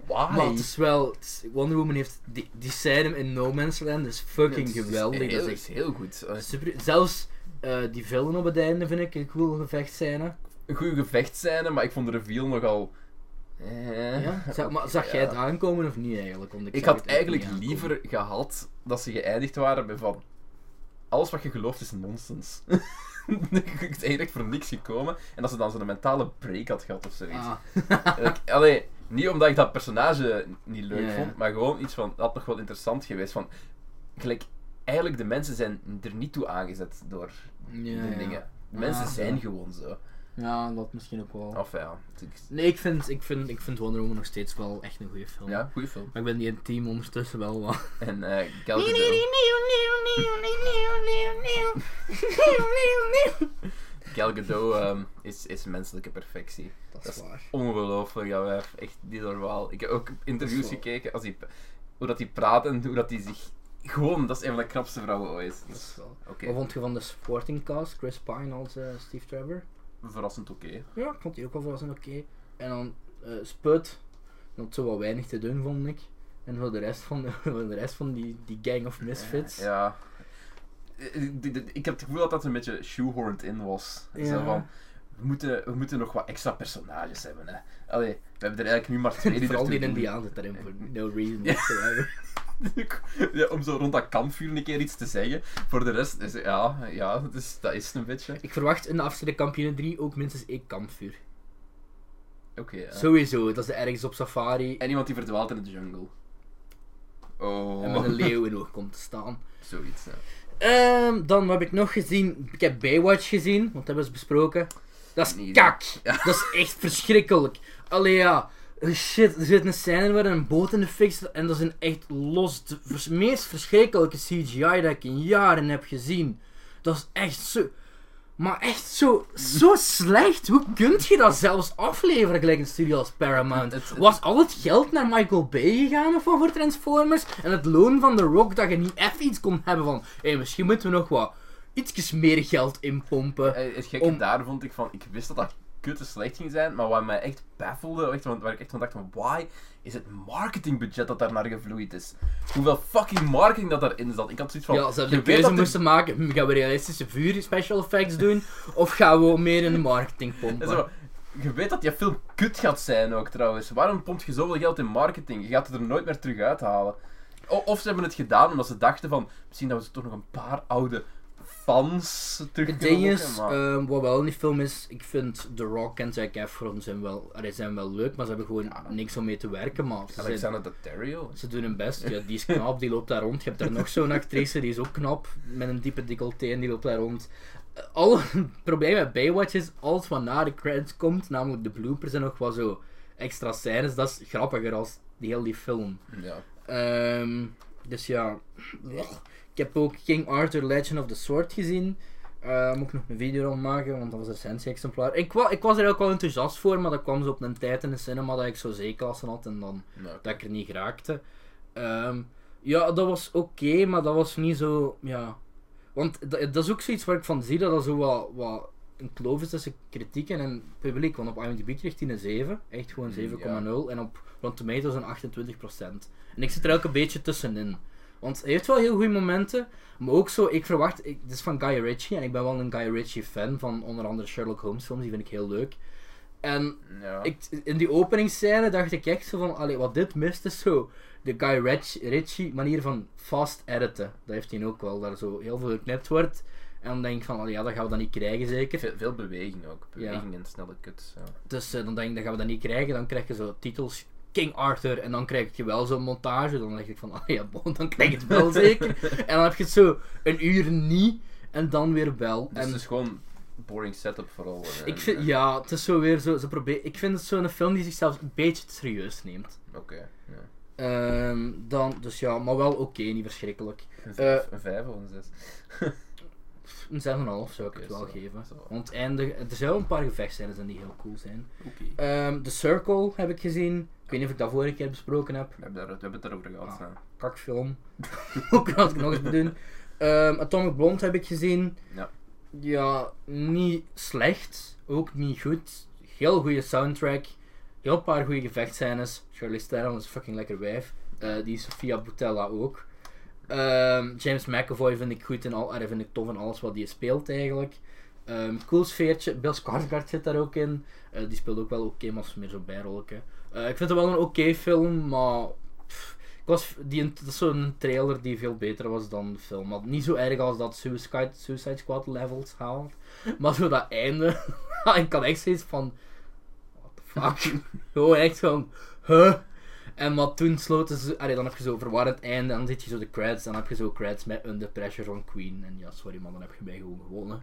why?
[LAUGHS] Maar het is wel... het is- Wonder Woman heeft... Die, die scène in No Man's Land is fucking
Het is
geweldig.
Heel,
dat is
echt heel goed. Eh,
echt super... Zelfs eh, die villain op het einde vind ik een cool gevechtscène.
Een goede gevechtscène, maar ik vond de reveal nogal... eh,
Ja? Zag, maar
oké,
zag jij
ja.
het aankomen of niet eigenlijk? Want ik
Ik
zag
had
het echt
eigenlijk
niet
liever gehad dat ze geëindigd waren bij van... Alles wat je gelooft is nonsens. [LAUGHS] ik ben eigenlijk voor niks gekomen. En dat ze dan zo'n mentale break had gehad of zoiets.
aankomen.
En ik- allee, niet omdat ik dat personage niet leuk
Ah. Ja, ja.
vond, maar gewoon iets van... Dat had nog wel interessant geweest. Van, gelijk, eigenlijk de mensen zijn er niet toe aangezet door
Ah, ja,
de
ja.
dingen. De mensen
Ah,
zijn
ja. Oh.
gewoon zo.
Ja, dat misschien ook wel.
Of ja, het is-
Nee, ik vind, ik, vind, ik vind Wonder Woman nog steeds wel echt een goede Oh, film.
ja goede film.
Maar ik ben die in het team ondertussen wel wat...
[LAUGHS] En eh Gal Gadot. Gal Gadot ehm, is, is menselijke perfectie.
Dat
Dat
is
is
waar.
Ongelooflijk, dat wijf. Echt niet normaal. Ik heb ook interviews
Dat is wel-
gekeken als die, hoe dat die praat en hoe dat die zich... Gewoon, dat is een van de knapste vrouwen ooit.
Dat is
Dus,
wel.
Oké,
Wat vond je van de supporting cast? Chris Pine als eh, Steve Trevor?
Verrassend oké.
Ja, ik vond die ook wel verrassend oké. En dan eh Sput, dat had zo wat weinig te doen, vond ik. En voor de rest van, de, [LAUGHS] voor de rest van die, die gang of misfits.
ja. Ik- ik- ik- Ik heb het gevoel dat dat een beetje shoehorned in was. Zo
Ja.
van, we moeten, we moeten nog wat extra personages hebben, hè. Allee, we hebben er eigenlijk nu maar twee die
Vooral die
ertoe doen.
Indiaan zit daarin voor no reason whatsoever.
[LAUGHS]
[LAUGHS]
ja, om zo rond dat kampvuur een keer iets te zeggen. Voor de rest is ja, ja dat is, dat is het een beetje.
Ik verwacht in de afscheid kampioen 3 ook minstens één kampvuur.
Oké. ja.
Sowieso, dat ze ergens op safari
En iemand die verdwaalt in de jungle. Oh.
en met een leeuw in oog komt te staan.
Zoiets, ja.
Ehm, dan wat heb ik nog gezien. Ik heb Baywatch gezien, want dat hebben we eens besproken. Dat is
Nee,
kak. [LAUGHS] Dat is echt verschrikkelijk. Allee ja. Shit, er zit een scène waar een boot in de fik zit en dat is een echt los, de vers- meest verschrikkelijke CGI dat ik in jaren heb gezien. Dat is echt zo, maar echt zo,
[LAUGHS]
zo slecht. Hoe kunt je dat zelfs afleveren gelijk een studio als Paramount?
Het- het-
Was al het geld naar Michael Bay gegaan of wat voor Transformers? En het loon van The Rock dat je niet even iets kon hebben van, hé, misschien moeten we nog wat, ietsjes meer geld inpompen.
Eh, Het gekke
Om-
daar vond ik van, ik wist dat dat kutte slecht ging zijn, maar wat mij echt baffelde, echt, want waar ik echt van dacht van, why is het marketingbudget dat daar naar gevloeid is? Hoeveel fucking marketing dat daarin zat? Ik had zoiets van,
Ja, ze
je
hebben
weet
de keuze
dat er-
moesten maken. hm, Gaan we realistische vuur special effects doen? of gaan we meer in de marketing
En
pompen?
zo, je weet dat die film kut gaat zijn ook trouwens. Waarom pompt je zoveel geld in marketing? Je gaat het er nooit meer terug uithalen. O- of ze hebben het gedaan omdat ze dachten van, misschien dat we toch nog een paar oude fans terug
Het
kunnen
ding is,
lokken, maar-
ehm, wat wel in die film is, ik vind The Rock en Zac Efron zijn wel, allee, zijn wel leuk, maar ze hebben gewoon
Ja.
niks om mee te werken. Maar ze, zijn-
Alexander Daddario?
ze doen hun best. Ja, die is knap, die loopt daar rond. Je hebt daar nog zo'n actrice, die is ook knap, met een diepe decolleté en die loopt daar rond. Eh, Alle het probleem met Baywatch is, alles wat na de credits komt, namelijk de bloopers en nog wat zo extra scènes, dat is grappiger als die heel die film.
Ja.
Ehm, dus ja. Ugh. Ik heb ook King Arthur Legend of the Sword gezien. Eh moet ik nog een video aan maken, want dat was een recensie-exemplaar. Ik, wa- ik was er ook wel enthousiast voor, maar dat kwam zo op een tijd in de cinema dat ik zo zeeklassen had en dan
Nou,
eh, dat ik er niet geraakte. Ehm, ja, dat was oké, maar dat was niet zo. Ja. Want dat, dat is ook zoiets waar ik van zie dat dat zo wat, wat een kloof is tussen kritiek en het publiek. Want op IMDb kreeg hij een 7, echt gewoon 7,0. En op Rotten Tomatoes een 28%. En ik zit er elke beetje tussenin. Want hij heeft wel heel goede momenten, maar ook zo, ik verwacht, ik, dit is van Guy Ritchie en ik ben wel een Guy Ritchie fan van onder andere Sherlock Holmes films, die vind ik heel leuk. En
ja.
ik, in die openingsscène dacht ik echt zo van, allee, wat dit mist is zo de Guy Ritch- Ritchie manier van fast editen. Dat heeft hij ook wel, daar zo heel veel geknipt wordt. En dan denk ik van, allee, ja, dat gaan we dan niet krijgen zeker.
Veel, veel beweging ook. Beweging en snelle kuts. Ja.
Dus eh, dan denk ik, dat gaan we dat niet krijgen. Dan krijg je zo titels King Arthur en dan krijg je wel zo'n montage. Dan dacht ik van, allee, ja, bon, dan krijg je het
[LAUGHS]
wel zeker. En dan heb je het zo een uur niet en dan weer wel.
Dus
en
het is gewoon boring setup vooral. eh, En,
ik vind,
en-
ja, het is zo weer zo, ze probeer, ik vind het zo'n film die zichzelf een beetje te serieus neemt.
eh, Oké. ja.
Ehm, dan, dus ja, maar wel oké, niet verschrikkelijk.
Een,
Eh,
vijf- een vijf of een zes.
Pff, Een 6,5 zou ik het
Oké,
wel
zo,
geven.
zo.
Want eindig, er zijn wel een paar gevechtscènes in die heel cool zijn.
Oké.
Ehm The Circle heb ik gezien.
Oké,
weet niet of ik dat vorige keer besproken heb.
We hebben, daar, we hebben het erover gehad.
Ja.
Ja.
Kakfilm. [LAUGHS] Ook als ik nog eens moet doen. Ehm, Atomic Blonde heb ik gezien.
Ja.
Ja, niet slecht. Ook niet goed. Heel goede soundtrack. Heel paar goede gevechtscènes. Charlize Theron is een fucking lekker wijf. Eh, die Sofia Boutella ook. Ehm, James McAvoy vind ik goed en al, eh, vind ik tof in alles wat hij speelt eigenlijk. Ehm, cool sfeertje. Bill Skarsgård zit daar ook in. Eh, die speelt ook wel oké, maar is meer zo'n bijrolletje. Eh, ik vind het wel een oké film, maar... pff, ik was, die, dat is zo'n trailer die veel beter was dan de film. Had niet zo erg als dat Suicide, Suicide Squad levels haalt. Maar zo dat einde... [LAUGHS] ik kan echt zoiets van... What the fuck? Gewoon echt van... Huh? En maar toen sloten ze... Allee, dan heb je zo verwarrend einde, en dan zit je zo de credits, dan heb je zo credits met Under Pressure van Queen. En ja, sorry man, dan heb je mij gewoon gewonnen.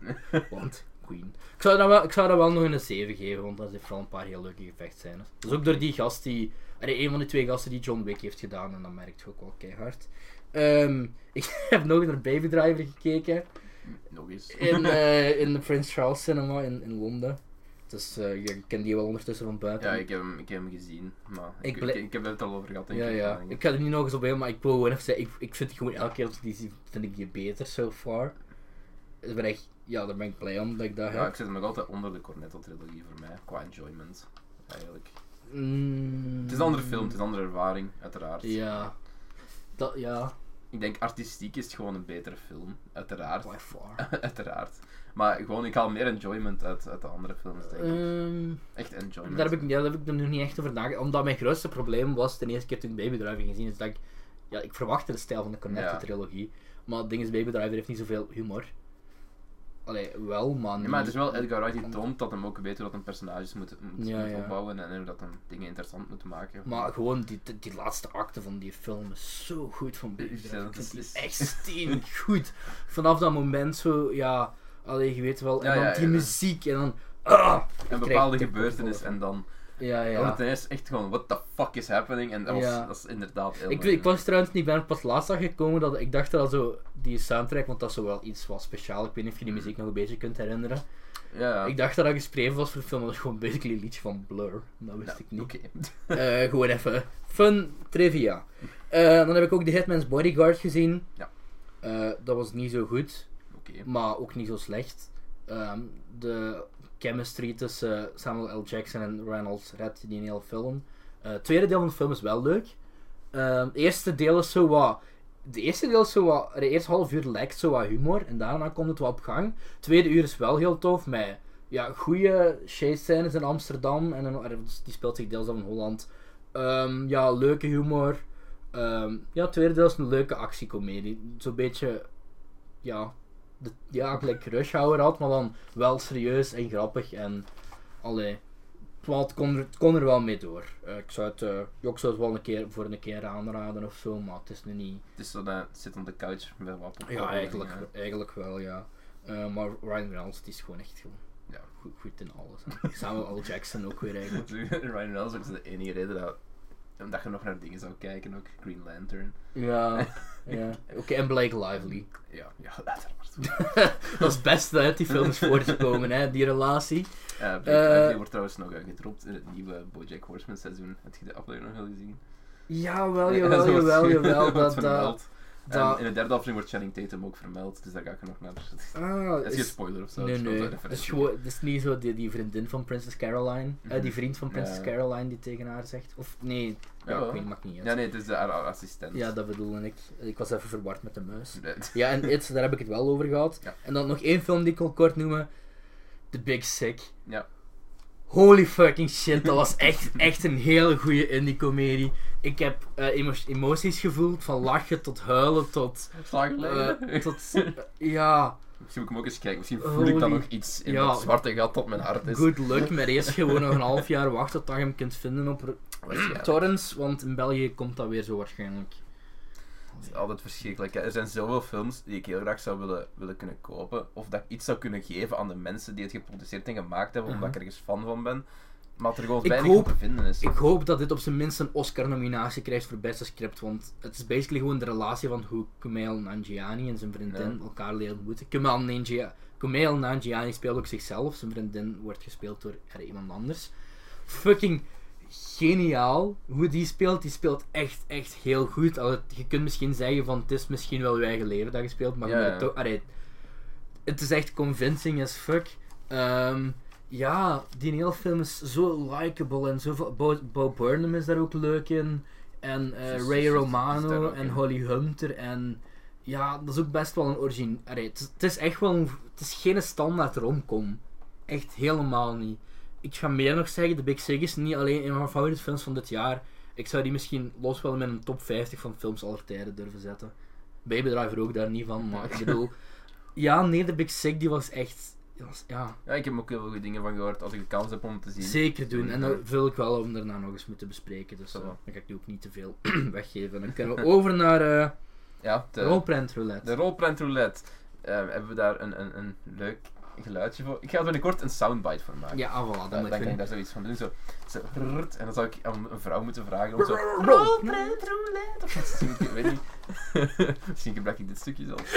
Want Queen. Ik zou, dat wel, ik zou dat wel nog een 7 geven, want dat heeft wel een paar heel leuke gevechtscènes. Dus ook door die gast die... Allee, een van de twee gasten die John Wick heeft gedaan, en dat merkt je ook wel keihard. Ehm, [LAUGHS] ik heb nog naar Baby Driver gekeken
Nog eens. [LAUGHS]
in, eh, in de Prince Charles Cinema in, in Londen. Dus eh, je kent die wel ondertussen van buiten.
Ja, ik heb, hem, ik heb hem gezien. Maar
Ik
ik,
bl-
ik, ik heb het al over gehad. denk
Ja,
ik.
ja. Ik ga er niet nog eens op in, maar ik wil gewoon even zeggen, ik, ik vind gewoon elke keer als ik die zie, vind ik die beter so far. Dus ben ik, ja, daar ben ik blij om dat ik dat
Ja,
heb.
ik zit nog altijd onder de Cornetto-trilogie voor mij, qua enjoyment. Eigenlijk.
Mm.
Het is een andere film, het is een andere ervaring, uiteraard.
Ja. Dat, ja,
Ik denk artistiek is het gewoon een betere film, uiteraard.
by far.
[LAUGHS] uiteraard. Maar gewoon, ik haal meer enjoyment uit, uit de andere films, denk ik.
Ehm,
Echt enjoyment.
daar, heb ik, ja, daar heb ik er nog niet echt over nagedacht. Omdat mijn grootste probleem was, de eerste keer toen ik Baby Driver ging zien, is dat ik... Ja, ik verwachtte de stijl van de Cornetto-trilogie. Maar het ding is, Baby Driver heeft niet zoveel humor. Allee, wel, maar
Ja, maar het
niet-
is wel Edgar Wright die toont dat hem ook weet hoe dat hem personages moet, moet,
Ja,
moet
ja.
opbouwen en hoe dat hem dingen interessant moet maken.
Maar gewoon die, die, die laatste acte van die film is zo goed van Baby
Ja,
Driver.
dat
Ik vind
is- [LAUGHS]
die echt steengoed. goed. Vanaf dat moment zo, ja... Allee, je weet wel. En
Ja,
dan
ja,
die
ja.
muziek en dan... Ah,
een
ik
bepaalde
krijg
gebeurtenis en dan...
ja, ja.
Dan het is echt gewoon, what the fuck is happening? En dat, was,
Ja.
dat is inderdaad heel
Ik,
mooi.
ik was trouwens niet, ik ben er pas laatst aan gekomen dat ik dacht dat zo die soundtrack, want dat is zo wel iets wat speciaal. Ik weet niet of je die muziek nog een beetje kunt herinneren.
Mm. Ja,
Ik dacht dat dat geschreven was voor de film, maar dat is gewoon basically een liedje van Blur. Dat wist
Ja,
ik niet.
Nou, Oké.
Eh, gewoon even fun trivia. Eh, dan heb ik ook The Hitman's Bodyguard gezien.
Ja.
Eh, dat was niet zo goed,
Oké.
maar ook niet zo slecht. Ehm, de chemistry tussen Samuel L. Jackson en Reynolds redt die een hele film. Eh, het tweede deel van de film is wel leuk. Ehm, het eerste deel is zo wat. De eerste deel is zo wat. De eerste half uur lijkt zo wat humor en daarna komt het wat op gang. Het tweede uur is wel heel tof met ja, goede chase-scènes in Amsterdam. En een- er- die speelt zich deels af in Holland. Ehm, ja, leuke humor. Ehm, ja, het tweede deel is een leuke actiecomedie. Zo'n beetje. Ja, de, ja, gelijk Rush Hour had, maar dan wel serieus en grappig en allee. wel, Het kon, er, het kon er wel mee door. Eh, ik zou het, eh, ik zou het wel een keer voor een keer aanraden of zo, maar het is nu niet.
Het is zo dat het zit op de couch met wat popcorn
Ja,
en,
eigenlijk,
ja. [LAUGHS]
eigenlijk wel, ja. Eh, maar Ryan Reynolds die is gewoon echt gewoon
Ja.
goed, goed in alles. hè. [LAUGHS] Samuel L. Jackson ook weer eigenlijk.
Ryan Reynolds is ook de enige reden dat, dat je nog naar dingen zou kijken ook. Green Lantern.
Ja, [LAUGHS] ja. Oké, en Blake Lively.
Ja, ja uiteraard.
Dat is best dat uit die film is voortgekomen, hè, die relatie.
Eh,
Eh,
Blake Lively wordt trouwens nog eh, gedropt in het nieuwe BoJack Horseman seizoen. Heb je de aflevering nog wel gezien?
Jawel,
Ja, [LAUGHS]
[LAUGHS] jawel,
ze wordt-
jawel, jawel.
wordt
Dat, dat,
vermeld. En
dat,
in de derde aflevering wordt Channing Tatum ook vermeld, dus daar ga ik er nog naar. [LAUGHS] Het is-
ah,
Het is geen
is,
spoiler of zo.
nee,
het is gewoon
nee.
zo'n
Het is,
referentie.
gewoon, het is niet zo die, die vriendin van Princess Caroline, eh,
Mhm.
die vriend van Princess
Ja.
Caroline die tegen haar zegt. Of nee, ja,
Jawel.
ik weet, maakt niet uit.
Ja, nee, het is de haar assistent.
Ja, dat bedoelde ik. Ik was even verward met de
[LAUGHS]
muis.
Nee.
Ja, en It, daar heb ik het wel over gehad.
Ja.
En dan nog één film die ik wil kort noemen. The Big Sick.
Ja.
Holy fucking shit, dat was echt, [LAUGHS] echt een hele goede indie-comedie. Ik heb eh, emo- emoties gevoeld, van lachen tot huilen tot...
Slagen [LAUGHS]
eh,
geleden.
tot eh, ja,
Misschien moet ik hem ook eens kijken. Misschien voel ik dan
Holy-
nog iets in
Ja.
dat zwarte gat dat mijn hart is.
good luck met eerst gewoon nog een half jaar wachten tot je hem kunt vinden op r-
Waarschijnlijk.
torrents, want in België komt dat weer zo waarschijnlijk.
Het is altijd verschrikkelijk. hè. Er zijn zoveel films die ik heel graag zou willen, willen kunnen kopen. Of dat ik iets zou kunnen geven aan de mensen die het geproduceerd en gemaakt hebben, omdat
Mhm.
ik ergens fan van ben. Maar dat er gewoon
Ik
weinig
hoop-
op te vinden is.
Ik hoop dat dit op zijn minst een Oscar-nominatie krijgt voor beste script, want het is basically gewoon de relatie van hoe Kumail Nanjiani en zijn vriendin
Ja.
elkaar leren ontmoeten. Kumail Nanjiani, Kumail Nanjiani speelt ook zichzelf, zijn vriendin wordt gespeeld door er iemand anders. Fucking geniaal hoe die speelt. Die speelt echt, echt heel goed. Al het- je kunt misschien zeggen van het is misschien wel je eigen leven dat je speelt, maar je
Ja,
moet
ja.
het toch- allee, het is echt convincing as fuck. Ehm, ja, die hele film is zo likable en zo. Bo, Bo Burnham is daar ook leuk in. En eh,
Is- is-
Ray
is- is daar
Romano
ook
en
in.
Holly Hunter en ja, dat is ook best wel een origine. Allee, het, is, het is echt wel een, het is geen standaard romcom. Echt helemaal niet. Ik ga meer nog zeggen, The Big Sick is niet alleen een van mijn favoriete films van dit jaar. Ik zou die misschien los wel met een top 50 van films aller tijden durven zetten. Baby Driver ook daar niet van,
[LAUGHS]
maar ik bedoel... Ja, nee, The Big Sick die was echt... die was- ja,
Ja, ik heb ook heel veel goede dingen van gehoord als ik de kans heb om het te zien.
zeker doen. En dat
Ja.
wil ik wel om daarna nog eens moeten bespreken. Dus
Zo.
eh, dan ga ik die ook niet te veel [CLEARS THROAT] weggeven. Dan kunnen we over naar eh
Ja, de,
Rolprent Roulette.
de rolprint roulette. Ehm, hebben we daar een, een, een leuk geluidje voor? Ik ga er binnenkort een soundbite voor maken.
Ja, ah, voilà,
dan,
dan
dan
moeten
kan
we
ik daar zoiets van doen. Zo, zo, rrrt, en dan zou ik aan een vrouw moeten vragen om zo.
Rolprent
roulette. Of iets te doen, ik weet niet.
[LAUGHS]
Misschien gebruik ik dit stukje zelf.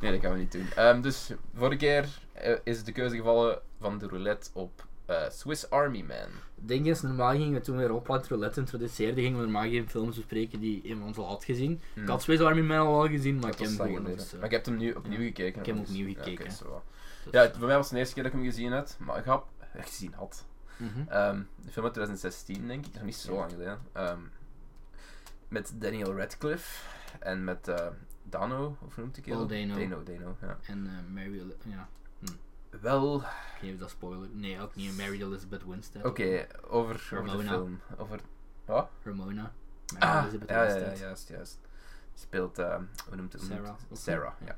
nee, dat gaan we niet doen. Ehm, dus vorige keer eh, is de keuze gevallen van de roulette op eh, Swiss Army Man.
Het ding is, normaal gingen we toen we Rolprent Roulette introduceerden, gingen we normaal geen films bespreken die iemand van ons al had gezien.
Hmm.
Ik had Swiss Army Man al wel gezien, maar
Dat
ik heb
was
hem
lang
gewoon nog
geleden.
eens, eh,
Maar ik heb hem nu opnieuw gekeken.
Ik heb hem
nog eens.
opnieuw
Ja, oké,
gekeken.
zo wat.
dus,
Ja,
eh,
het- voor mij was het de eerste keer dat ik hem gezien had, maar ik heb hem gezien had.
mhm.
Ehm, de film uit 2016, denk ik. Dat is niet zo lang geleden. Ehm, met Daniel Radcliffe en met eh, Dano, of hoe noemt ik
Paul Dano.
Dano, Dano, ja.
En eh, Mary... Eli- Ja,
Wel,
ik weet niet of dat spoiler... Nee, ook niet. Mary Elizabeth Winstead.
oké, over, over de
Ramona.
film. Over,
Ramona. Mary
ah,
Elizabeth
ja, ja, ja,
Winstead.
juist, juist. Speelt, ehm, hoe noemt het? hoe noemt
Sarah.
het? Sarah, ja.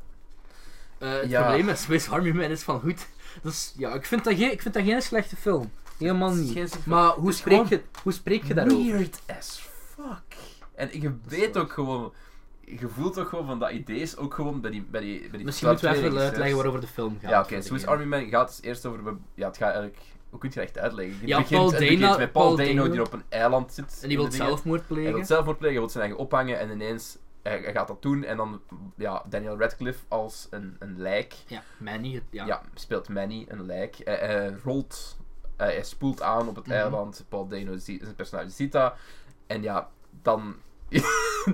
Eh, het
Ja.
probleem met Swiss Army Man is van goed. Dus ja, ik vind dat, geen- ik vind dat geen slechte film. Helemaal
Het is
niet.
geen slechte
Maar hoe
Het is
spreek,
gewoon
je, hoe spreek je daarover?
Weird as fuck. En je
is
weet
waar.
ook gewoon, je voelt toch gewoon van dat idee is ook gewoon bij die, bij die, bij die
Misschien moeten we
twee
even uitleggen
regisseurs.
waarover de film gaat.
Ja, oké.
voor
Swiss
degene.
Army Man gaat dus eerst over... be- Ja, het gaat eigenlijk... Hoe kun je het echt uitleggen? Het
Ja,
begint,
Paul
het
Dano-
begint met Paul
Paul
Dano,
Dano.
die op een eiland zit.
En die
in
wil
de dingen.
zelfmoord plegen.
Hij wil zelfmoord plegen, hij wil zijn eigen ophangen en ineens... Hij, hij gaat dat doen en dan... Ja, Daniel Radcliffe als een, een lijk.
Ja, Manny. het- Ja.
Ja. speelt Manny, een lijk. Hij, hij rolt... eh, hij spoelt aan op het
Mhm.
eiland. Paul Dano, ziet, zijn personage, ziet dat. En ja, dan... [LAUGHS]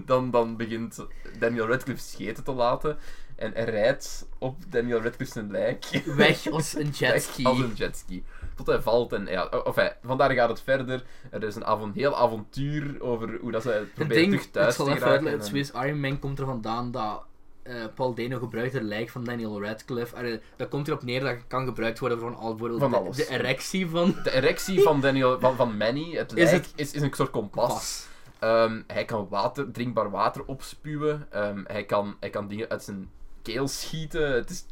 dan, dan begint Daniel Radcliffe scheten te laten. En hij rijdt op Daniel Radcliffe zijn
[LAUGHS]
lijk. [LAUGHS]
Weg als een jetski.
Echt Als een jetski. Tot hij valt en ja, of hij, vandaar gaat het verder. Er is een avon- heel avontuur over hoe dat ze het
Het
probeert
ding,
terug
ik
thuis
zal
te
even
geraken.
uitleggen,
en-
het Swiss Army Man komt er vandaan dat eh, Paul Dano gebruikt het lijk van Daniel Radcliffe. Allee, dat komt erop neer dat kan gebruikt worden voor van al bijvoorbeeld
Van
de-
alles.
De, erectie van
De erectie van, Daniel, van, van Manny, het lijk, is,
het-
is, een soort kompas.
Pas.
Ehm, hij kan water, drinkbaar water opspuwen. Ehm, hij, kan, hij kan dingen uit zijn keel schieten. Het is...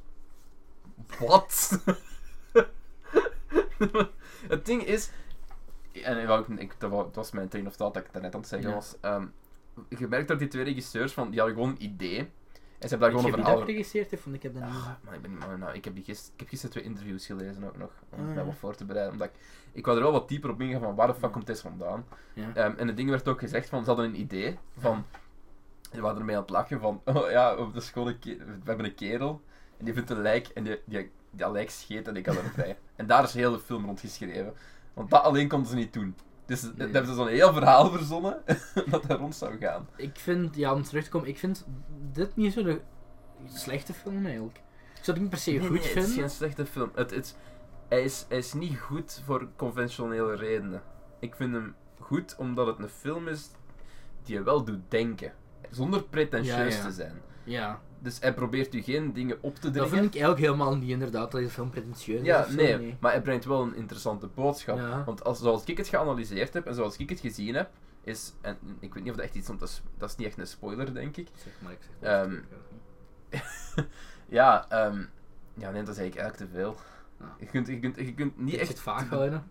Wat? [LAUGHS] het ding is... En eh, ik wou- ik, dat wa- dat was mijn train of thought dat ik daarnet aan het zeggen
Ja.
was. Ehm, je merkt dat die twee regisseurs, van, die hadden gewoon een idee. En ze hebben daar
Weet
gewoon
je
een
wie
verhaal...
dat geregisseerd heeft? Want ik heb dat niet...
Ah, maar ik ben niet maar nou, ik heb, die gis- ik heb gisteren twee interviews gelezen ook nog, om
Ah,
mij
ja.
wat voor te bereiden. Omdat ik, ik wou er wel wat dieper op ingaan van waar de fuck
Ja.
komt dit vandaan.
Ja.
Ehm, en het ding werd ook gezegd van, ze hadden een idee van, we waren ermee aan het lachen van, [LAUGHS] oh ja, op de school, een ke- we hebben een kerel, en die vindt een lijk, en die, die, dat lijk scheet en ik kan er vrij. en daar is heel de film rond geschreven. Want dat alleen konden ze niet doen. Dus dat
Nee.
hebben ze zo'n heel verhaal verzonnen, [LAUGHS] dat daar rond zou gaan.
Ik vind, ja, om terug te komen, ik vind dit niet zo'n slechte film eigenlijk. Ik zou het niet per se
Nee,
goed
nee, Het is
vinden.
geen slechte film. Het, het, hij, is, hij is niet goed voor conventionele redenen. Ik vind hem goed omdat het een film is die je wel doet denken. Zonder pretentieus
Ja, ja.
te zijn.
Ja,
Dus hij probeert u geen dingen op te
dat
dringen.
vind ik eigenlijk helemaal niet inderdaad, dat de film pretentieus is.
Ja,
of zo,
nee, maar hij brengt wel een interessante boodschap.
Ja.
Want als, zoals ik het geanalyseerd heb en zoals ik het gezien heb, is. En ik weet niet of dat echt iets om te. s- Dat is niet echt een spoiler, denk ik.
Zeg maar, ik zeg
Ehm,
maar.
Ja, ehm, ja nee, dat is eigenlijk, eigenlijk te veel.
Ja.
Je, kunt, je, kunt, je kunt niet
niet echt
echt.
het vaak
te-
houden.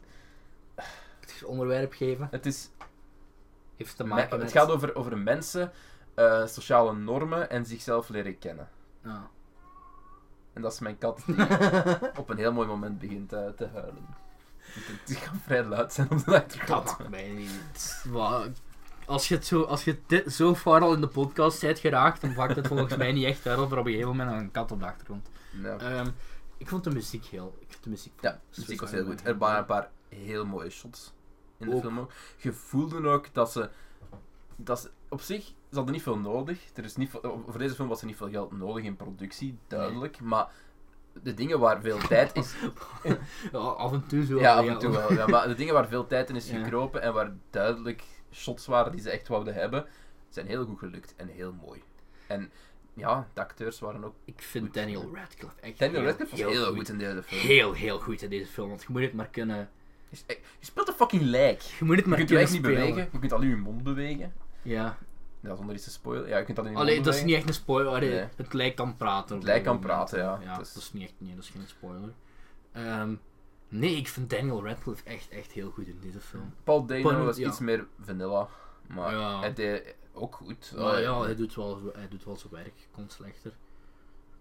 Het is onderwerp geven.
Het is
Heeft te maken
Me-
met...
het gaat over, over mensen, eh, sociale normen en zichzelf leren kennen. [LAUGHS]
Ja.
En dat is mijn kat
[LAUGHS]
die op een heel mooi moment begint eh, te huilen. Het- Het gaat vrij luid zijn op de
Dat
achtergrond.
maakt mij niet. Wa- Als je, het zo, als je dit zo far al in de podcast bent geraakt, dan pakt het volgens mij niet echt uit of er op een gegeven moment een kat op de achtergrond.
Ja.
Ehm, ik vond de muziek heel... Ik vind de muziek...
ja, de muziek was heel goed. Er waren een paar heel mooie shots. in de
Ook.
film ook. Je voelde ook dat ze, dat ze... Op zich, ze hadden niet veel nodig. Er is niet veel- eh, voor deze film was er niet veel geld nodig in productie, duidelijk. Maar de dingen waar [LAUGHS] veel tijd is...
Ja, af en toe zo.
Ja, af en toe wel. Ja, maar de dingen waar veel tijd in is
Ja.
gekropen en waar duidelijk shots waren die ze echt wouden hebben, zijn heel goed gelukt en heel mooi. En ja, de acteurs waren ook...
Ik vind Daniel Radcliffe echt
Daniel
heel,
Radcliffe was heel goed in deze film.
Heel, heel goed in deze film, want je moet het maar kunnen...
Je spe- je speelt een fucking lijk.
Je moet het
Je
maar
kunt je
kunnen
lijk niet
spelen.
bewegen. Je kunt alleen je mond bewegen.
Ja.
Ja, zonder iets te spoilen. Ja, je kunt alleen je
Allee,
mond
dat is
bewegen.
niet echt een spoiler. allee,
Nee.
Het lijkt aan praten. op
Het lijk
dat
kan
moment.
praten, ja. Dus
Ja,
Dat is-
dat is niet echt, nee, dat is geen spoiler. Ehm, nee, ik vind Daniel Radcliffe echt, echt heel goed in deze film.
Paul Dano
Paul-
was
ja.
iets meer vanilla. Maar
Ja.
hij deed ook goed.
Maar ja, hij doet, wel, hij doet wel zijn werk, kon slechter.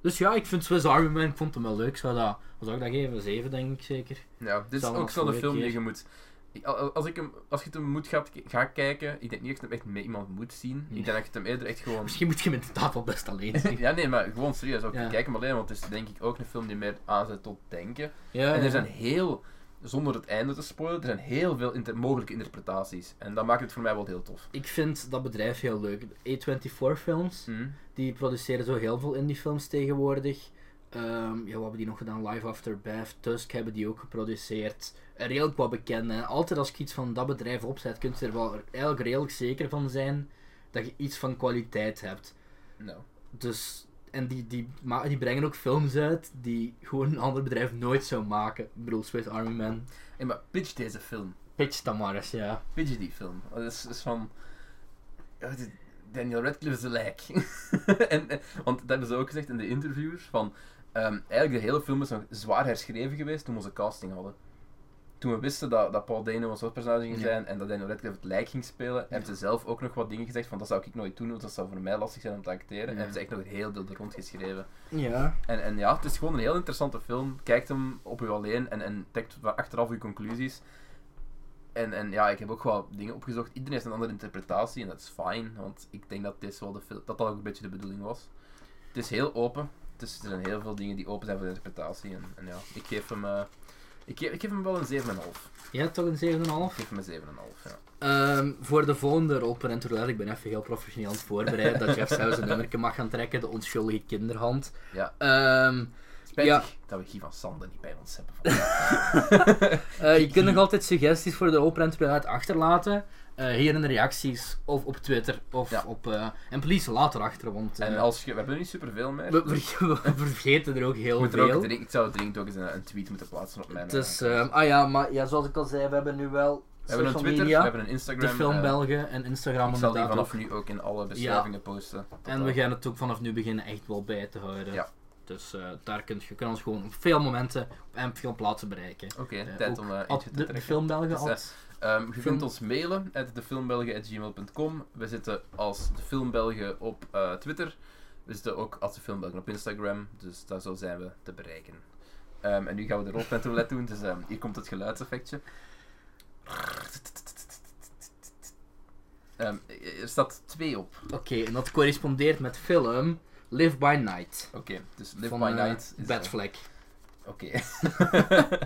Dus ja, ik vind Swiss Army Man, ik vond hem wel leuk. Ik Zou dat, wat zou ik dat geven? 7 denk ik zeker.
Ja, dit is
Zal
ook
nog
zo'n
een
film die
keer.
je moet... ik- al- Als, ik hem, als je het hem moet gaat, ga kijken, ik denk niet dat je hem echt met iemand moet zien.
Nee.
Ik denk dat je het hem eerder echt
[LAUGHS]
gewoon...
Misschien moet je hem inderdaad wel best alleen zien.
ja, nee, maar gewoon serieus. Ook,
Ja.
Kijk hem alleen, want het is denk ik ook een film die meer aanzet tot denken.
ja,
En
ja.
er zijn heel, zonder het einde te spoilen, er zijn heel veel inter- mogelijke interpretaties. En dat maakt het voor mij wel heel tof.
Ik vind dat bedrijf heel leuk. A24 Films, die produceren zo heel veel indie films tegenwoordig. Ehm, ja, wat hebben die nog gedaan? Live After Bath, Tusk hebben die ook geproduceerd. En Redelijk wat bekende. En altijd als ik iets van dat bedrijf opzet, kun je er wel eigenlijk redelijk zeker van zijn dat je iets van kwaliteit hebt.
Nou,
Dus, en die, die, ma- die brengen ook films uit die gewoon een ander bedrijf nooit zou maken. Ik bedoel, Swiss Army Man.
en maar pitch deze film.
Pitch Tamaris, ja.
Pitch die film. Dat is, is van... Ja, dit- Daniel Radcliffe is een lijk. [LAUGHS] en, en- want dat hebben ze ook gezegd in de interviews, van... ehm, eigenlijk de hele film is nog zwaar herschreven geweest toen we onze casting hadden. Toen we wisten dat, dat Paul Dano ons hoofdpersonage ging
Ja.
zijn en dat Daniel Radcliffe het lijk ging spelen, hebben ze zelf ook nog wat dingen gezegd van dat zou ik nooit doen, want dat zou voor mij lastig zijn om te acteren. En
Ja.
hebben ze echt nog een heel deel er rond geschreven.
Ja.
En, en ja, het is gewoon een heel interessante film. Kijkt hem op u alleen en, en trekt van achteraf uw conclusies. En, en ja, ik heb ook wel dingen opgezocht. Iedereen heeft een andere interpretatie en dat is fijn. Want ik denk dat dit wel de fil- dat, dat ook een beetje de bedoeling was. Het is heel open. Dus er zijn heel veel dingen die open zijn voor de interpretatie. En, en ja, ik geef hem... eh, ik, geef, ik geef hem wel een 7,5.
Ja, toch een 7,5?
Ik geef hem een 7,5, ja.
Ehm, voor de volgende rol per Entourage, ik ben even heel professioneel aan het voorbereiden dat Jeff zelfs een nummerke mag gaan trekken, de onschuldige kinderhand.
Ja.
Ehm,
Spijtig dat we Guy van Sande niet bij ons hebben.
[LAUGHS]
vandaag.
eh, je kunt nog altijd suggesties voor de Open Entourage achterlaten, eh, hier in de reacties, of op Twitter, of
Ja.
op... eh, en please, laat erachter, want eh,
en als je... We hebben er niet superveel meer.
we, [LAUGHS] ver- we vergeten er ook heel
Ik moet er
veel.
ook dringend- ik zou dringend ook eens een, een tweet moeten plaatsen op mijn.
dus,
eh,
ehm, ah ja, maar ja, zoals ik al zei, we hebben nu wel
we hebben een
social
Twitter,
media,
we hebben een Instagram.
de Film
eh,
Belgen en Instagram
ik zal die
inderdaad
vanaf
ook.
nu ook in alle beschrijvingen posten. Tot
En
dan.
we gaan het ook vanaf nu beginnen echt wel bij te houden.
Ja.
Dus eh, daar kun je, je kan ons gewoon op veel momenten en veel plaatsen bereiken.
Oké,
Eh,
tijd
ook
om eh,
Ad-
eentje te
de, de
trekken.
filmbelgen
Dus, eh,
als...
Ehm, je
film-
kunt ons mailen at defilmbelgen.gmail.com. We zitten als de Filmbelgen op eh, Twitter. We zitten ook als de Filmbelgen op Instagram. Dus daar zo zijn we te bereiken. Ehm, en nu gaan we de rolpentoilet doen. Dus ehm, hier komt het geluidseffectje. Ehm, er staat twee op.
Oké, en dat correspondeert met film Live by Night.
Oké, dus Live
van,
by
eh,
Night is...
Bad
eh,
Flag. [LAUGHS]
Oké.
Dat
dat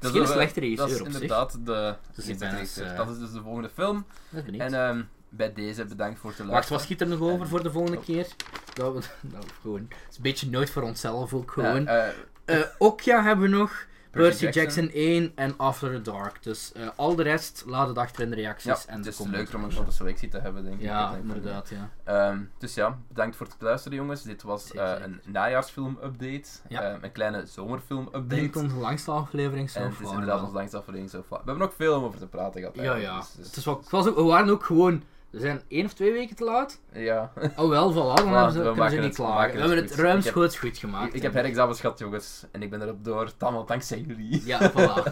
is geen
wel-
slechte
Dat is
regisseur op zich.
inderdaad de...
Dus
geen
ik ben
slechte
eens,
regisseur.
eh,
Dat is dus de volgende film.
Dat ben ik.
En ehm, bij deze bedankt voor het
Wacht,
luisteren. Eh,
wat schiet er nog over voor de volgende
Oh.
keer? Dat we, [LAUGHS] dat we gewoon... Het is een beetje nooit voor onszelf ook
Ja,
gewoon.
eh,
Eh, Okja hebben we nog, Percy Jackson.
Jackson
1 en After the Dark. Dus eh, al de rest laat het achter in de reacties.
ja,
en
het
de
is
comments.
leuk om een grote selectie te hebben, denk ik.
Ja,
Dat denk ik wel.
inderdaad, ja.
Ehm, dus ja, bedankt voor het luisteren, jongens. Dit was
Zeker,
eh,
zeker.
een najaarsfilm-update.
Ja.
Ehm, een kleine
Ik
zomerfilm-update.
denk onze langste aflevering
en
zo
het is
far.
inderdaad
wel.
ons langste aflevering zo far. We hebben nog veel om over te praten gehad.
Ja,
eigenlijk,
ja.
dus- dus-
Het is wel, het was ook, we waren ook gewoon... We zijn één of twee weken te
[LAUGHS]
laat.
ja.
Oh wel, voilà, dan
Voilà,
hebben ze,
we
kunnen ze
maken
niet
het- we
klagen.
maken
We
het
hebben het
goed.
ruimschoots goed gemaakt.
ik, ik heb
denk
herexamens gehad, jongens. En ik ben erop door. Allemaal dankzij jullie. [LAUGHS]
Ja, voilà.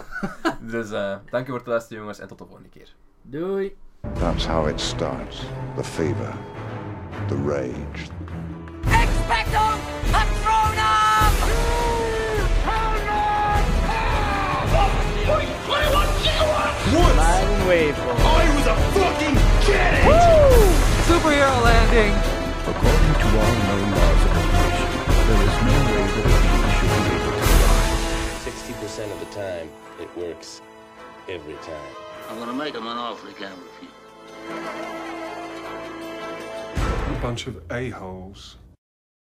Dus eh dank u voor het luisteren, jongens. En tot de volgende keer.
Doei.
That's how it starts. The fever, the rage,
Expecto Patronum!
What do you- what do you want? Get one! I was a fucking kid!
According to all known laws of evolution, there is no way that a bee should be able to fly.
60% of the time, it works every time.
I'm gonna make him an offer he can't refuse.
A bunch of a-holes.